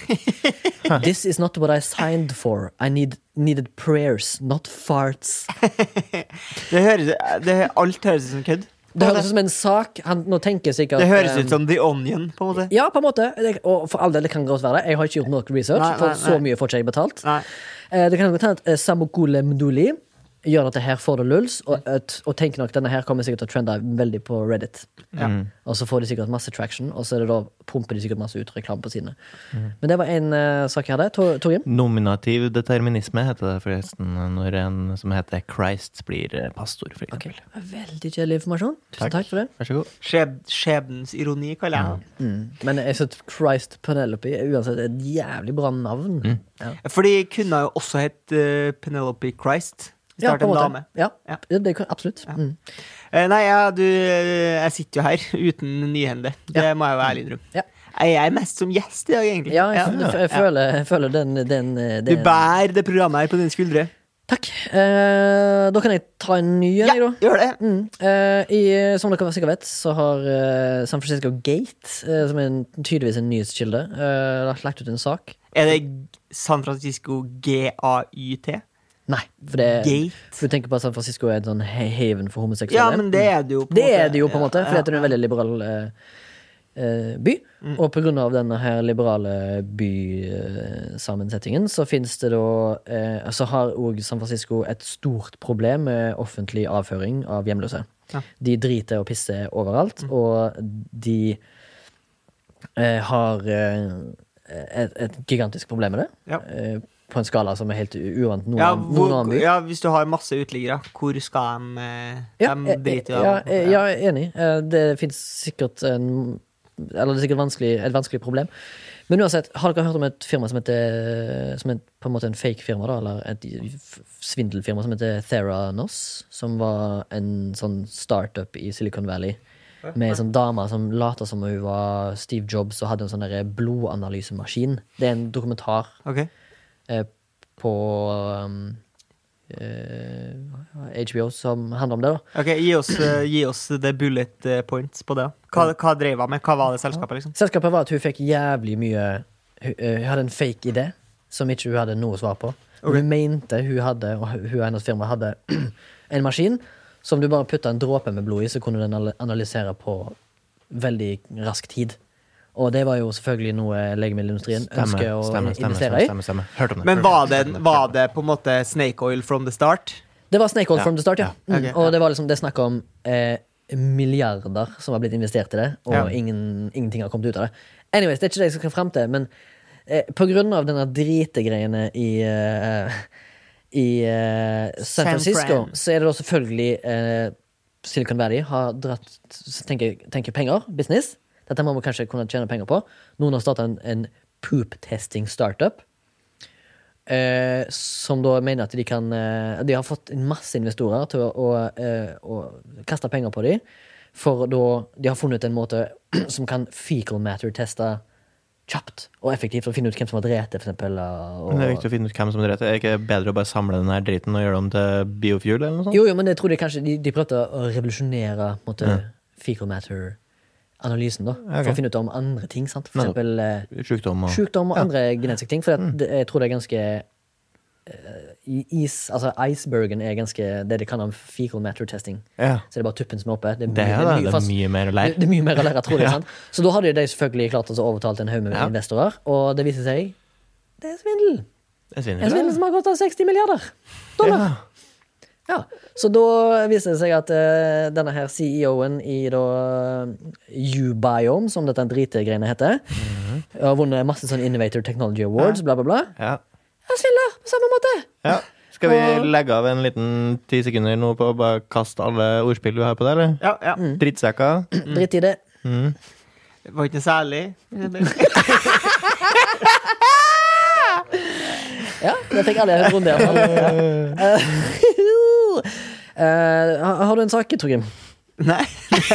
[SPEAKER 1] This is not what I signed for. I need, needed prayers, not farts.
[SPEAKER 2] Det høres, det, alt høres ut som kødd.
[SPEAKER 1] Det høres ut som en sak. Han, nå tenker jeg sikkert
[SPEAKER 2] Det høres ut
[SPEAKER 1] eh,
[SPEAKER 2] som The Onion, på en måte.
[SPEAKER 1] Ja, på en måte. Det- Og for all del, det kan godt være det. Jeg har ikke gjort nok research,
[SPEAKER 2] Nei, nei,
[SPEAKER 1] for så
[SPEAKER 2] nei.
[SPEAKER 1] mye får ikke jeg betalt.
[SPEAKER 2] Nei.
[SPEAKER 1] Eh, Det kan godt hende at eh, Samokole Mdoli gjør dette her for det lulls, og, et- og tenker nok denne her kommer sikkert til å trende veldig på Reddit.
[SPEAKER 2] Ja.
[SPEAKER 1] Og så får de sikkert masse traction, og så er det da pumper de sikkert masse ut reklame på sidene.
[SPEAKER 2] Mhm.
[SPEAKER 1] Men det var en eh, sak jeg hadde. Tor- Torgrim?
[SPEAKER 3] Nominativ determinisme heter det forresten når en som heter Christ blir eh, pastor, for
[SPEAKER 1] Ok,
[SPEAKER 3] eksempel.
[SPEAKER 1] det var Veldig kjedelig informasjon. Tusen takk, for det.
[SPEAKER 3] Vær så god.
[SPEAKER 2] Skjeb, skjebnens ironi, kaller jeg det.
[SPEAKER 1] Mm. Men jeg synes Christ Penelope er uansett et jævlig bra navn.
[SPEAKER 2] Mm.
[SPEAKER 1] Ja.
[SPEAKER 2] For de kunne jo også hett eh, Penelope Christ. Hvis det
[SPEAKER 1] Ja,
[SPEAKER 2] hadde
[SPEAKER 1] på en
[SPEAKER 2] vært en
[SPEAKER 1] måte.
[SPEAKER 2] dame.
[SPEAKER 1] Ja,
[SPEAKER 2] Ja.
[SPEAKER 1] det, det kan, absolutt. Mm.
[SPEAKER 2] Eh, Nei, ja, du, eh, jeg sitter jo her uten nyhende. Det må jeg jo ærlig innrømme.
[SPEAKER 1] Ja.
[SPEAKER 2] Jeg er mest som gjest i dag, egentlig.
[SPEAKER 1] Ja, jeg,
[SPEAKER 2] Ja.
[SPEAKER 1] f- jeg, føler, jeg føler den, den, den
[SPEAKER 2] Du bærer det programmet her på dine skuldre.
[SPEAKER 1] Takk. Eh, da kan jeg ta en ny en,
[SPEAKER 2] Ja,
[SPEAKER 1] jeg, da.
[SPEAKER 2] gjør det.
[SPEAKER 1] Mm. Eh, i, som dere sikkert vet, så har eh, San Francisco Gate, eh, som er en, tydeligvis en nyhetskilde, eh, lagt- lagt ut en sak.
[SPEAKER 2] Er det San Francisco GAYT?
[SPEAKER 1] Nei, for det
[SPEAKER 2] Gate?
[SPEAKER 1] For du tenker på at San Francisco er en sånn he- haven for homoseksuelle.
[SPEAKER 2] Ja, men det er det jo.
[SPEAKER 1] Det er det jo, på en måte,
[SPEAKER 2] Ja, Mm.
[SPEAKER 1] for
[SPEAKER 2] ja,
[SPEAKER 1] det er en veldig liberal eh, eh, by. Og på grunn av denne her liberale bysammensetningen, så finnes det da eh, Så har òg San Francisco et stort problem med offentlig avføring av hjemløse.
[SPEAKER 2] Ja. Mm.
[SPEAKER 1] De driter og pisser overalt, og de eh, har eh, et, et gigantisk problem med det.
[SPEAKER 2] Ja.
[SPEAKER 1] Eh, på en skala som er helt u- uant noen,
[SPEAKER 2] Ja,
[SPEAKER 1] annen- noen
[SPEAKER 2] hvor,
[SPEAKER 1] annen by.
[SPEAKER 2] ja, hvis du har masse uteliggere, hvor skal de eh,
[SPEAKER 1] Ja,
[SPEAKER 2] De
[SPEAKER 1] eh,
[SPEAKER 2] driter jo
[SPEAKER 1] ja,
[SPEAKER 2] av-
[SPEAKER 1] eh, ja, jeg er enig. Eh, Det fins sikkert en Eller det er sikkert vanskelig, et vanskelig problem. Men uansett, har dere hørt om et firma som heter Som er på en måte en fake firma, da? Eller et f- svindelfirma som heter Theranos? Som var en sånn startup i Silicon Valley. Med ei sånn dame som later som hun var Steve Jobs og hadde en sånn derre blodanalysemaskin. Det er en dokumentar
[SPEAKER 2] Ok.
[SPEAKER 1] eh, på um, eh, HBO som handler om det, da.
[SPEAKER 2] Ok, gi oss, eh, gi oss the bullet eh, points på det. Hva, hva drev hun med? Hva var det selskapet, liksom?
[SPEAKER 1] Selskapet var at hun fikk jævlig mye Hun, eh, hun hadde en fake idé som ikke hun hadde noe svar på. Men Hun mente hun hadde, og hun og hennes firma hadde, en maskin som du bare putta en dråpe med blod i, så kunne den anal- analysere på veldig rask tid. Og det var jo selvfølgelig noe legemiddelindustrien ønsker å investere i.
[SPEAKER 3] stemme, stemme. Hørt om det.
[SPEAKER 2] Men
[SPEAKER 3] hørt om
[SPEAKER 2] var det, var det på en måte snake oil from the start?
[SPEAKER 1] Det var Snake Oil
[SPEAKER 3] Ja.
[SPEAKER 1] from the start, ja.
[SPEAKER 2] Ja.
[SPEAKER 1] Mm,
[SPEAKER 2] Ok, ja.
[SPEAKER 1] og det var liksom, det er snakk om eh, milliarder som har blitt investert i det, og
[SPEAKER 2] Ja.
[SPEAKER 1] ingen, ingenting har kommet ut av det. Anyways, det er ikke det jeg skal frem til, men eh, på grunn av denne dritegreiene i eh, i eh, San
[SPEAKER 2] San
[SPEAKER 1] Francisco,
[SPEAKER 2] Fran.
[SPEAKER 1] så er det da selvfølgelig eh, Silicon Valley har dratt så tenker, tenker penger, business. Dette må man kanskje kunne tjene penger på. Noen har starta en, en poop-testing-startup. Eh, som da mener at de kan eh, De har fått en masse investorer til å, å, eh, å kaste penger på dem. For da de har funnet en måte som kan fecal matter-teste kjapt og effektivt. Og finne ut hvem som har drept det, for eksempel. Og,
[SPEAKER 3] Men det er viktig å finne ut hvem som dreper. Er det ikke bedre å bare samle den her driten og gjøre det om til biofuel? eller noe sånt?
[SPEAKER 1] Jo, jo, men jeg tror de kanskje de, de prøvde å revolusjonere på en måte, fecal matter-analysen. da For
[SPEAKER 3] Ok.
[SPEAKER 1] å finne ut om andre ting. sant? For
[SPEAKER 3] Nettopp.
[SPEAKER 1] eksempel eh,
[SPEAKER 3] Sjukdom og
[SPEAKER 1] sjukdom og andre genetiske ting. For at det, jeg tror det er ganske eh, i- is, altså Icebergen er ganske det de kaller fecal matter-testing.
[SPEAKER 3] Ja.
[SPEAKER 1] Så det er bare tuppen som er oppe. Det er mye,
[SPEAKER 3] Det er det. Det er
[SPEAKER 1] fast-
[SPEAKER 3] mye mer å
[SPEAKER 1] det,
[SPEAKER 3] lære.
[SPEAKER 1] det er mye mer å lære, tror jeg. sant? Så da hadde de selvfølgelig klart å overtale en haug med
[SPEAKER 3] Ja.
[SPEAKER 1] investorer, og det viser seg det er svindel.
[SPEAKER 3] Jeg svinner.
[SPEAKER 1] En svindel som har gått av 60 milliarder dollar.
[SPEAKER 3] Ja.
[SPEAKER 1] Ja, Så da viser det seg at eh, denne her CEO-en i da U-Biome, som dette dritegreiene heter, har vunnet masse sånn Innovator Technology Awards, bla, bla, bla.
[SPEAKER 3] Mhm. Ja.
[SPEAKER 1] Ja, svindler på samme måte!
[SPEAKER 3] ja. Skal vi
[SPEAKER 1] Og-
[SPEAKER 3] legge av en liten ti sekunder nå på å bare kaste alle ordspill du har på det, eller?
[SPEAKER 2] Ja, ja.
[SPEAKER 1] Mm.
[SPEAKER 3] Drittsekker.
[SPEAKER 2] Mm.
[SPEAKER 1] Dritt i det.
[SPEAKER 2] Det var ikke noe særlig.
[SPEAKER 1] Ja, det fikk alle en runde. i hvert fall. Ja. Eh, har- har du en sak, Torgrim?
[SPEAKER 2] Nei.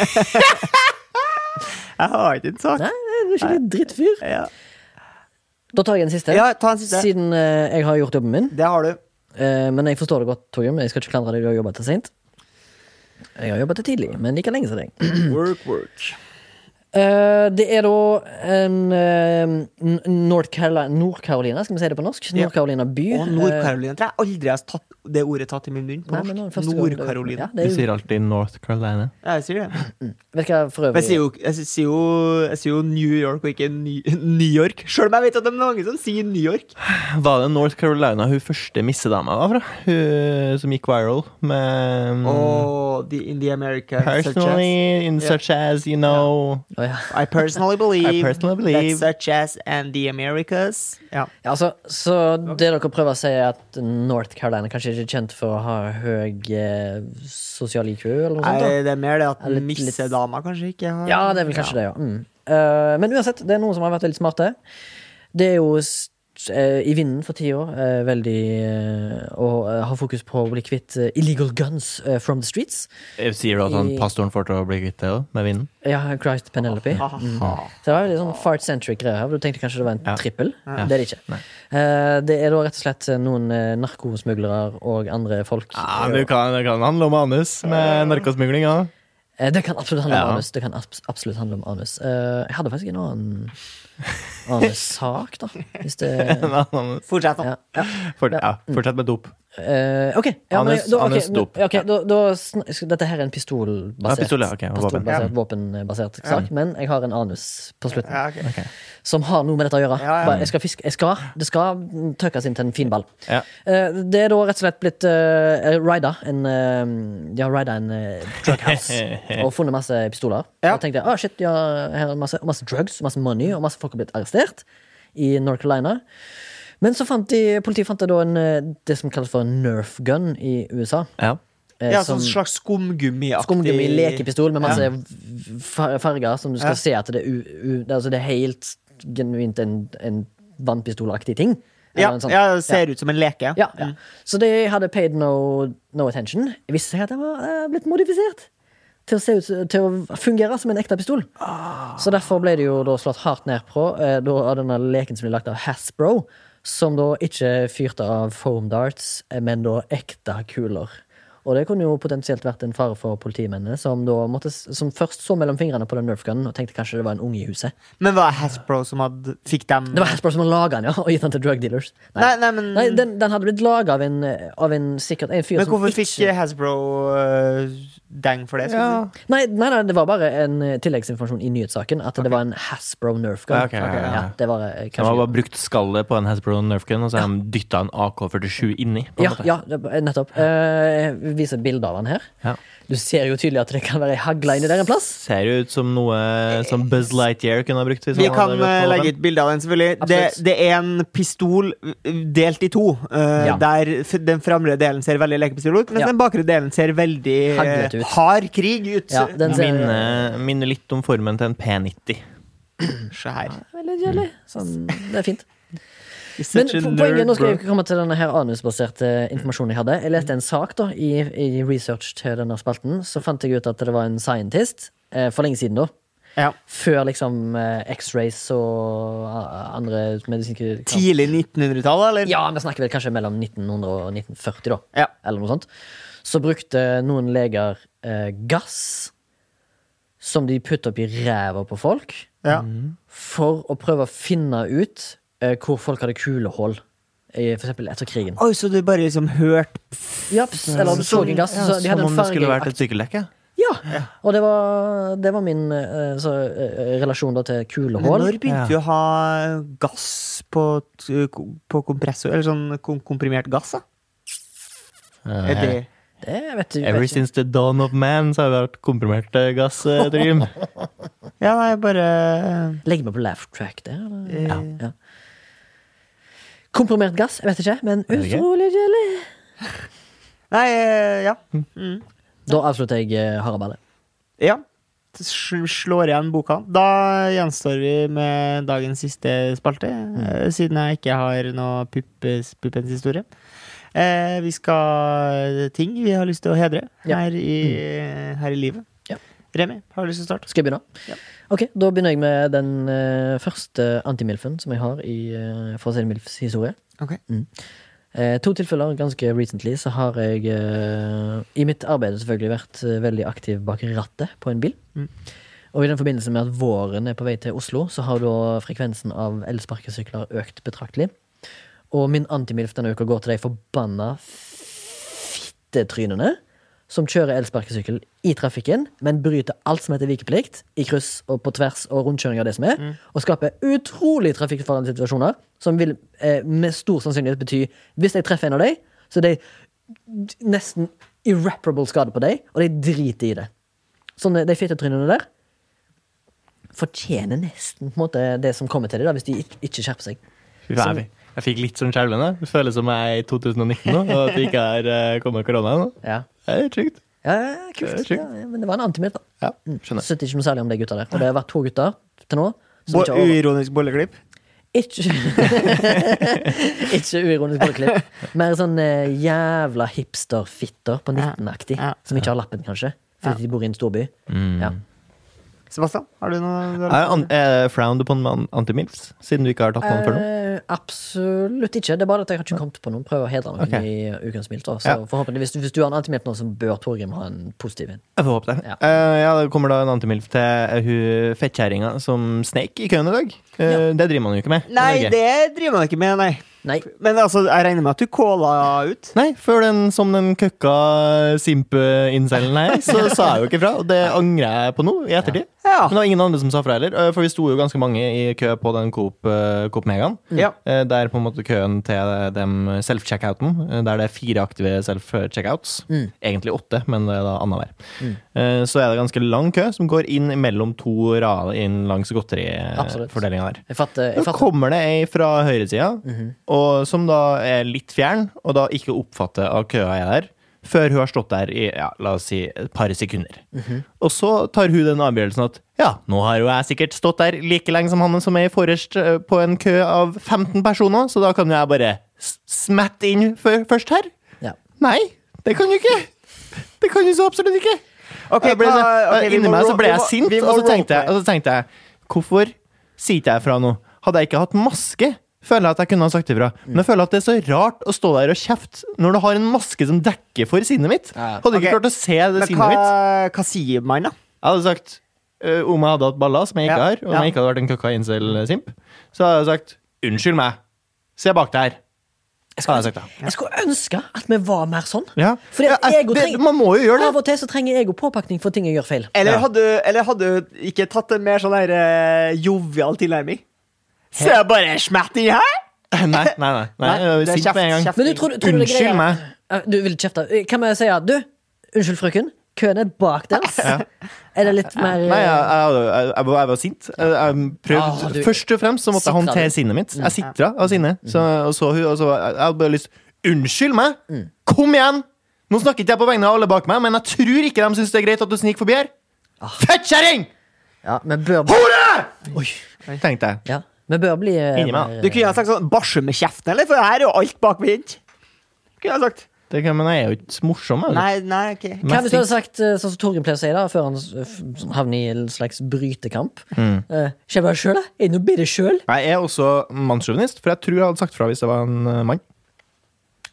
[SPEAKER 2] Jeg har ikke en sak.
[SPEAKER 1] Nei, du er skikkelig drittfyr.
[SPEAKER 2] Ja,
[SPEAKER 1] Da tar jeg en siste,
[SPEAKER 2] ja ta en siste.
[SPEAKER 1] siden eh, jeg har gjort jobben min.
[SPEAKER 2] Det har du.
[SPEAKER 1] Eh, men jeg forstår det godt, Torgrim. Jeg skal ikke klandre deg, du har jobbet til sent. Jeg har jobba til tidlig, men ikke lenge som deg.
[SPEAKER 2] Work, work.
[SPEAKER 1] Eh, det er da en eh, N- North Carolina, Nord Carolina, skal vi si det på norsk?
[SPEAKER 2] Ja.
[SPEAKER 1] Nord Carolina by.
[SPEAKER 2] Og Nord-Carolina tror jeg aldri har tatt det ordet tatt i min munn. på
[SPEAKER 1] Eh, Nei, men nå er det
[SPEAKER 2] norsk.
[SPEAKER 1] første gang det- Ja,
[SPEAKER 2] Nord-Carolina.
[SPEAKER 1] det
[SPEAKER 3] Du
[SPEAKER 1] er jo,
[SPEAKER 3] sier alltid North Carolina.
[SPEAKER 2] Ja, jeg sier det.
[SPEAKER 1] vet du hva for
[SPEAKER 2] Men jeg sier
[SPEAKER 1] øvrig
[SPEAKER 2] jo, jeg sier jo, jeg sier jo New York og ikke Ny- New York. Sjøl om jeg vet at det er mange som sier New York.
[SPEAKER 3] Var det North Carolina hun første missedama var fra? Hun som gikk viral med mm,
[SPEAKER 2] Og the, in the American such as,
[SPEAKER 3] Personally, in
[SPEAKER 2] Yeah.
[SPEAKER 3] such as, you know
[SPEAKER 1] Å, ja.
[SPEAKER 2] I personally believe,
[SPEAKER 3] I personally believe.
[SPEAKER 2] that such as and the Americas. Ja.
[SPEAKER 1] Ja, altså, så det dere prøver å si, er at North Carolina kanskje ikke er kjent for å ha høy eh, sosial IQ, eller noe sånt? da?
[SPEAKER 2] Nei, det er mer det at
[SPEAKER 1] Eller litt-
[SPEAKER 2] missedama kanskje ikke har
[SPEAKER 1] Ja, det er vel kanskje det, ja. Mm. Eh, men uansett, det er noen som har vært litt smarte. Det er jo s- eh, i vinden for tida uh, veldig eh, å eh, ha fokus på å bli kvitt eh, illegal guns eh, from the streets.
[SPEAKER 3] Sier du at han pastoren får til å bli kvitt det da, med vinden?
[SPEAKER 1] Ja, Christ Penelope. Mm.
[SPEAKER 2] Aha.
[SPEAKER 1] Så det var veldig sånn fart-centric greier her. Du tenkte kanskje det var en
[SPEAKER 3] Ah. Ja.
[SPEAKER 1] trippel. Det er det ikke. Eh, det er da rett og slett noen eh, narkosmuglere og andre folk
[SPEAKER 3] Ja, det Ah, kan, det kan handle om anus med narkosmugling. Ja.
[SPEAKER 1] Eh, Det kan absolutt handle om
[SPEAKER 3] Ja.
[SPEAKER 1] anus. Det kan abs- absolutt handle om anus. Eh, jeg hadde faktisk en annen anussak, da. Hvis det
[SPEAKER 3] En annen-
[SPEAKER 2] Fortsett nå.
[SPEAKER 1] ja, ja.
[SPEAKER 3] Fort, ja, fortsett med dop.
[SPEAKER 1] Eh, OK. Ja, men
[SPEAKER 3] Anus-
[SPEAKER 1] da- ok,
[SPEAKER 3] anus
[SPEAKER 1] men-
[SPEAKER 3] dop.
[SPEAKER 1] ok, da, da, sn- sk- dette her er en pistolbasert,
[SPEAKER 3] Ja, pistol, ja, ok, og våpen.
[SPEAKER 1] pistolbasert våpenbasert sak, men jeg har en anus på slutten.
[SPEAKER 2] Ja, ok.
[SPEAKER 1] Som har noe med dette å gjøre.
[SPEAKER 2] Ja, ja.
[SPEAKER 1] Bare, Jeg skal fiske, jeg skal, det skal tøkkes inn til en fin ball.
[SPEAKER 3] Ja.
[SPEAKER 1] Eh, det er da rett og slett blitt uh, rida en eh, De har rida en eh, drug house og funnet masse pistoler.
[SPEAKER 2] Ja.
[SPEAKER 1] Og tenkte ah, shit, ja, her er masse, masse drugs, masse money, og masse folk har blitt arrestert i North Carolina. Men så fant de, politiet fant det da en, eh, det som kalles for en nerf gun i USA.
[SPEAKER 3] Ja.
[SPEAKER 1] eh,
[SPEAKER 2] Ja, sånn slags skumgummiaktig
[SPEAKER 1] Skumgummi lekepistol med masse far- farger som du skal se at det er, u, u, det, er altså det er helt genuint en, en vannpistolaktig ting. Eller
[SPEAKER 2] Ja,
[SPEAKER 1] en sånn-
[SPEAKER 2] ja, det ser ut som en leke.
[SPEAKER 1] ja, ja. Så de hadde paid no, no attention. Jeg visste seg at den var eh, blitt modifisert til å, se ut, til å fungere som en ekte pistol. Så derfor ble det jo da slått hardt ned på eh, da, av denne leken som ble lagt av Hasbro, som da ikke fyrte av foam darts, eh, men da ekte kuler. Og det kunne jo potensielt vært en fare for politimennene, som, da måtte, s- som først så mellom fingrene på den Nerf gunnen og tenkte kanskje det var en unge i huset.
[SPEAKER 2] Men var det Hasbro som hadde, fikk dem
[SPEAKER 1] Det var Hasbro som laga den, ja, og gitt den til drug dealers.
[SPEAKER 2] Nei, nei, men-
[SPEAKER 1] nei den, den hadde blitt laga av en, av en sikkert en fyr
[SPEAKER 2] Men
[SPEAKER 1] som
[SPEAKER 2] hvorfor
[SPEAKER 1] ikke
[SPEAKER 2] fikk Hasbro eh, deng for det? skulle
[SPEAKER 3] Ja.
[SPEAKER 2] du si?
[SPEAKER 1] Nei, nei, nei, det var bare en eh, tilleggsinformasjon i nyhetssaken. At det var en Hasbro Nerf Gun.
[SPEAKER 3] Ja, ok, ja, ja, ja.
[SPEAKER 1] det var eh,
[SPEAKER 3] Han har
[SPEAKER 1] kanskje
[SPEAKER 3] bare brukt skallet på en Hasbro Nerf Gun, og så har han dytta en AK-47 inni. på en
[SPEAKER 1] ja,
[SPEAKER 3] måte.
[SPEAKER 1] ja, det- nettopp. Eh, jeg viser et bilde av han her.
[SPEAKER 3] Ja.
[SPEAKER 1] Du ser jo tydelig at det kan være ei hagle inni der en plass.
[SPEAKER 3] Ser jo ut som noe som Buzz Lightyear kunne ha brukt. hvis
[SPEAKER 2] Vi
[SPEAKER 3] han
[SPEAKER 2] kan
[SPEAKER 3] hadde gått
[SPEAKER 2] eh,
[SPEAKER 3] på
[SPEAKER 2] legge
[SPEAKER 3] den.
[SPEAKER 2] ut bilde av den, selvfølgelig. Det,
[SPEAKER 1] Absolutt.
[SPEAKER 2] det er en pistol eh, delt i to. eh,
[SPEAKER 1] Ja.
[SPEAKER 2] Der f- den fremre delen ser veldig lekepistol ut, mens
[SPEAKER 1] Ja.
[SPEAKER 2] den bakre delen ser veldig eh,
[SPEAKER 1] Haglete ut.
[SPEAKER 2] hard krig ut.
[SPEAKER 1] Ja, den ser
[SPEAKER 3] Minner minner litt om formen til en P90.
[SPEAKER 2] Se her.
[SPEAKER 1] Veldig kjedelig. Sånn, det er fint.
[SPEAKER 2] He's
[SPEAKER 1] Men
[SPEAKER 2] such a
[SPEAKER 1] po-
[SPEAKER 2] nerd,
[SPEAKER 1] poenget, nå skal jeg
[SPEAKER 2] bro.
[SPEAKER 1] komme til denne her anusbaserte eh, informasjonen jeg hadde. Jeg leste en sak da i, i research til denne spalten. Så fant jeg ut at det var en scientist eh, for lenge siden, da.
[SPEAKER 2] ja.
[SPEAKER 1] Før liksom eh, X-rays og eh, andre medisinske
[SPEAKER 2] Tidlig 1900-tall, eller?
[SPEAKER 1] Ja, vi snakker vel kanskje mellom 1900 og 1940, da.
[SPEAKER 2] Ja.
[SPEAKER 1] Eller noe sånt. Så brukte noen leger eh, gass som de putta opp i ræva på folk,
[SPEAKER 2] Ja.
[SPEAKER 1] Mm. for å prøve å finne ut eh, hvor folk hadde kulehull. eh, For eksempel etter krigen.
[SPEAKER 2] Oi, så du bare liksom hørte
[SPEAKER 1] Japs, eller du så en gass, så de
[SPEAKER 3] som
[SPEAKER 1] hadde
[SPEAKER 3] om
[SPEAKER 1] en
[SPEAKER 3] det skulle
[SPEAKER 1] farge
[SPEAKER 3] vært et sykkeldekke.
[SPEAKER 1] Ja! Og det var, det var min eh, så, eh, relasjon da til
[SPEAKER 2] Men
[SPEAKER 1] kulehull.
[SPEAKER 2] Når begynte
[SPEAKER 3] Ja.
[SPEAKER 2] vi å ha gass på, t- på kompressor? Eller sånn kom komprimert gass, da? Er det
[SPEAKER 1] Det vet du
[SPEAKER 3] Eh, Ever
[SPEAKER 1] vet ikke.
[SPEAKER 3] since the dawn of man så har vi hatt komprimert eh, gass, eh, Trym.
[SPEAKER 2] Ja, nei, bare
[SPEAKER 1] Legg meg på laugh track der, eller?
[SPEAKER 2] eh,
[SPEAKER 1] Ja. ja. Komprimert gass? Jeg vet ikke, men
[SPEAKER 3] det ikke?
[SPEAKER 1] utrolig kjedelig.
[SPEAKER 2] Nei, eh, ja. Mm.
[SPEAKER 1] Da avslutter jeg eh, haraballet.
[SPEAKER 2] Ja. S- Slår igjen boka. Da gjenstår vi med dagens siste spalte, eh, siden jeg ikke har noe puppes, puppens historie. Eh, vi skal eh, ting vi har lyst til å hedre
[SPEAKER 1] Ja.
[SPEAKER 2] her, i, her i livet.
[SPEAKER 1] Ja.
[SPEAKER 2] Remi, har du lyst til å starte?
[SPEAKER 1] Skal jeg begynne?
[SPEAKER 2] Ja.
[SPEAKER 1] Ok, Da begynner jeg med den eh, første antimilfen som jeg har i uh, For å si det milfs historie.
[SPEAKER 2] Ok.
[SPEAKER 1] Mm. Eh, to tilfeller ganske recently så har jeg eh, i mitt arbeid selvfølgelig vært eh, veldig aktiv bak rattet på en bil. Og i den forbindelse med at våren er på vei til Oslo, så har da frekvensen av elsparkesykler økt betraktelig. Og min antimilf denne uka går til de forbanna fittetrynene som kjører elsparkesykkel i trafikken, men bryter alt som heter vikeplikt, i kryss og på tvers og rundkjøring av det som er, og skaper utrolig trafikkfarlige situasjoner, som vil eh, med stor sannsynlighet bety Hvis jeg treffer en av dem, så er det nesten irreparable skade på dem, og de driter i det. Sånne, de fittetrynene der fortjener nesten på en måte, det som kommer til dem, da, hvis de ikke, ikke skjerper seg.
[SPEAKER 3] Fy faen, jeg fikk- jeg fikk litt sånn skjelvende. Det føles som jeg er i 2019 nå, og at det ikke er eh, kommet korona ennå.
[SPEAKER 1] Ja,
[SPEAKER 3] Det er trygt.
[SPEAKER 1] ja kult.
[SPEAKER 3] Det er
[SPEAKER 1] Ja, men det var en antimilf, da.
[SPEAKER 3] Ja, skjønner.
[SPEAKER 1] Syns ikke noe særlig om de gutta der. Og det har vært to gutter til nå. Som
[SPEAKER 2] Bo
[SPEAKER 1] ikke, har-
[SPEAKER 2] uironisk bolleklipp.
[SPEAKER 1] ikke, ikke uironisk bolleklipp. Mer sånn eh, jævla hipsterfitter på 19-aktig.
[SPEAKER 2] Ja, ja.
[SPEAKER 1] Som ikke har lappen, kanskje. Fordi de bor i en storby.
[SPEAKER 3] Mm.
[SPEAKER 1] Ja.
[SPEAKER 2] Sebastian, har du noe du har-
[SPEAKER 3] Er an- er frowned upon med an- antimilfs, siden du ikke har tatt noen før nå?
[SPEAKER 1] Eh, absolutt ikke. Det er bare at jeg har ikke kommet på noen. Prøv å hedre noen
[SPEAKER 3] Ok.
[SPEAKER 1] i ukens mildt. da. Så
[SPEAKER 3] Ja.
[SPEAKER 1] forhåpentligvis, hvis du har en antimilf nå, så bør Torgrim ha en positiv en.
[SPEAKER 3] Jeg får håpe det.
[SPEAKER 1] Ja.
[SPEAKER 3] Ja. ja, det kommer da en antimilf til eh, hun fettkjerringa som snek i køen i dag. Eh, Det driver man jo ikke med. i
[SPEAKER 2] Nei,
[SPEAKER 3] Norge.
[SPEAKER 2] det driver man ikke med, nei.
[SPEAKER 1] Nei.
[SPEAKER 2] Men altså, jeg regner med at du kåla ut.
[SPEAKER 3] Nei, før den som den køkka simpe-incelen her, så sa jeg jo ikke fra. Og det angrer jeg på nå, i ettertid.
[SPEAKER 2] Ja.
[SPEAKER 3] Men det var ingen andre som sa fra heller, eh, for vi sto jo ganske mange i kø på den Coop, eh, Coop Megaen.
[SPEAKER 2] Mm. Ja.
[SPEAKER 3] Eh, Der på en måte køen til dem self-checkouten, eh, der det er fire aktive self-checkouts. Egentlig åtte, men det er da annenhver. Eh, Så er det ganske lang kø som går inn mellom to rader inn langs
[SPEAKER 1] Absolutt.
[SPEAKER 3] godterifordelinga der.
[SPEAKER 1] Jeg fatter, jeg
[SPEAKER 3] Da
[SPEAKER 1] fatter. Mhm.
[SPEAKER 3] kommer det ei fra høyresida, og som da er litt fjern, og da ikke oppfatter at køa er der, før hun har stått der i ja, la oss si, et par sekunder.
[SPEAKER 1] Mhm.
[SPEAKER 3] Og så tar hun den avgjørelsen at ja, nå har jo jeg sikkert stått der like lenge som han som er i forrest eh, på en kø av 15 personer, så da kan jo jeg bare s- smette inn før, først her.
[SPEAKER 1] Ja.
[SPEAKER 3] Nei, det kan du ikke! Det kan du så absolutt ikke!
[SPEAKER 2] Ok,
[SPEAKER 3] jeg ble, så,
[SPEAKER 2] hva- ok, vi
[SPEAKER 3] inni
[SPEAKER 2] må
[SPEAKER 3] meg
[SPEAKER 2] ro-
[SPEAKER 3] så ble
[SPEAKER 2] vi
[SPEAKER 3] jeg
[SPEAKER 2] må-
[SPEAKER 3] sint,
[SPEAKER 2] vi må
[SPEAKER 3] og så, tenkte jeg,
[SPEAKER 2] roleplay.
[SPEAKER 3] og så tenkte jeg Hvorfor sier ikke jeg fra nå? Hadde jeg ikke hatt maske, føler jeg at jeg kunne ha sagt ifra.
[SPEAKER 2] Mm.
[SPEAKER 3] Men jeg føler at det er så rart å stå der og kjefte når du har en maske som dekker for sinnet mitt.
[SPEAKER 1] Ja.
[SPEAKER 3] Hadde ikke
[SPEAKER 2] Ok.
[SPEAKER 3] klart å se det
[SPEAKER 2] Men
[SPEAKER 3] sinnet mitt.
[SPEAKER 2] hva, hva sier man, da?
[SPEAKER 3] Jeg hadde sagt eh, om jeg hadde hatt baller, som jeg ikke
[SPEAKER 2] Ja,
[SPEAKER 3] har, og om
[SPEAKER 2] ja.
[SPEAKER 3] jeg ikke hadde vært en kakaincel-simp, så hadde jeg sagt unnskyld meg, se bak der. Hadde jeg sagt da.
[SPEAKER 1] Jeg skulle ønske at vi var mer sånn.
[SPEAKER 3] Ja.
[SPEAKER 1] Fordi at
[SPEAKER 3] Ja, jeg-
[SPEAKER 1] ego
[SPEAKER 3] det-
[SPEAKER 1] trenger-
[SPEAKER 3] Man må jo gjøre det.
[SPEAKER 1] Av og til så trenger jeg jo påpakning for ting jeg gjør feil.
[SPEAKER 2] Eller
[SPEAKER 3] Ja.
[SPEAKER 2] hadde eller hadde du ikke tatt en mer sånn der eh, jovial tilnærming? Så jeg bare smett i her?
[SPEAKER 3] Nei, nei, nei. nei.
[SPEAKER 2] Nei,
[SPEAKER 3] jeg var
[SPEAKER 2] det er
[SPEAKER 3] sint med en
[SPEAKER 2] kjeft,
[SPEAKER 3] gang.
[SPEAKER 2] kjeft.
[SPEAKER 1] Men du, tror, du- tror du det er
[SPEAKER 3] Unnskyld
[SPEAKER 1] greia-
[SPEAKER 3] meg.
[SPEAKER 1] Ja, Du vil kjefte. Kan vi si at du Unnskyld, frøken. Køen er bak deres. Er det litt mer
[SPEAKER 3] Nei, jeg, jeg, jeg, jeg, var- jeg var sint. Jeg, jeg prøvde,
[SPEAKER 1] Eh. Ah, du- Mm.
[SPEAKER 3] Først og fremst så måtte jeg
[SPEAKER 1] Sitra
[SPEAKER 3] håndtere
[SPEAKER 1] du.
[SPEAKER 3] sinnet mitt. Jeg sitra av sinne. Så, og så hun, og så jeg, jeg hadde bare lyst Unnskyld meg!
[SPEAKER 1] Mm.
[SPEAKER 3] Kom igjen! Nå snakker ikke jeg på vegne av alle bak meg, men jeg tror ikke de syns det er greit at du sniker forbi her.
[SPEAKER 1] Ah.
[SPEAKER 3] Fettkjerring!
[SPEAKER 1] Ja, vi bør
[SPEAKER 3] Hore! Tenkte jeg.
[SPEAKER 1] ja, Vi bør bli eh,
[SPEAKER 3] Inni meg.
[SPEAKER 1] mer-
[SPEAKER 2] Du kunne ha sagt sånn Barse med kjeften, eller? For her er jo alt bakvendt. Kunne jeg ha sagt.
[SPEAKER 3] Det kan, men jeg er jo ikke morsom. Jeg.
[SPEAKER 2] Nei, nei, ok.
[SPEAKER 1] Hva hvis du hadde
[SPEAKER 3] Mest-
[SPEAKER 1] sagt eh, sånn som Torgrim pleier å si, da før han eh, f- havner i en slags brytekamp?
[SPEAKER 3] Mm.
[SPEAKER 1] Eh, Skjer det sjøl, da? Er det noe bedre sjøl?
[SPEAKER 3] Jeg er også mannssjåvinist, for jeg tror jeg hadde sagt fra hvis jeg var en eh, mann.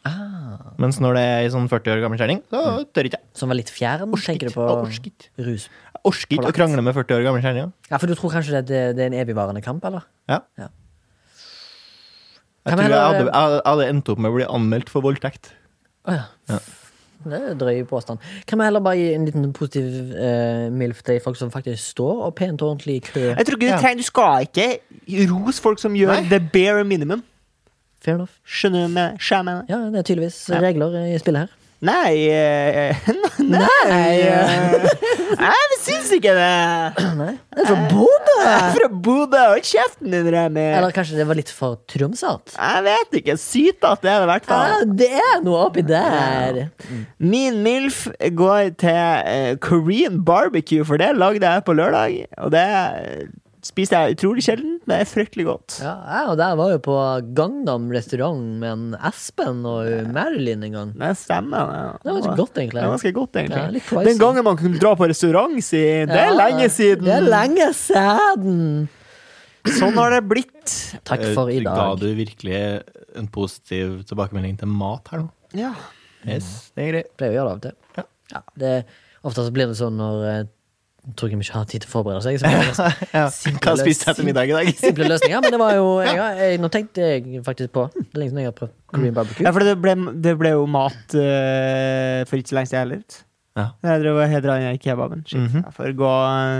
[SPEAKER 1] Ah.
[SPEAKER 3] Mens når det er ei sånn 40 år gammel kjerring,
[SPEAKER 1] Mm.
[SPEAKER 3] så tør ikke jeg.
[SPEAKER 1] Som var litt fjern? Tenker du på
[SPEAKER 3] Jeg orker ikke.
[SPEAKER 1] rus?
[SPEAKER 3] Jeg orker ikke å krangle med 40 år gamle kjerringer.
[SPEAKER 1] Ja, For du tror kanskje det, det, det er en evigvarende kamp, eller?
[SPEAKER 3] Ja.
[SPEAKER 1] Ja.
[SPEAKER 3] Jeg
[SPEAKER 1] Kan vi
[SPEAKER 3] tror jeg
[SPEAKER 1] heller-
[SPEAKER 3] hadde, jeg hadde endt opp med å bli anmeldt for voldtekt.
[SPEAKER 1] Å ja. Det er drøy påstand. Kan vi heller bare gi en liten positiv eh, milf til folk som faktisk står og pent og ordentlig i kø?
[SPEAKER 2] Jeg tror ikke du
[SPEAKER 3] Ja.
[SPEAKER 2] trenger Du skal ikke rose folk som gjør
[SPEAKER 3] Nei.
[SPEAKER 2] the bare minimum.
[SPEAKER 1] Fair enough.
[SPEAKER 2] Skjønner du med skjæmen?
[SPEAKER 1] Ja, det er tydeligvis regler i spillet her.
[SPEAKER 2] Nei eh, Nei, eh, Jeg syns ikke det.
[SPEAKER 1] Nei, Eh. det er fra Bodø!
[SPEAKER 2] Jeg er fra Bodø. Hold kjeften din, Remi.
[SPEAKER 1] Eller kanskje det var litt for tromsalt?
[SPEAKER 2] Jeg vet ikke. Sytete er det i hvert fall.
[SPEAKER 1] Ja, det er noe oppi der.
[SPEAKER 2] Min MILF går til eh, Korean barbecue, for det lagde jeg på lørdag. Og det eh, spiste jeg utrolig sjelden, men det er fryktelig godt.
[SPEAKER 1] Ja, jeg og der var jo på Gangnam restaurant med en Espen og Marilyn en gang.
[SPEAKER 2] Det stemmer. det.
[SPEAKER 1] Det var ganske godt, egentlig.
[SPEAKER 2] Det var ganske godt, egentlig.
[SPEAKER 1] Ja, litt pricey.
[SPEAKER 2] Den gangen man kunne dra på restaurant, si. Det er
[SPEAKER 1] Ja,
[SPEAKER 2] lenge siden.
[SPEAKER 1] Det er lenge siden!
[SPEAKER 2] Sånn har det blitt.
[SPEAKER 1] Takk for i
[SPEAKER 3] Eh, Ga
[SPEAKER 1] dag.
[SPEAKER 3] du virkelig en positiv tilbakemelding til mat her nå?
[SPEAKER 2] Ja.
[SPEAKER 3] Yes,
[SPEAKER 1] Mm.
[SPEAKER 3] det er greit.
[SPEAKER 1] Pleier å gjøre det av og til. Ja. Det, ofte så blir det sånn når eh, Torgrim ikke har tid til å forberede seg. Så blir det sånn
[SPEAKER 3] Ja.
[SPEAKER 1] Simple
[SPEAKER 3] Hva spiste jeg til middag i dag?
[SPEAKER 1] simple løsninger. Men det var jo ja, jeg, Nå tenkte jeg faktisk på hmm, Det er lenge siden jeg har prøvd green barbecue.
[SPEAKER 2] ja, for det ble, det ble jo mat eh, for ikke så lenge siden heller.
[SPEAKER 3] Ja.
[SPEAKER 2] Jeg drev og hedra den i kebaben. Shit.
[SPEAKER 3] Mhm.
[SPEAKER 2] Jeg får gå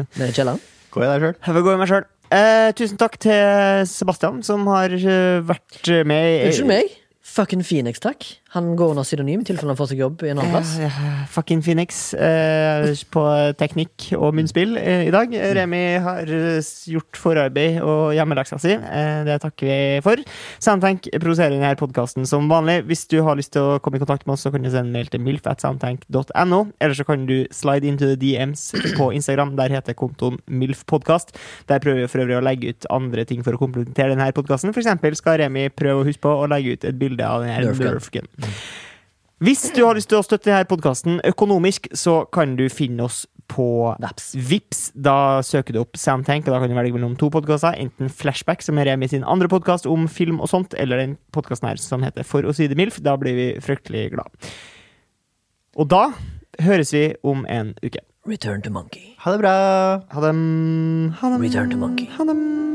[SPEAKER 1] Nede i kjelleren.
[SPEAKER 3] Går jeg der sjøl?
[SPEAKER 2] Jeg får gå i meg sjøl. Eh, tusen takk til Sebastian, som har eh, vært med i
[SPEAKER 1] Unnskyld meg. Fucking Phoenix, takk. Han går under synonym i tilfelle han får seg jobb i en annen plass.
[SPEAKER 2] Ja, Eh, ja, fucking Phoenix eh, på teknikk og munnspill eh, i dag.
[SPEAKER 1] Mm.
[SPEAKER 2] Remi har eh, s- gjort forarbeid og hjemmeleksa si. Eh, det takker vi for. Soundtank produserer denne podkasten som vanlig. Hvis du har lyst til å komme i kontakt med oss, så kan du sende en mail til milf.soundtank.no. Eller så kan du slide into the DMs på Instagram. Der heter kontoen milfpodkast. Der prøver vi for øvrig å legge ut andre ting for å komplementere denne podkasten. eksempel skal Remi prøve å huske på å legge ut et bilde av denne
[SPEAKER 1] Nerf gun.
[SPEAKER 2] Nerfgun. Hvis du har lyst til å støtte denne podkasten økonomisk, så kan du finne oss på
[SPEAKER 1] Vaps.
[SPEAKER 2] Vips, da søker du opp Soundtank, og da kan du velge mellom to podkaster. Enten Flashback, som er Remi sin andre podkast om film og sånt, eller den podkasten her som heter For å si det mildt. Da blir vi fryktelig glad. Og da høres vi om en uke.
[SPEAKER 1] Return to monkey.
[SPEAKER 3] Ha det bra.
[SPEAKER 2] Ha det. Ha det.
[SPEAKER 1] Return to monkey.
[SPEAKER 2] Ha det.